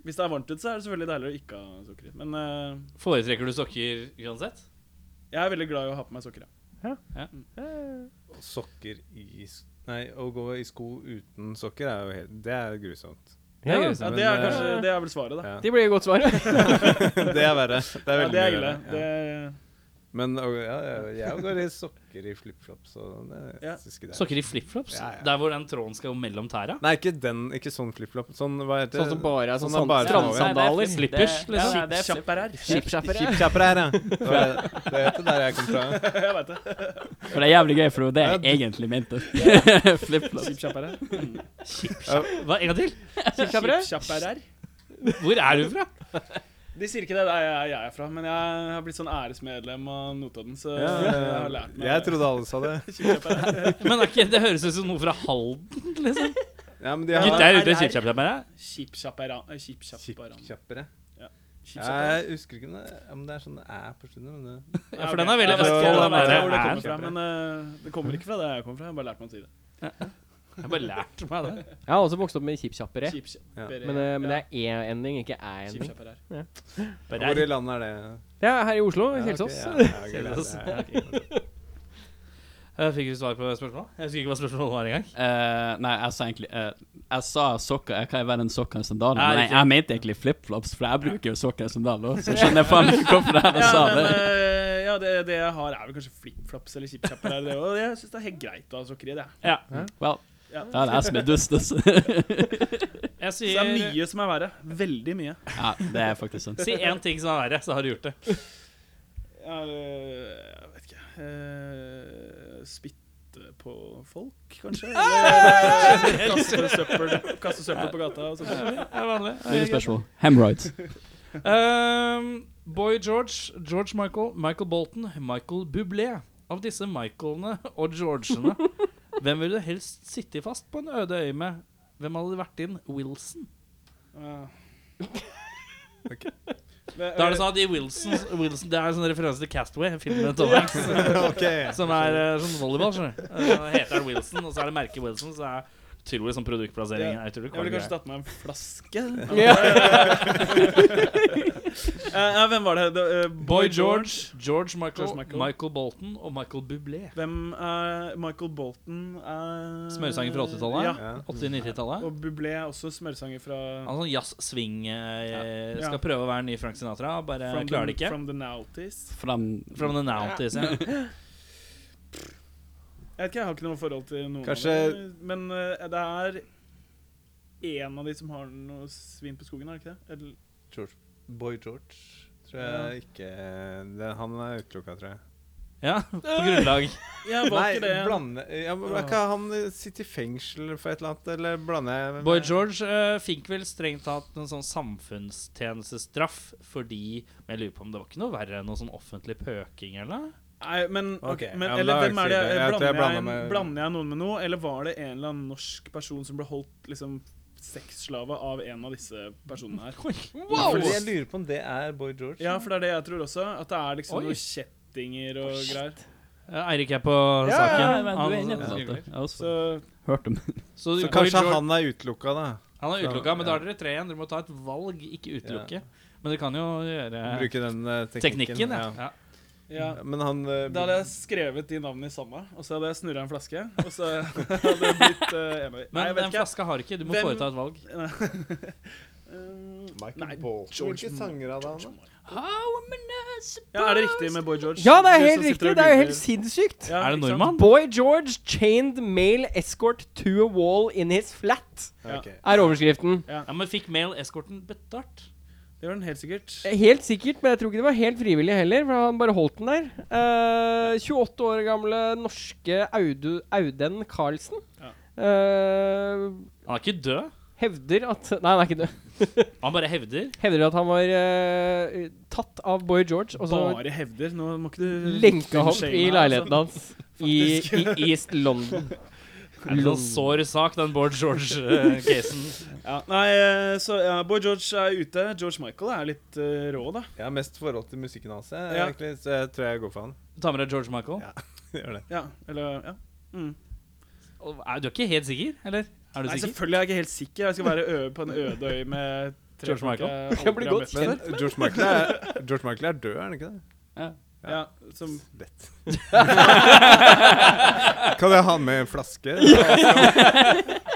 [SPEAKER 4] Hvis det er varmt ute, så er det selvfølgelig deilig å ikke ha sukker i. Men eh,
[SPEAKER 2] Foretrekker du sokker uansett?
[SPEAKER 4] jeg er veldig glad i å ha på meg sokker. Ja.
[SPEAKER 5] Og Sokker i s- Nei, å gå i sko uten sokker er jo helt Det er grusomt.
[SPEAKER 1] Ja,
[SPEAKER 2] Ja,
[SPEAKER 4] Ja,
[SPEAKER 5] men,
[SPEAKER 4] det, er
[SPEAKER 5] eh,
[SPEAKER 4] kanskje, det er vel svaret, da.
[SPEAKER 5] Ja.
[SPEAKER 1] Det blir et godt svar.
[SPEAKER 5] eh, det er verre. Det
[SPEAKER 4] Ja,
[SPEAKER 5] er veldig
[SPEAKER 4] det er
[SPEAKER 5] mye
[SPEAKER 4] ille.
[SPEAKER 5] verre.
[SPEAKER 4] Det,
[SPEAKER 5] Ja. Men og, ja, jeg, jeg går i sokker i flipflops, og det
[SPEAKER 4] Ja.
[SPEAKER 5] synes ikke det. er-
[SPEAKER 2] Sokker i flipflops?
[SPEAKER 5] Ja, ja.
[SPEAKER 2] Der hvor den tråden skal mellom tæra?
[SPEAKER 5] Nei, ikke den, ikke sånn flipflop. Sånn, hva heter
[SPEAKER 1] Sånn som bare er sånn,
[SPEAKER 5] Sånn er bare-
[SPEAKER 1] strandsandaler.
[SPEAKER 3] Nei, det er
[SPEAKER 2] Slippers, liksom?
[SPEAKER 3] flip- det- ja, nei, det er flip-
[SPEAKER 4] Kjapperær.
[SPEAKER 1] Skipskjappere.
[SPEAKER 5] Kjipkjapper her, ja. Det var- det heter der jeg kom fra.
[SPEAKER 4] jeg vet det.
[SPEAKER 3] For det er jævlig gøy, for det var det jeg egentlig mente. Flip-flop.
[SPEAKER 4] Kjipkjappere.
[SPEAKER 2] Hva, en gang til?
[SPEAKER 4] Kjipkjapperær.
[SPEAKER 2] Hvor er du fra?
[SPEAKER 4] De sier ikke det der jeg, jeg er fra, men jeg har blitt sånn æresmedlem av Notodden, så
[SPEAKER 5] Ja,
[SPEAKER 4] jeg har lært meg
[SPEAKER 5] jeg trodde alle sa det.
[SPEAKER 2] Men er ikke, det høres ut som noe fra Halden.
[SPEAKER 5] Ja, men de
[SPEAKER 2] Gutt
[SPEAKER 5] har
[SPEAKER 2] der ute, kjippkjapp med deg.
[SPEAKER 4] Kjipkjapperan. Kjipkjapperan.
[SPEAKER 5] Kjipkjappere.
[SPEAKER 4] Kjipkjapperan.
[SPEAKER 5] Jeg husker ikke om det, om det er sånn æ på slutten. Men det
[SPEAKER 2] Ja, for den er veldig
[SPEAKER 4] Jeg vet ikke-
[SPEAKER 2] Vestfold, den
[SPEAKER 4] jeg
[SPEAKER 2] der
[SPEAKER 4] vet ikke hvor det kommer
[SPEAKER 5] æren.
[SPEAKER 4] fra, men eh, det kommer ikke fra der jeg kommer fra. Jeg har bare lært meg å si det.
[SPEAKER 2] Jeg har bare lærte meg det.
[SPEAKER 1] Jeg har også vokst opp med kjipkjappere.
[SPEAKER 4] Kjipkjappere.
[SPEAKER 1] Men, eh, men det er e-ending, ikke æ-ending.
[SPEAKER 4] Kjipkjapperar.
[SPEAKER 5] Hvor i landet er det?
[SPEAKER 1] Det er her i Oslo.
[SPEAKER 5] Ja, ok,
[SPEAKER 1] Kjelsås.
[SPEAKER 5] ja, ja, ok,
[SPEAKER 2] Kjelsås.
[SPEAKER 5] det er- ja, ok.
[SPEAKER 2] Jeg Eh, fikk du svar på spørsmålet? Jeg husker ikke hva spørsmålet var engang.
[SPEAKER 3] Eh, nei, jeg sa egentlig eh, Jeg sa sokker. Jeg kan jo være en sokker og en sandal.
[SPEAKER 2] Ja,
[SPEAKER 3] Nei,
[SPEAKER 2] riktig.
[SPEAKER 3] jeg mente egentlig flipflops, for jeg bruker jo sokker og sandal òg, så skjønner jeg faen ikke hvorfor jeg
[SPEAKER 4] Ja,
[SPEAKER 3] sa
[SPEAKER 4] men,
[SPEAKER 3] det.
[SPEAKER 4] eh, ja det, det jeg har, er vel kanskje flipflops eller kjipkjapperar. det, Og jeg syns det er helt greit å ha sokker i det.
[SPEAKER 2] Ja.
[SPEAKER 3] Well,
[SPEAKER 4] Ja.
[SPEAKER 3] da er det jeg som er dust, altså.
[SPEAKER 2] Jeg
[SPEAKER 4] Så det
[SPEAKER 2] sier
[SPEAKER 4] er mye som er verre. Veldig mye.
[SPEAKER 3] Ja, det er faktisk sånn.
[SPEAKER 2] Si én ting som er verre, så har du gjort det.
[SPEAKER 4] Ja, eh, jeg vet ikke Eh, Spytte på folk, kanskje? Eller kaste søppel, kaste søppel på gata og sånt.
[SPEAKER 2] Det er vanlig.
[SPEAKER 3] Nye spørsmål. Hemroids.
[SPEAKER 2] Ehm, Boy George, George Michael, Michael Bolton, Michael Bublé. Av disse Michaelene og Georgene, hvem ville du helst sitte fast på en øde øy med? Hvem hadde vært inn? Wilson?
[SPEAKER 4] Ja.
[SPEAKER 2] Da
[SPEAKER 4] eh,
[SPEAKER 2] er det sånn at i Wilson, Wilson Det er en sånn referanse til Castaway, filmen med Tom Hanks,
[SPEAKER 5] Ok.
[SPEAKER 2] som er eh, sånn volleyball, skjønner du. Eh, Da heter den Wilson, og så er det merket Wilson, så er utrolig sånn produktplassering.
[SPEAKER 4] Ja,
[SPEAKER 2] er utrolig
[SPEAKER 4] Jeg ville
[SPEAKER 2] kvalm
[SPEAKER 4] kanskje
[SPEAKER 2] greie.
[SPEAKER 4] tatt med en flaske.
[SPEAKER 1] Ja.
[SPEAKER 4] Eh, ja, hvem var det? det eh,
[SPEAKER 2] Boy George, George Michael,
[SPEAKER 4] George Michael.
[SPEAKER 2] Michael. Bolton og Michael Bublé.
[SPEAKER 4] Hvem er Michael Bolton? er-
[SPEAKER 2] Smørsangen fra 80-tallet?
[SPEAKER 4] Eh, Ja.
[SPEAKER 5] Ja.
[SPEAKER 2] 80-90-tallet.
[SPEAKER 4] Og Bublé er også smørsanger fra
[SPEAKER 2] Han er sånn jazz-swing eh,
[SPEAKER 4] Ja.
[SPEAKER 2] Skal prøve å være ny Frank Sinatra, bare
[SPEAKER 4] From
[SPEAKER 2] klarer det
[SPEAKER 4] the-
[SPEAKER 2] ikke. From,
[SPEAKER 4] From the Nouties.
[SPEAKER 3] Fram
[SPEAKER 2] the Nouties, ja.
[SPEAKER 4] Jeg vet ikke, jeg har ikke noe forhold til noen
[SPEAKER 5] Kanskje-
[SPEAKER 4] av dem. Men eh, det er én av de som har noe svin på skogen, er det ikke det? Eller,
[SPEAKER 5] George. Boy George tror jeg ikke det, Han er utelukka, tror jeg.
[SPEAKER 2] ja. På grunnlag.
[SPEAKER 4] ja, var
[SPEAKER 5] Nei,
[SPEAKER 4] ikke det
[SPEAKER 5] blande ja, men Er ikke han sitter i fengsel for et eller annet, eller blander jeg med-
[SPEAKER 2] Boy George eh, fikk vel strengt tatt en sånn samfunnstjenestestraff fordi Men jeg lurer på om det var ikke noe verre enn noe sånn offentlig pøking, eller?
[SPEAKER 4] Nei, men,
[SPEAKER 5] Ok,
[SPEAKER 4] men
[SPEAKER 5] ja, men
[SPEAKER 4] Eller
[SPEAKER 5] da er det
[SPEAKER 4] hvem er det?
[SPEAKER 5] ikke
[SPEAKER 4] Eh,
[SPEAKER 5] så ille. Jeg tror
[SPEAKER 4] blander,
[SPEAKER 5] jeg
[SPEAKER 4] jeg
[SPEAKER 5] blander meg-
[SPEAKER 4] blander jeg noen med noe, eller var det en eller annen norsk person som ble holdt liksom sexslave av en av disse personene her?
[SPEAKER 5] Ja, fordi Jeg lurer på om det er Boy George.
[SPEAKER 4] Ja, for det er det jeg tror også. At det er liksom
[SPEAKER 2] Oi.
[SPEAKER 4] noen kjettinger og greier.
[SPEAKER 2] Eh, Eirik er på
[SPEAKER 5] Ja,
[SPEAKER 2] saken.
[SPEAKER 3] Ja, men du
[SPEAKER 2] Han-
[SPEAKER 3] er inne på
[SPEAKER 2] så-
[SPEAKER 3] noe. Jeg har også
[SPEAKER 4] Så
[SPEAKER 3] hørt om
[SPEAKER 2] Så,
[SPEAKER 5] Så
[SPEAKER 2] Boy
[SPEAKER 5] kanskje
[SPEAKER 2] George, han,
[SPEAKER 5] han er utelukka, da.
[SPEAKER 2] er utelukka, men da er dere tre igjen. Dere må ta et valg, ikke utelukke. Men dere kan jo gjøre
[SPEAKER 5] Bruke den eh, teknikken.
[SPEAKER 2] teknikken. Ja. Ja.
[SPEAKER 4] ja.
[SPEAKER 5] Men han eh,
[SPEAKER 4] Da hadde jeg skrevet de navnene i samme, og så hadde jeg snurra en flaske, og så hadde jeg blitt uh, enig. Nei,
[SPEAKER 2] Men
[SPEAKER 4] jeg vet
[SPEAKER 2] den
[SPEAKER 4] ikke.
[SPEAKER 2] flaska har ikke. Du må
[SPEAKER 4] Hvem-
[SPEAKER 2] foreta et valg.
[SPEAKER 4] Um,
[SPEAKER 5] Michael
[SPEAKER 4] Nei,
[SPEAKER 5] Bolton.
[SPEAKER 4] George
[SPEAKER 5] Hvilke sanger hadde han, da?
[SPEAKER 4] ja, er det riktig med Boy George?
[SPEAKER 1] Ja, det er
[SPEAKER 4] Du
[SPEAKER 1] helt
[SPEAKER 4] som sitter
[SPEAKER 1] riktig!
[SPEAKER 4] og
[SPEAKER 1] Det er jo
[SPEAKER 4] googler.
[SPEAKER 1] helt sinnssykt.
[SPEAKER 4] Ja,
[SPEAKER 2] Er det
[SPEAKER 4] ikke sant?
[SPEAKER 2] nordmann?
[SPEAKER 1] Boy George chained male escort to a wall in his flat,
[SPEAKER 4] Ja.
[SPEAKER 5] Ok.
[SPEAKER 1] er overskriften.
[SPEAKER 2] Ja, men fikk mail-eskorten betalt?
[SPEAKER 4] Det gjør den helt sikkert.
[SPEAKER 1] Helt sikkert, men jeg tror ikke det var helt frivillig heller, for han bare holdt den der. Eh, 28 år gamle norske Audu, Auden Carlsen
[SPEAKER 4] Ja.
[SPEAKER 1] eh,
[SPEAKER 2] Han er ikke død.
[SPEAKER 1] hevder at Nei, han er ikke død.
[SPEAKER 2] Han bare hevder.
[SPEAKER 1] Hevder at han var eh, tatt av Boy George, og så
[SPEAKER 4] Bare hevder. Nå må ikke du
[SPEAKER 1] lenka han
[SPEAKER 4] shame
[SPEAKER 1] i
[SPEAKER 4] her, altså.
[SPEAKER 1] leiligheten hans i, i East London.
[SPEAKER 2] Er det noen sår sak, den Bård eh, George-casen?
[SPEAKER 4] Ja, nei, eh, så ja, Boy George er ute. George Michael er litt eh, rå, da.
[SPEAKER 5] Jeg har mest forhold til musikken hans, jeg,
[SPEAKER 4] Ja.
[SPEAKER 5] egentlig, så jeg tror jeg går for han.
[SPEAKER 2] Ta med deg George Michael.
[SPEAKER 5] Ja. Gjør det.
[SPEAKER 4] Ja, eller ja. Mm.
[SPEAKER 2] Og Er du er ikke helt sikker, eller? Er du
[SPEAKER 4] Nei,
[SPEAKER 2] sikker?
[SPEAKER 4] selvfølgelig er jeg ikke helt sikker. Jeg skal være ø på en øde øy med tre
[SPEAKER 2] George Michael.
[SPEAKER 4] folk jeg
[SPEAKER 1] Kan bli
[SPEAKER 4] aldri har
[SPEAKER 1] godt
[SPEAKER 4] møtt.
[SPEAKER 5] Men George Michael, er, George Michael er død, er han ikke det?
[SPEAKER 3] Ja.
[SPEAKER 4] Ja, som
[SPEAKER 5] Lett. kan jeg ha med en flaske?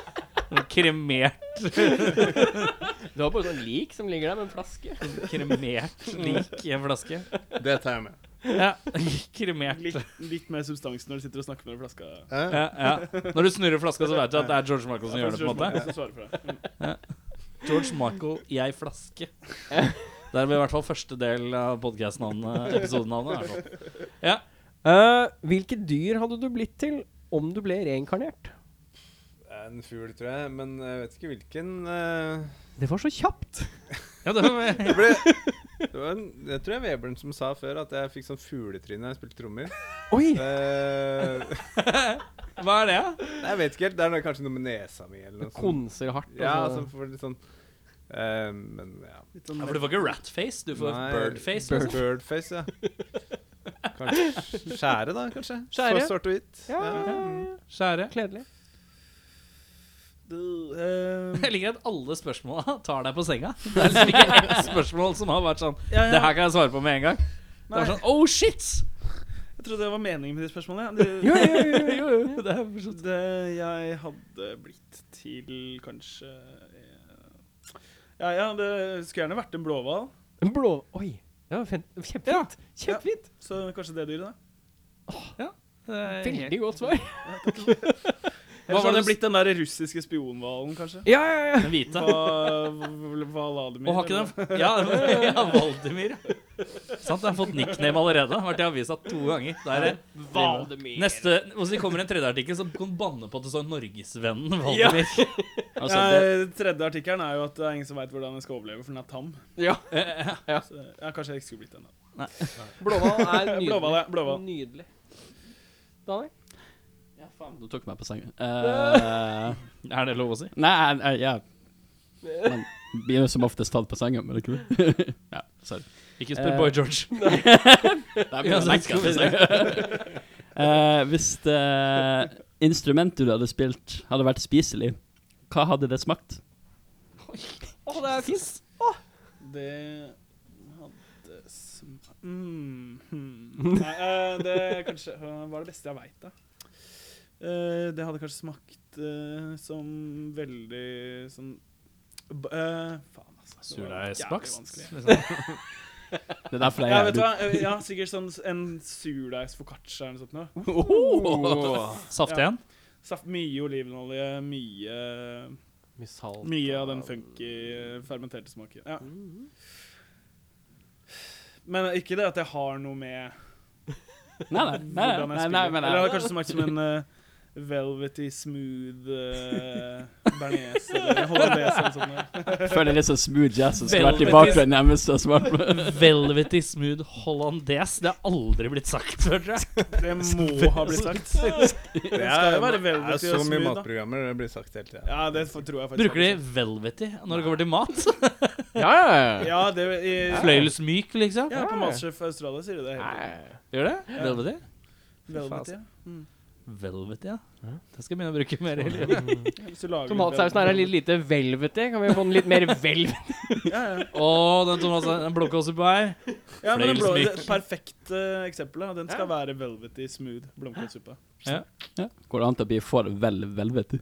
[SPEAKER 5] Ja,
[SPEAKER 2] Kremert,
[SPEAKER 1] Du har bare sånn lik som ligger der med en flaske.
[SPEAKER 2] kremert lik i en flaske.
[SPEAKER 5] det tar jeg med.
[SPEAKER 2] Ja, kremert.
[SPEAKER 4] litt, litt mer substans når du sitter og snakker med den flaska.
[SPEAKER 5] Eh?
[SPEAKER 2] Ja, ja. Når du snurrer flaska, så vet du at det er George Michael som
[SPEAKER 4] Ja,
[SPEAKER 2] gjør det. på en måte
[SPEAKER 4] George Michael som svarer for det. Mm.
[SPEAKER 2] George Michael i ei flaske. Det er i hvert fall første del av eh, podkast-navnet. Episodenavnet. i hvert fall.
[SPEAKER 1] Eh, hvilke dyr hadde du blitt til om du ble reinkarnert?
[SPEAKER 5] En fugl, tror jeg, men jeg vet ikke hvilken. eh.
[SPEAKER 1] Det var så kjapt!
[SPEAKER 2] Ja, det var,
[SPEAKER 5] Det ble, det var en, jeg tror jeg Vebjørn som sa før at jeg fikk sånn fugletryne da jeg spilte trommer.
[SPEAKER 1] Oi!
[SPEAKER 5] Eh,
[SPEAKER 2] hva er det, da?
[SPEAKER 5] jeg vet ikke helt. Det er noe, kanskje noe med nesa mi eller noe
[SPEAKER 1] sånn-
[SPEAKER 5] sånt.
[SPEAKER 1] Konser hardt. og
[SPEAKER 5] Ja,
[SPEAKER 1] så-
[SPEAKER 5] altså for litt sånn eh, Men ja.
[SPEAKER 4] Litt sånn
[SPEAKER 2] Ja, for du får ikke ratface, du får
[SPEAKER 5] Nei,
[SPEAKER 2] birdface.
[SPEAKER 5] Bird. Birdface, ja. Kanskje skjære, da, kanskje.
[SPEAKER 1] Skjære.
[SPEAKER 5] Så svart og hvitt.
[SPEAKER 1] ja, ja, ja.
[SPEAKER 2] Skjære.
[SPEAKER 1] Kledelig.
[SPEAKER 4] Du, eh,
[SPEAKER 2] Jeg liker at alle spørsmåla tar deg på senga. Det er liksom ikke ett spørsmål som har vært sånn
[SPEAKER 4] ja,
[SPEAKER 2] Det
[SPEAKER 4] ja.
[SPEAKER 2] her kan jeg svare på med en gang. Det
[SPEAKER 4] Nei,
[SPEAKER 2] er sånn Oh, shit!
[SPEAKER 4] jeg trodde det var meningen med de spørsmålene. ja. Du-
[SPEAKER 1] Jo, jo, jo, jo, jo.
[SPEAKER 2] Jo, det er for så-
[SPEAKER 4] Det jeg hadde blitt til kanskje eh, Ja, ja, det skulle gjerne vært en blåhval.
[SPEAKER 1] En blå Oi! Det var fint. kjempefint. Kjempefint.
[SPEAKER 4] Så kanskje det dyret, da.
[SPEAKER 1] Veldig godt svar.
[SPEAKER 4] Eller så
[SPEAKER 2] var
[SPEAKER 4] hadde
[SPEAKER 2] det
[SPEAKER 4] det blitt den der russiske spionhvalen, kanskje.
[SPEAKER 1] Ja, ja, ja.
[SPEAKER 2] Den hvite. Og
[SPEAKER 4] Valadimir.
[SPEAKER 2] har ikke den Ja, ja Valdemir. Sant, jeg har fått nickname allerede. Vært i avisa to ganger. Det er det. Neste, Hvis det kommer en tredje artikkel, så kan du banne på at det står 'Norgesvennen' Valdemir.
[SPEAKER 3] Altså, det,
[SPEAKER 4] eh, tredje artikkelen er jo at det er ingen som veit hvordan den skal overleve, for den er tam.
[SPEAKER 1] Ja.
[SPEAKER 4] Så ja, kanskje jeg ikke skulle blitt den, da.
[SPEAKER 1] Blåhval er nydelig.
[SPEAKER 4] Blåhval, ja, blåhval.
[SPEAKER 1] Nydelig. Daniel?
[SPEAKER 3] ja, faen, du tok meg på senga. Eh,
[SPEAKER 2] Er det lov å si?
[SPEAKER 3] nei, jeg- jeg- ja. Man blir jo som oftest tatt på senga, men det er ikke det? ja, sorry.
[SPEAKER 2] Ikke
[SPEAKER 3] Eh,
[SPEAKER 2] spør Boy George.
[SPEAKER 3] Det
[SPEAKER 2] mye å tenke på,
[SPEAKER 3] Eh, hvis det instrumentet du hadde spilt, hadde vært spiselig, hva hadde det smakt?
[SPEAKER 1] Å, det er fint.
[SPEAKER 4] Det hadde sm... Mm, hmm. Nei, eh, det kanskje eh, var det beste jeg veit, da. Eh, det hadde kanskje smakt eh, som veldig sånn b eh, Faen, altså. det var jævlig vanskelig.
[SPEAKER 3] Det er derfor
[SPEAKER 4] Ja,
[SPEAKER 3] jeg
[SPEAKER 4] vet du hva? Eh, Ja, sikkert sånn s- en surdeigsfoccaccia eller noe sånt. Noe.
[SPEAKER 2] Saftig
[SPEAKER 4] Ja.
[SPEAKER 2] en?
[SPEAKER 4] Saft, mye olivenolje, mye Mye av den funky eh, fermenterte smaken. Ja.
[SPEAKER 3] Mm-hmm.
[SPEAKER 4] Men ikke det at jeg har noe med
[SPEAKER 3] Nei, nei, nei,
[SPEAKER 4] hvordan
[SPEAKER 3] nei,
[SPEAKER 4] jeg
[SPEAKER 3] nei,
[SPEAKER 4] spiller.
[SPEAKER 3] men
[SPEAKER 4] Eller det hadde
[SPEAKER 3] jeg,
[SPEAKER 4] kanskje smakt som en eh, velvety, smooth uh, bearnés eller hollandaise eller sånt.
[SPEAKER 3] jeg føler litt sånn smooth jazz som skulle vært i bakgrunnen hjemme. Så smart.
[SPEAKER 2] Velvety smooth hollandes. Det har aldri blitt sagt før, tror jeg.
[SPEAKER 4] Det må ha blitt sagt.
[SPEAKER 5] Det
[SPEAKER 4] skal
[SPEAKER 5] er,
[SPEAKER 4] jo være
[SPEAKER 5] det er
[SPEAKER 4] velvety
[SPEAKER 5] så
[SPEAKER 4] og
[SPEAKER 5] mye
[SPEAKER 4] smooth, da.
[SPEAKER 5] matprogrammer det blir sagt hele tida.
[SPEAKER 4] Ja, det f- tror jeg faktisk.
[SPEAKER 2] Bruker de velvety når det kommer til mat?
[SPEAKER 1] Ja, ja, ja.
[SPEAKER 4] Ja, det i,
[SPEAKER 2] Fløyelsmyk, liksom?
[SPEAKER 4] ja, på Masterchef Australia sier de det. hele
[SPEAKER 2] Gjør det? Velvety?
[SPEAKER 4] tiden. Velvety. ja.
[SPEAKER 2] altså.
[SPEAKER 4] Mm.
[SPEAKER 2] Velvety, ja. Sånn. Det skal jeg begynne å bruke mer i livet.
[SPEAKER 4] Hvis du lager
[SPEAKER 1] Tomatsausen her er litt lite velvete. Kan vi få den litt mer velvet?
[SPEAKER 4] Ja, ja.
[SPEAKER 2] Å, den tomaten den blåkålsuppe her.
[SPEAKER 4] ja men den blå,
[SPEAKER 2] Fløyelsmyk.
[SPEAKER 4] det perfekte eksempelet. Den skal være velvety, smooth blomkålsuppe.
[SPEAKER 3] Ja. Går det an til å bli for vel velvete?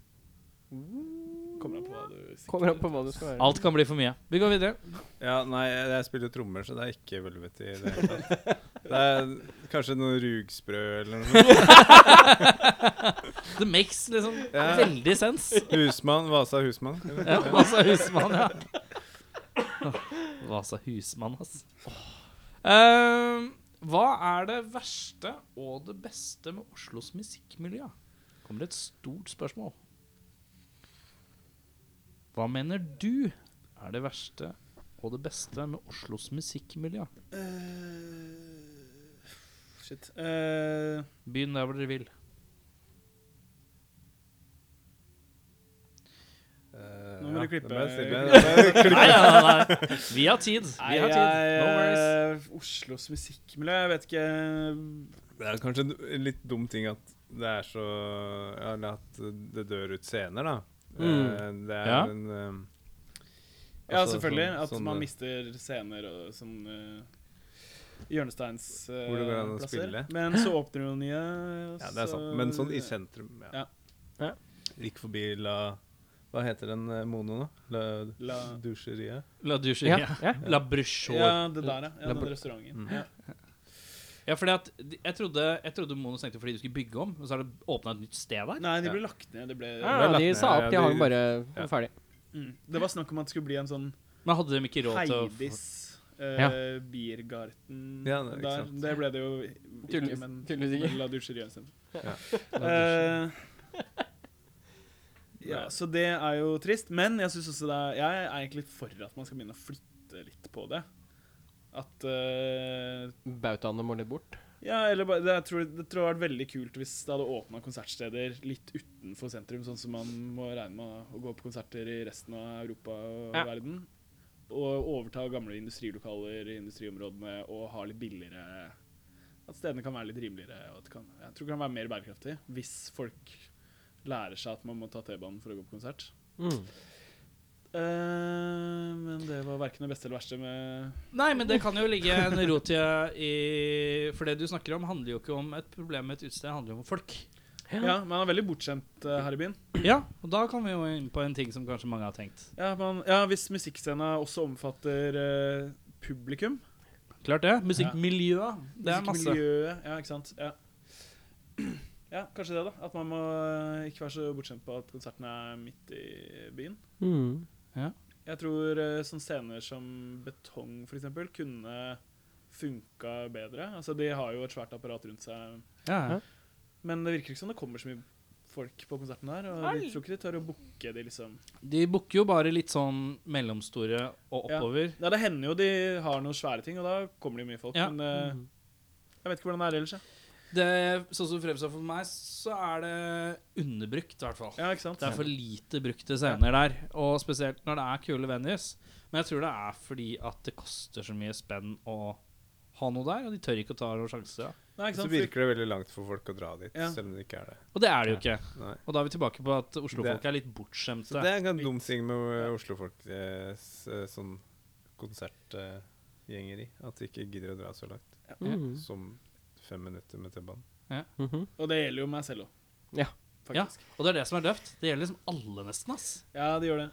[SPEAKER 4] Kommer an på hva du sier.
[SPEAKER 1] Kommer an på hva det skal være.
[SPEAKER 2] Alt kan bli for mye. Vi går videre.
[SPEAKER 5] Ja, nei, jeg, jeg spiller jo trommer, så det er ikke velvete i det hele tatt. Det er kanskje noe rugsprø eller noe.
[SPEAKER 2] Det makes liksom
[SPEAKER 5] Ja.
[SPEAKER 2] veldig sens.
[SPEAKER 5] Husmann, Vasa husmann. eller?
[SPEAKER 2] Ja, Vasa husmann, ja. Vasa husmann, ass. Eh, hva er det verste og det beste med Oslos musikkmiljø? Kommer det et stort spørsmål. Hva mener du er det verste og det beste med Oslos musikkmiljø?
[SPEAKER 4] Eh, Shit. Eh,
[SPEAKER 2] Begynn der hvor dere vil.
[SPEAKER 5] Eh,
[SPEAKER 4] Nå må
[SPEAKER 5] ja,
[SPEAKER 4] du klippe.
[SPEAKER 5] det ble stille.
[SPEAKER 2] Nei, nei, nei, nei. Vi har tid.
[SPEAKER 4] Nei,
[SPEAKER 2] Vi har tid. No worries.
[SPEAKER 4] eh, Oslos musikkmiljø Jeg vet ikke
[SPEAKER 5] Det er kanskje en litt dum ting at det er så Eller at det dør ut scener, da. Eh, Det er
[SPEAKER 2] Ja.
[SPEAKER 5] en eh,
[SPEAKER 4] Ja,
[SPEAKER 5] Altså,
[SPEAKER 4] selvfølgelig.
[SPEAKER 5] sånn-
[SPEAKER 4] At
[SPEAKER 5] sånn,
[SPEAKER 4] man
[SPEAKER 5] eh,
[SPEAKER 4] mister scener og sånn hjørnesteinsplasser.
[SPEAKER 5] Hvor det går an å spille.
[SPEAKER 4] Men så åpner du nye.
[SPEAKER 5] Ja, det er sant. Men sånn i sentrum, ja.
[SPEAKER 4] Ja. eh, Ja.
[SPEAKER 5] Gikk forbi la Hva heter den eh, mono nå? La, la.
[SPEAKER 4] La-
[SPEAKER 5] Dusjeriet?
[SPEAKER 2] La douche
[SPEAKER 1] Ja,
[SPEAKER 2] ja.
[SPEAKER 1] ja.
[SPEAKER 2] La brusjå. Ja,
[SPEAKER 4] Ja, det der, ja. ja den restauranten. Ja.
[SPEAKER 2] fordi at de- jeg trodde, jeg trodde Mono stengte fordi de skulle bygge om, men så har det åpna et nytt sted der.
[SPEAKER 4] Nei, de ble lagt ned. Det, ble,
[SPEAKER 1] Ah, Ja,
[SPEAKER 5] lagt
[SPEAKER 1] de
[SPEAKER 5] ned,
[SPEAKER 1] sa
[SPEAKER 5] ja,
[SPEAKER 1] opp, de har
[SPEAKER 5] de-
[SPEAKER 1] den bare
[SPEAKER 5] ja.
[SPEAKER 1] ferdig.
[SPEAKER 4] mm. det var snakk om at det skulle bli en sånn
[SPEAKER 2] Men hadde de ikke råd til å
[SPEAKER 4] Heidis eh, Biergarten
[SPEAKER 5] Ja, det er ikke
[SPEAKER 4] der.
[SPEAKER 5] sant.
[SPEAKER 4] Det ble det jo
[SPEAKER 1] Tydeligvis-
[SPEAKER 4] men
[SPEAKER 1] tydeligvis ikke.
[SPEAKER 4] men La Dusjeria isteden.
[SPEAKER 5] Ja.
[SPEAKER 4] Eh, ja, så det er jo trist. Men jeg synes også det er, jeg er egentlig litt for at man skal begynne å flytte litt på det. At eh,
[SPEAKER 1] Bautaene må litt bort.
[SPEAKER 4] Ja, eller bare, det, jeg tror, det tror jeg hadde vært veldig kult hvis det hadde åpna konsertsteder litt utenfor sentrum, sånn som man må regne med å gå på konserter i resten av Europa og
[SPEAKER 1] Ja.
[SPEAKER 4] verden. Og overta gamle industrilokaler i industriområdene og ha litt billigere At stedene kan være litt rimeligere. Og at det kan, jeg tror det kan være mer bærekraftig hvis folk lærer seg at man må ta T-banen for å gå på konsert.
[SPEAKER 1] Mm.
[SPEAKER 4] Eh, men det var verken det beste eller verste med
[SPEAKER 2] Nei, men det kan jo ligge en rot i, i For det du snakker om, handler jo ikke om et problem med et utested, det handler om folk.
[SPEAKER 4] Ja, man er veldig bortskjemt eh, her i byen.
[SPEAKER 2] Ja, og da kan vi jo inn på en ting som kanskje mange har tenkt.
[SPEAKER 4] Ja, man, ja hvis musikkscena også omfatter eh, publikum.
[SPEAKER 2] Klart det. Musikkmiljøet. Det er masse.
[SPEAKER 4] musikkmiljøet, Ja, ikke sant. Ja. ja, kanskje det, da. At man må eh, ikke være så bortskjemt på at konserten er midt i byen.
[SPEAKER 2] Mm.
[SPEAKER 4] Jeg tror eh, sånne scener som Betong f.eks. kunne funka bedre. Altså, de har jo et svært apparat rundt seg.
[SPEAKER 2] Ja. ja.
[SPEAKER 4] Men det virker ikke som det kommer så mye folk på konserten her. Og jeg tror ikke de tør å booke de, liksom.
[SPEAKER 2] De booker jo bare litt sånn mellomstore og
[SPEAKER 4] Ja.
[SPEAKER 2] oppover.
[SPEAKER 4] Ja, det hender jo de har noen svære ting, og da kommer det jo mye folk.
[SPEAKER 2] Ja. Mhm.
[SPEAKER 4] Men eh, jeg vet ikke hvordan det er ellers. jeg.
[SPEAKER 2] Det, sånn som fremstår for meg, så er det underbrukt, i hvert fall.
[SPEAKER 4] Ja, ikke sant?
[SPEAKER 2] Det er for lite brukte scener der, og spesielt når det er kule venues. Men jeg tror det er fordi at det koster så mye spenn å ha noe der, og de tør ikke å ta noen sjanser. da.
[SPEAKER 4] Nei, ikke
[SPEAKER 5] Så
[SPEAKER 4] sant?
[SPEAKER 5] virker det veldig langt for folk å dra dit,
[SPEAKER 4] Ja.
[SPEAKER 5] selv om det ikke er det.
[SPEAKER 2] Og det er det jo ikke.
[SPEAKER 5] Nei.
[SPEAKER 2] Og da er vi tilbake på at Oslo-folk
[SPEAKER 5] Det-
[SPEAKER 2] er litt
[SPEAKER 5] Så
[SPEAKER 2] bortskjemte.
[SPEAKER 5] det er en ganske dum ting med eh, oslofolk eh, s- eh, sånn konsertgjengeri. At de ikke gidder å dra så langt
[SPEAKER 4] Mm.
[SPEAKER 2] Mm.
[SPEAKER 5] som fem minutter med T-banen.
[SPEAKER 4] for- Og det gjelder jo meg selv òg.
[SPEAKER 1] Ja.
[SPEAKER 2] Ja,
[SPEAKER 4] Faktisk.
[SPEAKER 2] og det er det som er døvt. Det gjelder liksom alle, nesten. ass.
[SPEAKER 4] Ja. det gjør det.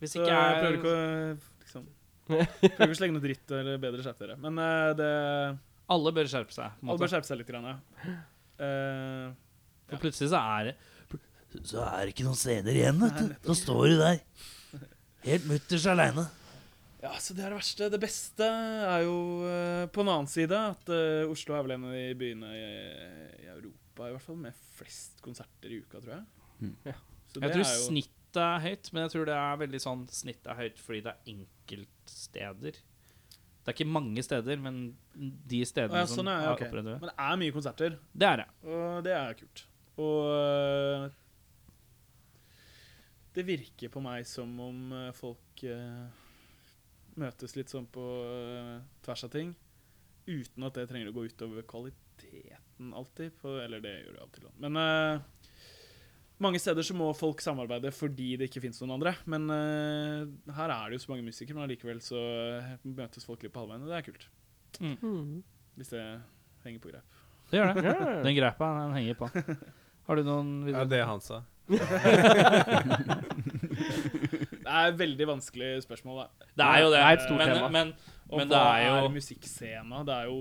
[SPEAKER 2] Hvis
[SPEAKER 4] Så
[SPEAKER 2] ikke
[SPEAKER 4] jeg prøver
[SPEAKER 2] jeg
[SPEAKER 4] ikke å liksom, Prøver ikke å slenge noe dritt eller bedre skjerpe dere. Men eh, det
[SPEAKER 2] Alle bør skjerpe seg. på en
[SPEAKER 4] Alle
[SPEAKER 2] måte.
[SPEAKER 4] bør skjerpe seg litt, grann, ja. Eh,
[SPEAKER 2] For plutselig så er det Så er det ikke noen steder igjen, vet du. Så står du der. Helt mutters aleine.
[SPEAKER 4] ja, så det er det verste. Det beste er jo eh, på en annen side at eh, Oslo er vel en av de byene i, i Europa i hvert fall med flest konserter i uka, tror jeg.
[SPEAKER 3] Mm.
[SPEAKER 1] Ja.
[SPEAKER 2] Jeg
[SPEAKER 4] Så det
[SPEAKER 2] tror
[SPEAKER 4] er jo-
[SPEAKER 2] snittet er høyt, men jeg tror det er veldig sånn snittet er høyt fordi det er enkeltsteder. Det er ikke mange steder, men de
[SPEAKER 4] Å
[SPEAKER 2] stedene
[SPEAKER 4] ja, sånn,
[SPEAKER 2] som
[SPEAKER 4] ja,
[SPEAKER 2] er
[SPEAKER 4] ok.
[SPEAKER 2] opprette.
[SPEAKER 4] Men det er mye konserter.
[SPEAKER 2] Det er det.
[SPEAKER 4] Og det er kult. Og øh, det virker på meg som om øh, folk øh, møtes litt sånn på øh, tvers av ting, uten at det trenger å gå utover kvaliteten alltid. På, eller det gjør det av og til. Men øh, mange steder så må folk samarbeide fordi det ikke fins noen andre. Men øh, her er det jo så mange musikere, men allikevel så øh, møtes folk litt på halvveien, og det er kult. Hvis det henger på greip.
[SPEAKER 2] Det gjør det. Den greipa, den henger på. Har du noen
[SPEAKER 5] Ja, det han sa.
[SPEAKER 4] Det er et veldig vanskelig spørsmål, da.
[SPEAKER 2] Det er jo det.
[SPEAKER 1] Det er et stort
[SPEAKER 2] men,
[SPEAKER 1] tema.
[SPEAKER 2] Men,
[SPEAKER 4] Og
[SPEAKER 2] Men
[SPEAKER 4] hva
[SPEAKER 2] det
[SPEAKER 4] er,
[SPEAKER 2] er jo-
[SPEAKER 4] musikkscena? Det er jo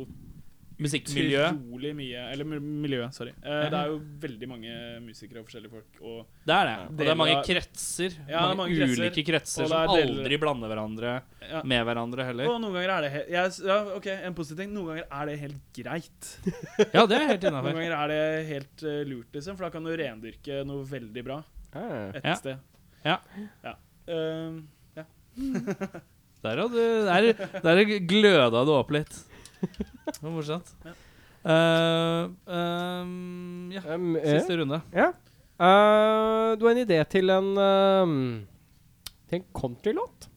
[SPEAKER 2] musikkmiljø
[SPEAKER 4] utrolig mye Eller mi- miljø, sorry. Eh, det er jo veldig mange musikere og forskjellige folk. Og,
[SPEAKER 2] Det er det. Og det
[SPEAKER 4] Deler
[SPEAKER 2] er mange
[SPEAKER 4] av-
[SPEAKER 2] kretser.
[SPEAKER 4] Ja,
[SPEAKER 2] mange
[SPEAKER 4] mange kretser.
[SPEAKER 2] ulike kretser
[SPEAKER 4] Og
[SPEAKER 2] som
[SPEAKER 4] det er deler-
[SPEAKER 2] aldri blander hverandre
[SPEAKER 4] ja.
[SPEAKER 2] med hverandre heller.
[SPEAKER 4] og noen ganger er det helt jeg s- Ja, OK, en positiv ting. Noen ganger er det helt greit.
[SPEAKER 2] Ja, det er helt
[SPEAKER 4] Noen
[SPEAKER 2] innafor.
[SPEAKER 4] ganger er det helt eh, lurt, liksom. For da kan du rendyrke noe veldig bra et
[SPEAKER 2] Ja.
[SPEAKER 4] sted.
[SPEAKER 2] Ja.
[SPEAKER 4] ja. Eh,
[SPEAKER 2] Der, hadde, der, der gløda du opp litt. Det var morsomt.
[SPEAKER 4] Ja.
[SPEAKER 2] Eh, ehm, ja,
[SPEAKER 1] Um, eh,
[SPEAKER 2] siste runde.
[SPEAKER 1] ja. Eh, du har en idé til en um, Til en countrylåt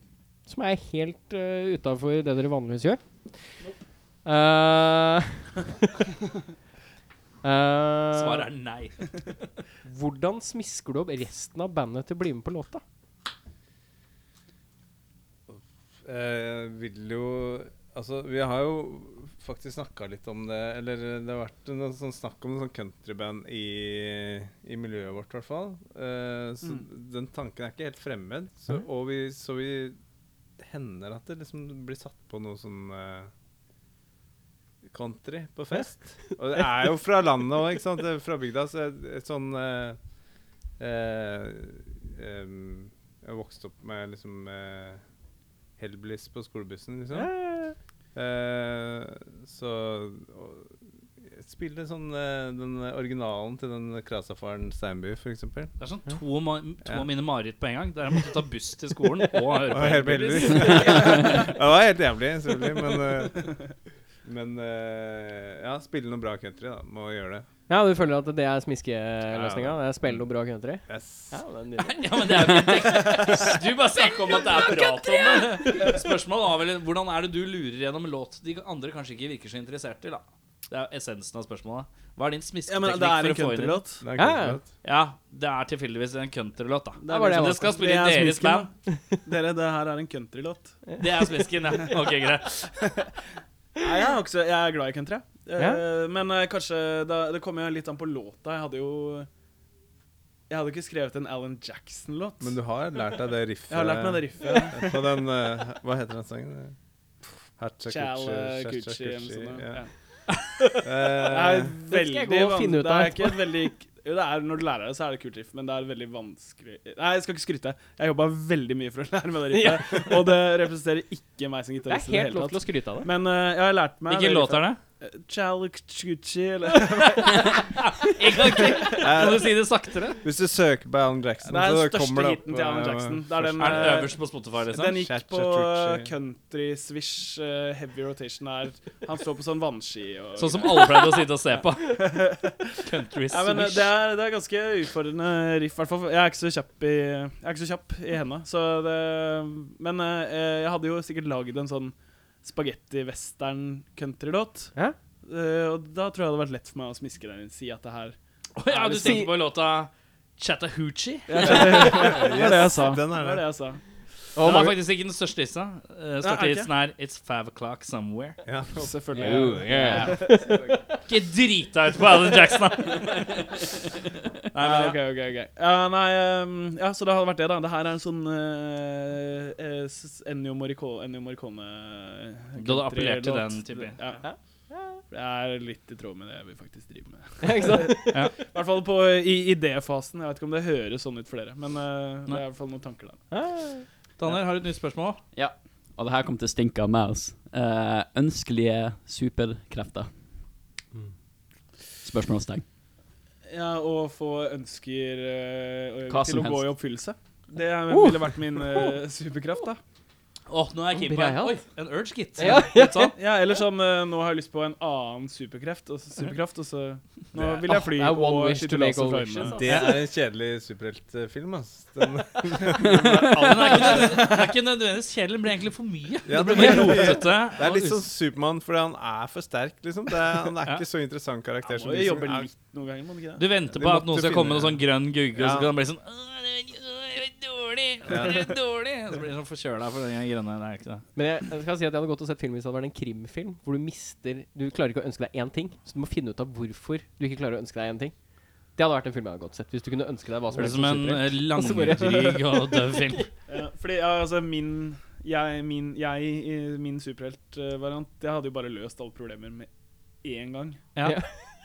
[SPEAKER 1] som er helt uh, utafor det dere vanligvis gjør. Eh, eh,
[SPEAKER 2] Svaret er nei.
[SPEAKER 1] Hvordan smisker du opp resten av bandet til å bli med på låta?
[SPEAKER 5] eh, vil jo Altså, vi har jo faktisk snakka litt om det Eller det har vært noe sånn snakk om en sånn countryband i, i miljøet vårt, i hvert fall. Eh, så den tanken er ikke helt fremmed. Så,
[SPEAKER 1] Nei.
[SPEAKER 5] og vi, så vi hender at det liksom blir satt på noe sånn eh, country på fest. Og det er jo fra landet òg, ikke sant? Det er fra bygda. Så et, et sånn eh, eh, em, Jeg vokste opp med liksom eh, Hellbliss på skolebussen, liksom. Eh, så og, jeg Spille sånn eh, den originalen til den Krasafaren Steinby, for eksempel.
[SPEAKER 2] Det er sånn to, ma to
[SPEAKER 5] Ja.
[SPEAKER 2] av mine mareritt på en gang. Der jeg måtte ta buss til skolen og høre på
[SPEAKER 5] Og høre på
[SPEAKER 2] Elvis.
[SPEAKER 5] Elvis. det var helt jævlig, selvfølgelig, men eh, Men eh, ja, spille noe bra country, da. Må gjøre det.
[SPEAKER 1] Ja, du føler at det er smiskeløsninga? Det er Spill noe bra country?
[SPEAKER 5] Yes.
[SPEAKER 1] Ja, det er nydelig.
[SPEAKER 2] Ja, men det er jo ikke tekst. Du bare snakker om at det er prat om det. Spørsmålet var vel hvordan er det du lurer gjennom en låt de andre kanskje ikke virker så interessert i, da. Det er essensen av spørsmålet. Hva er din
[SPEAKER 4] Ja, men
[SPEAKER 2] smisketeknikk
[SPEAKER 4] det er en
[SPEAKER 2] for å få inn
[SPEAKER 4] countrylåt.
[SPEAKER 5] Det er
[SPEAKER 1] Ja,
[SPEAKER 5] kanskje
[SPEAKER 1] ja.
[SPEAKER 5] godt.
[SPEAKER 2] Ja, det er tilfeldigvis en countrylåt, da.
[SPEAKER 1] Det var det jeg
[SPEAKER 2] Så det
[SPEAKER 1] valgte.
[SPEAKER 2] skal spille i
[SPEAKER 4] Det er
[SPEAKER 2] deres
[SPEAKER 4] smisken,
[SPEAKER 2] band.
[SPEAKER 4] Dere, det her er en countrylåt.
[SPEAKER 2] Det er smisken, ja. Ok, greit.
[SPEAKER 4] Nei, jeg, er også, jeg er glad i country. jeg. Eh,
[SPEAKER 1] Ja.
[SPEAKER 4] Men eh, kanskje da, Det kommer jo litt an på låta. Jeg hadde jo Jeg hadde ikke skrevet en Alan Jackson-låt.
[SPEAKER 5] Men du har lært deg det riffet?
[SPEAKER 4] Jeg har lært meg det riffet.
[SPEAKER 5] På den eh, Hva heter den sangen? Hacha
[SPEAKER 4] Chal eh,
[SPEAKER 5] Kuchi,
[SPEAKER 4] Gucci
[SPEAKER 5] Chacha
[SPEAKER 4] eller noe
[SPEAKER 5] Kuchi,
[SPEAKER 4] sånt.
[SPEAKER 5] ja.
[SPEAKER 4] ja.
[SPEAKER 5] Eh,
[SPEAKER 1] Eh, Det skal
[SPEAKER 4] Det er veldig
[SPEAKER 1] jeg gå og finne ut
[SPEAKER 4] vanskelig Det
[SPEAKER 1] av
[SPEAKER 4] er ikke et veldig jo, det er, Når du lærer det, så er det kult riff, men det er veldig vanskelig Nei, jeg skal ikke skryte. Jeg jobba veldig mye for å lære meg det riffet, og det representerer ikke meg som
[SPEAKER 1] Det er
[SPEAKER 4] gitarist. i det
[SPEAKER 1] helt
[SPEAKER 4] hele
[SPEAKER 1] lov til
[SPEAKER 4] tatt.
[SPEAKER 1] å skryte av det.
[SPEAKER 4] Men eh, jeg har lært meg
[SPEAKER 2] Hvilken låt er det?
[SPEAKER 4] det? Chalkuchi, eller
[SPEAKER 2] En gang til. Kan du si det saktere?
[SPEAKER 5] hvis du søker på Alan Jackson,
[SPEAKER 4] Det er
[SPEAKER 5] så
[SPEAKER 4] den største
[SPEAKER 5] kommer det opp
[SPEAKER 4] hiten til Alan
[SPEAKER 5] eh,
[SPEAKER 4] Jackson. Det er den,
[SPEAKER 2] Er den
[SPEAKER 4] eh,
[SPEAKER 2] øverst på Spotify, liksom?
[SPEAKER 4] Den gikk på
[SPEAKER 5] Chachachuchi.
[SPEAKER 4] country swish, eh, heavy rotation der. Han står på sånn vannski og
[SPEAKER 2] Sånn som alle pleide å sitte og se på. Country
[SPEAKER 4] ja, men eh,
[SPEAKER 2] Swish.
[SPEAKER 4] det, er, det er ganske utfordrende riff, i hvert fall. for Jeg er ikke så kjapp i, jeg er ikke så kjapp i henda. Så det, men eh, jeg hadde jo sikkert lagd en sånn spagetti-western-countrylåt.
[SPEAKER 1] Ja.
[SPEAKER 4] Eh, og da tror jeg det hadde vært lett for meg å smiske den inn. Si at det her
[SPEAKER 2] Å ja, du tenker på låta Chattahoochee?
[SPEAKER 4] Det var det jeg sa.
[SPEAKER 5] den
[SPEAKER 4] det var
[SPEAKER 5] er det.
[SPEAKER 4] det jeg sa.
[SPEAKER 1] Og
[SPEAKER 2] Den er
[SPEAKER 1] Magnus,
[SPEAKER 2] faktisk ikke den største lista. Den
[SPEAKER 4] Ja, er
[SPEAKER 2] største
[SPEAKER 4] det
[SPEAKER 2] listen er It's Five O'Clock Somewhere.
[SPEAKER 5] Ja.
[SPEAKER 4] Selvfølgelig.
[SPEAKER 2] Ikke drita ut på Alan Jackson, da!
[SPEAKER 4] Nei, men, ok, ok, ok. Ja, nei, ehm, ja, så det hadde vært det, da. Det her er en sånn eh, eh, s- Ennio Morricone, Ennio Morricone
[SPEAKER 2] Du hadde appellert til
[SPEAKER 4] country-låt.
[SPEAKER 2] den typen.
[SPEAKER 4] Ja. Det er litt i tråd med det vi faktisk driver med.
[SPEAKER 1] ja, ikke sant?
[SPEAKER 4] I hvert fall på, i idéfasen. Jeg vet ikke om det høres sånn ut for dere, men eh, det er i hvert fall noen tanker der.
[SPEAKER 2] Daniel, har du et nytt spørsmål?
[SPEAKER 3] Og det her kommer til å stinke av meg, altså. Eh, ønskelige superkrefter.
[SPEAKER 4] Mm.
[SPEAKER 3] Spørsmålstegn.
[SPEAKER 4] Ja, Å få ønsker eh,
[SPEAKER 3] Hva som
[SPEAKER 4] til å gå
[SPEAKER 3] helst.
[SPEAKER 4] i oppfyllelse. Det er-
[SPEAKER 1] Uh!
[SPEAKER 4] ville vært min eh, superkraft, da.
[SPEAKER 2] Åh, nå er jeg keen på en,
[SPEAKER 1] Breial.
[SPEAKER 2] oi, en urge, gitt.
[SPEAKER 1] Ja.
[SPEAKER 2] Litt sånn.
[SPEAKER 4] Ja, eller sånn eh, Nå har jeg lyst på en annen superkreft, og så, superkraft, og så Nå vil jeg fly
[SPEAKER 1] Det er one
[SPEAKER 4] og
[SPEAKER 1] wish to
[SPEAKER 4] skyte
[SPEAKER 1] make
[SPEAKER 4] laser
[SPEAKER 1] all
[SPEAKER 4] fra
[SPEAKER 1] wishes,
[SPEAKER 4] øynene.
[SPEAKER 5] Det er en kjedelig superheltfilm, ass. Den,
[SPEAKER 2] Den er ikke, den er ikke nødvendigvis kjedelig, den blir egentlig for mye.
[SPEAKER 5] Ja,
[SPEAKER 2] det blir
[SPEAKER 5] det blir-
[SPEAKER 2] rotete.
[SPEAKER 5] det er
[SPEAKER 2] og
[SPEAKER 5] litt sånn
[SPEAKER 2] us-
[SPEAKER 5] Supermann, fordi han er for sterk, liksom. Det er, han er
[SPEAKER 2] Ja.
[SPEAKER 5] ikke så interessant karakter
[SPEAKER 4] Jeg
[SPEAKER 5] som
[SPEAKER 4] må
[SPEAKER 5] de
[SPEAKER 4] jo
[SPEAKER 5] som
[SPEAKER 4] jobbe
[SPEAKER 5] er-
[SPEAKER 4] litt noen ganger, må du ikke det?
[SPEAKER 2] Du venter
[SPEAKER 5] Vi
[SPEAKER 2] på at
[SPEAKER 5] måtte
[SPEAKER 2] noen skal
[SPEAKER 5] finne-
[SPEAKER 2] komme med sånn grønn gugge, og så
[SPEAKER 5] Ja.
[SPEAKER 2] kan det bli sånn «Åh, det er- åh, det er Dårlig! åh, det er Dårlig! Og Så blir du sånn forkjøla for den gangen grønne. Det er ikke det.
[SPEAKER 1] Men jeg, jeg skal si at jeg hadde gått og sett film hvis det hadde vært en krimfilm, hvor du mister Du klarer ikke å ønske deg én ting, så du må finne ut av hvorfor du ikke klarer å ønske deg én ting. Det hadde vært en film jeg hadde gått og sett, hvis du kunne ønske deg hva
[SPEAKER 2] Det
[SPEAKER 1] som helst.
[SPEAKER 2] blir som en
[SPEAKER 1] som superhelt.
[SPEAKER 2] eh, langdryg og døv film.
[SPEAKER 4] Ja, fordi ja, altså min jeg, min, jeg i min superheltvariant Jeg hadde jo bare løst alle problemer med én gang.
[SPEAKER 2] Ja,
[SPEAKER 1] Ja.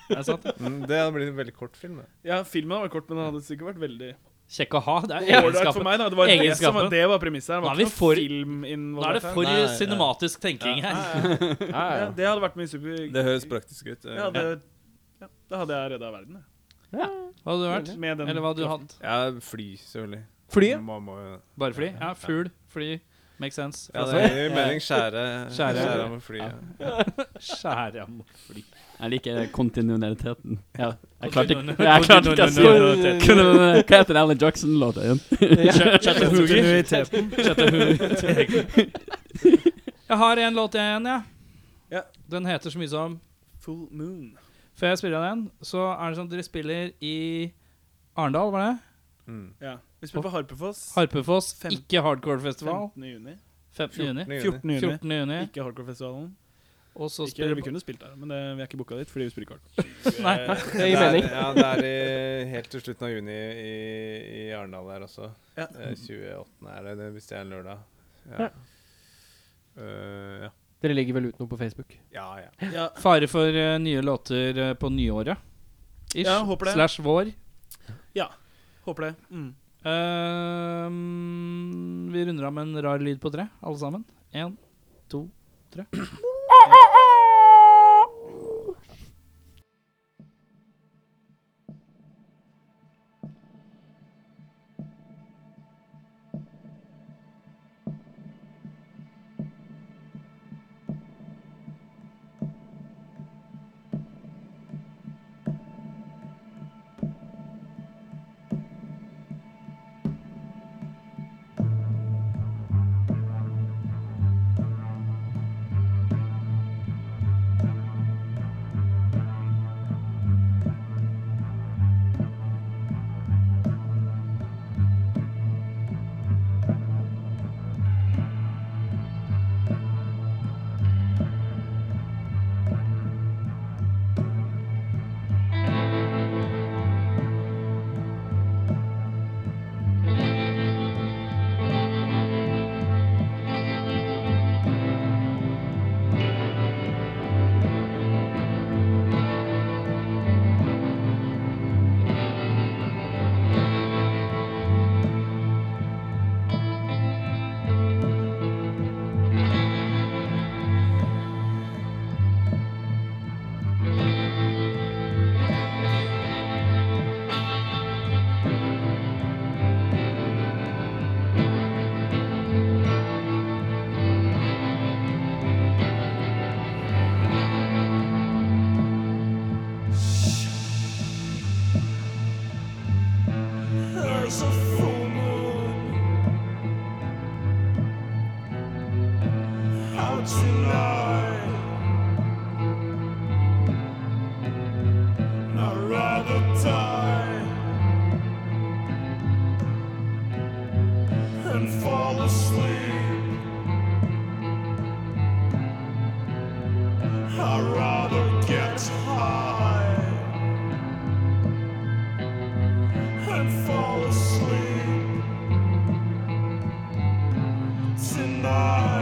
[SPEAKER 2] det er sant.
[SPEAKER 5] Mm, Det hadde blitt en veldig kort film. Det.
[SPEAKER 4] Ja, filmen var kort, men den hadde sikkert vært veldig
[SPEAKER 2] Kjekk å ha. Det er
[SPEAKER 4] ålreit for
[SPEAKER 2] egenskapen.
[SPEAKER 4] meg. Da. Det var det, som var,
[SPEAKER 2] Egenskapen.
[SPEAKER 4] det var premisset. her. Det
[SPEAKER 2] Nå er
[SPEAKER 4] var
[SPEAKER 2] vi
[SPEAKER 4] ikke noe
[SPEAKER 2] for- Nå
[SPEAKER 4] film
[SPEAKER 2] er det
[SPEAKER 4] involvert her.
[SPEAKER 2] for
[SPEAKER 5] Nei, nei.
[SPEAKER 2] cinematisk tenking her.
[SPEAKER 1] Ja,
[SPEAKER 4] Ja,
[SPEAKER 1] ja.
[SPEAKER 4] det hadde vært min super...
[SPEAKER 5] det høres praktisk ut. eh.
[SPEAKER 4] Ja, det, ja, da hadde jeg redda verden, jeg.
[SPEAKER 2] Hva hadde du vært?
[SPEAKER 4] Med den
[SPEAKER 2] Eller hva hadde du hatt?
[SPEAKER 5] Ja, fly, selvfølgelig.
[SPEAKER 1] Flyet?
[SPEAKER 5] Må, må, jo-
[SPEAKER 2] Bare fly? Ja, fugl, fly. Makes sense.
[SPEAKER 5] ja, det gir mening. Skjære
[SPEAKER 2] Skjære.
[SPEAKER 5] skjære med fly. Ja.
[SPEAKER 2] Skjære må fly.
[SPEAKER 3] Jeg liker kontinuiteten. Ja, jeg klarte
[SPEAKER 2] Kontinu-
[SPEAKER 3] ikke jeg klarte ikke å si det.
[SPEAKER 2] kontinuitet.
[SPEAKER 3] Hva heter den Alan Jackson-låta igjen?
[SPEAKER 2] Chattahoogie. Jeg har en låt igjen, jeg.
[SPEAKER 4] Ja.
[SPEAKER 2] Den heter så mye som
[SPEAKER 4] Full moon.
[SPEAKER 2] Før jeg spiller den, så er det sånn at dere spiller i Arendal, var det?
[SPEAKER 5] Mm.
[SPEAKER 4] Ja. Vi spiller på Harpefoss
[SPEAKER 2] Harpefoss,
[SPEAKER 4] Fem-
[SPEAKER 2] ikke Hardcore Festival.
[SPEAKER 4] 15. juni.
[SPEAKER 2] 15. juni.
[SPEAKER 4] 14. juni.
[SPEAKER 2] 14. juni.
[SPEAKER 4] Ikke Hardcore-festivalen.
[SPEAKER 2] Og så
[SPEAKER 4] Ikke-
[SPEAKER 2] spiller
[SPEAKER 4] Vi kunne spilt der, men det, vi er ikke booka dit fordi vi spiller ikke hardcore.
[SPEAKER 2] Nei,
[SPEAKER 1] det gir
[SPEAKER 5] er-
[SPEAKER 1] mening.
[SPEAKER 5] Ja, det er i, helt til slutten av juni i, i Arendal her også.
[SPEAKER 4] Ja.
[SPEAKER 5] Eh, 28. er det, det, hvis det er en lørdag.
[SPEAKER 1] Ja.
[SPEAKER 5] Ja. Eh, ja.
[SPEAKER 1] Dere legger vel ut noe på Facebook?
[SPEAKER 5] ja, ja.
[SPEAKER 4] Ja,
[SPEAKER 2] Fare for eh, nye låter eh, på nyåret. Ish.
[SPEAKER 4] Ja, håper det.
[SPEAKER 2] Slash vår.
[SPEAKER 4] håper det. Mm.
[SPEAKER 2] Ehm, vi runder av med en rar lyd på tre, alle sammen. Én, to, tre.
[SPEAKER 6] Tonight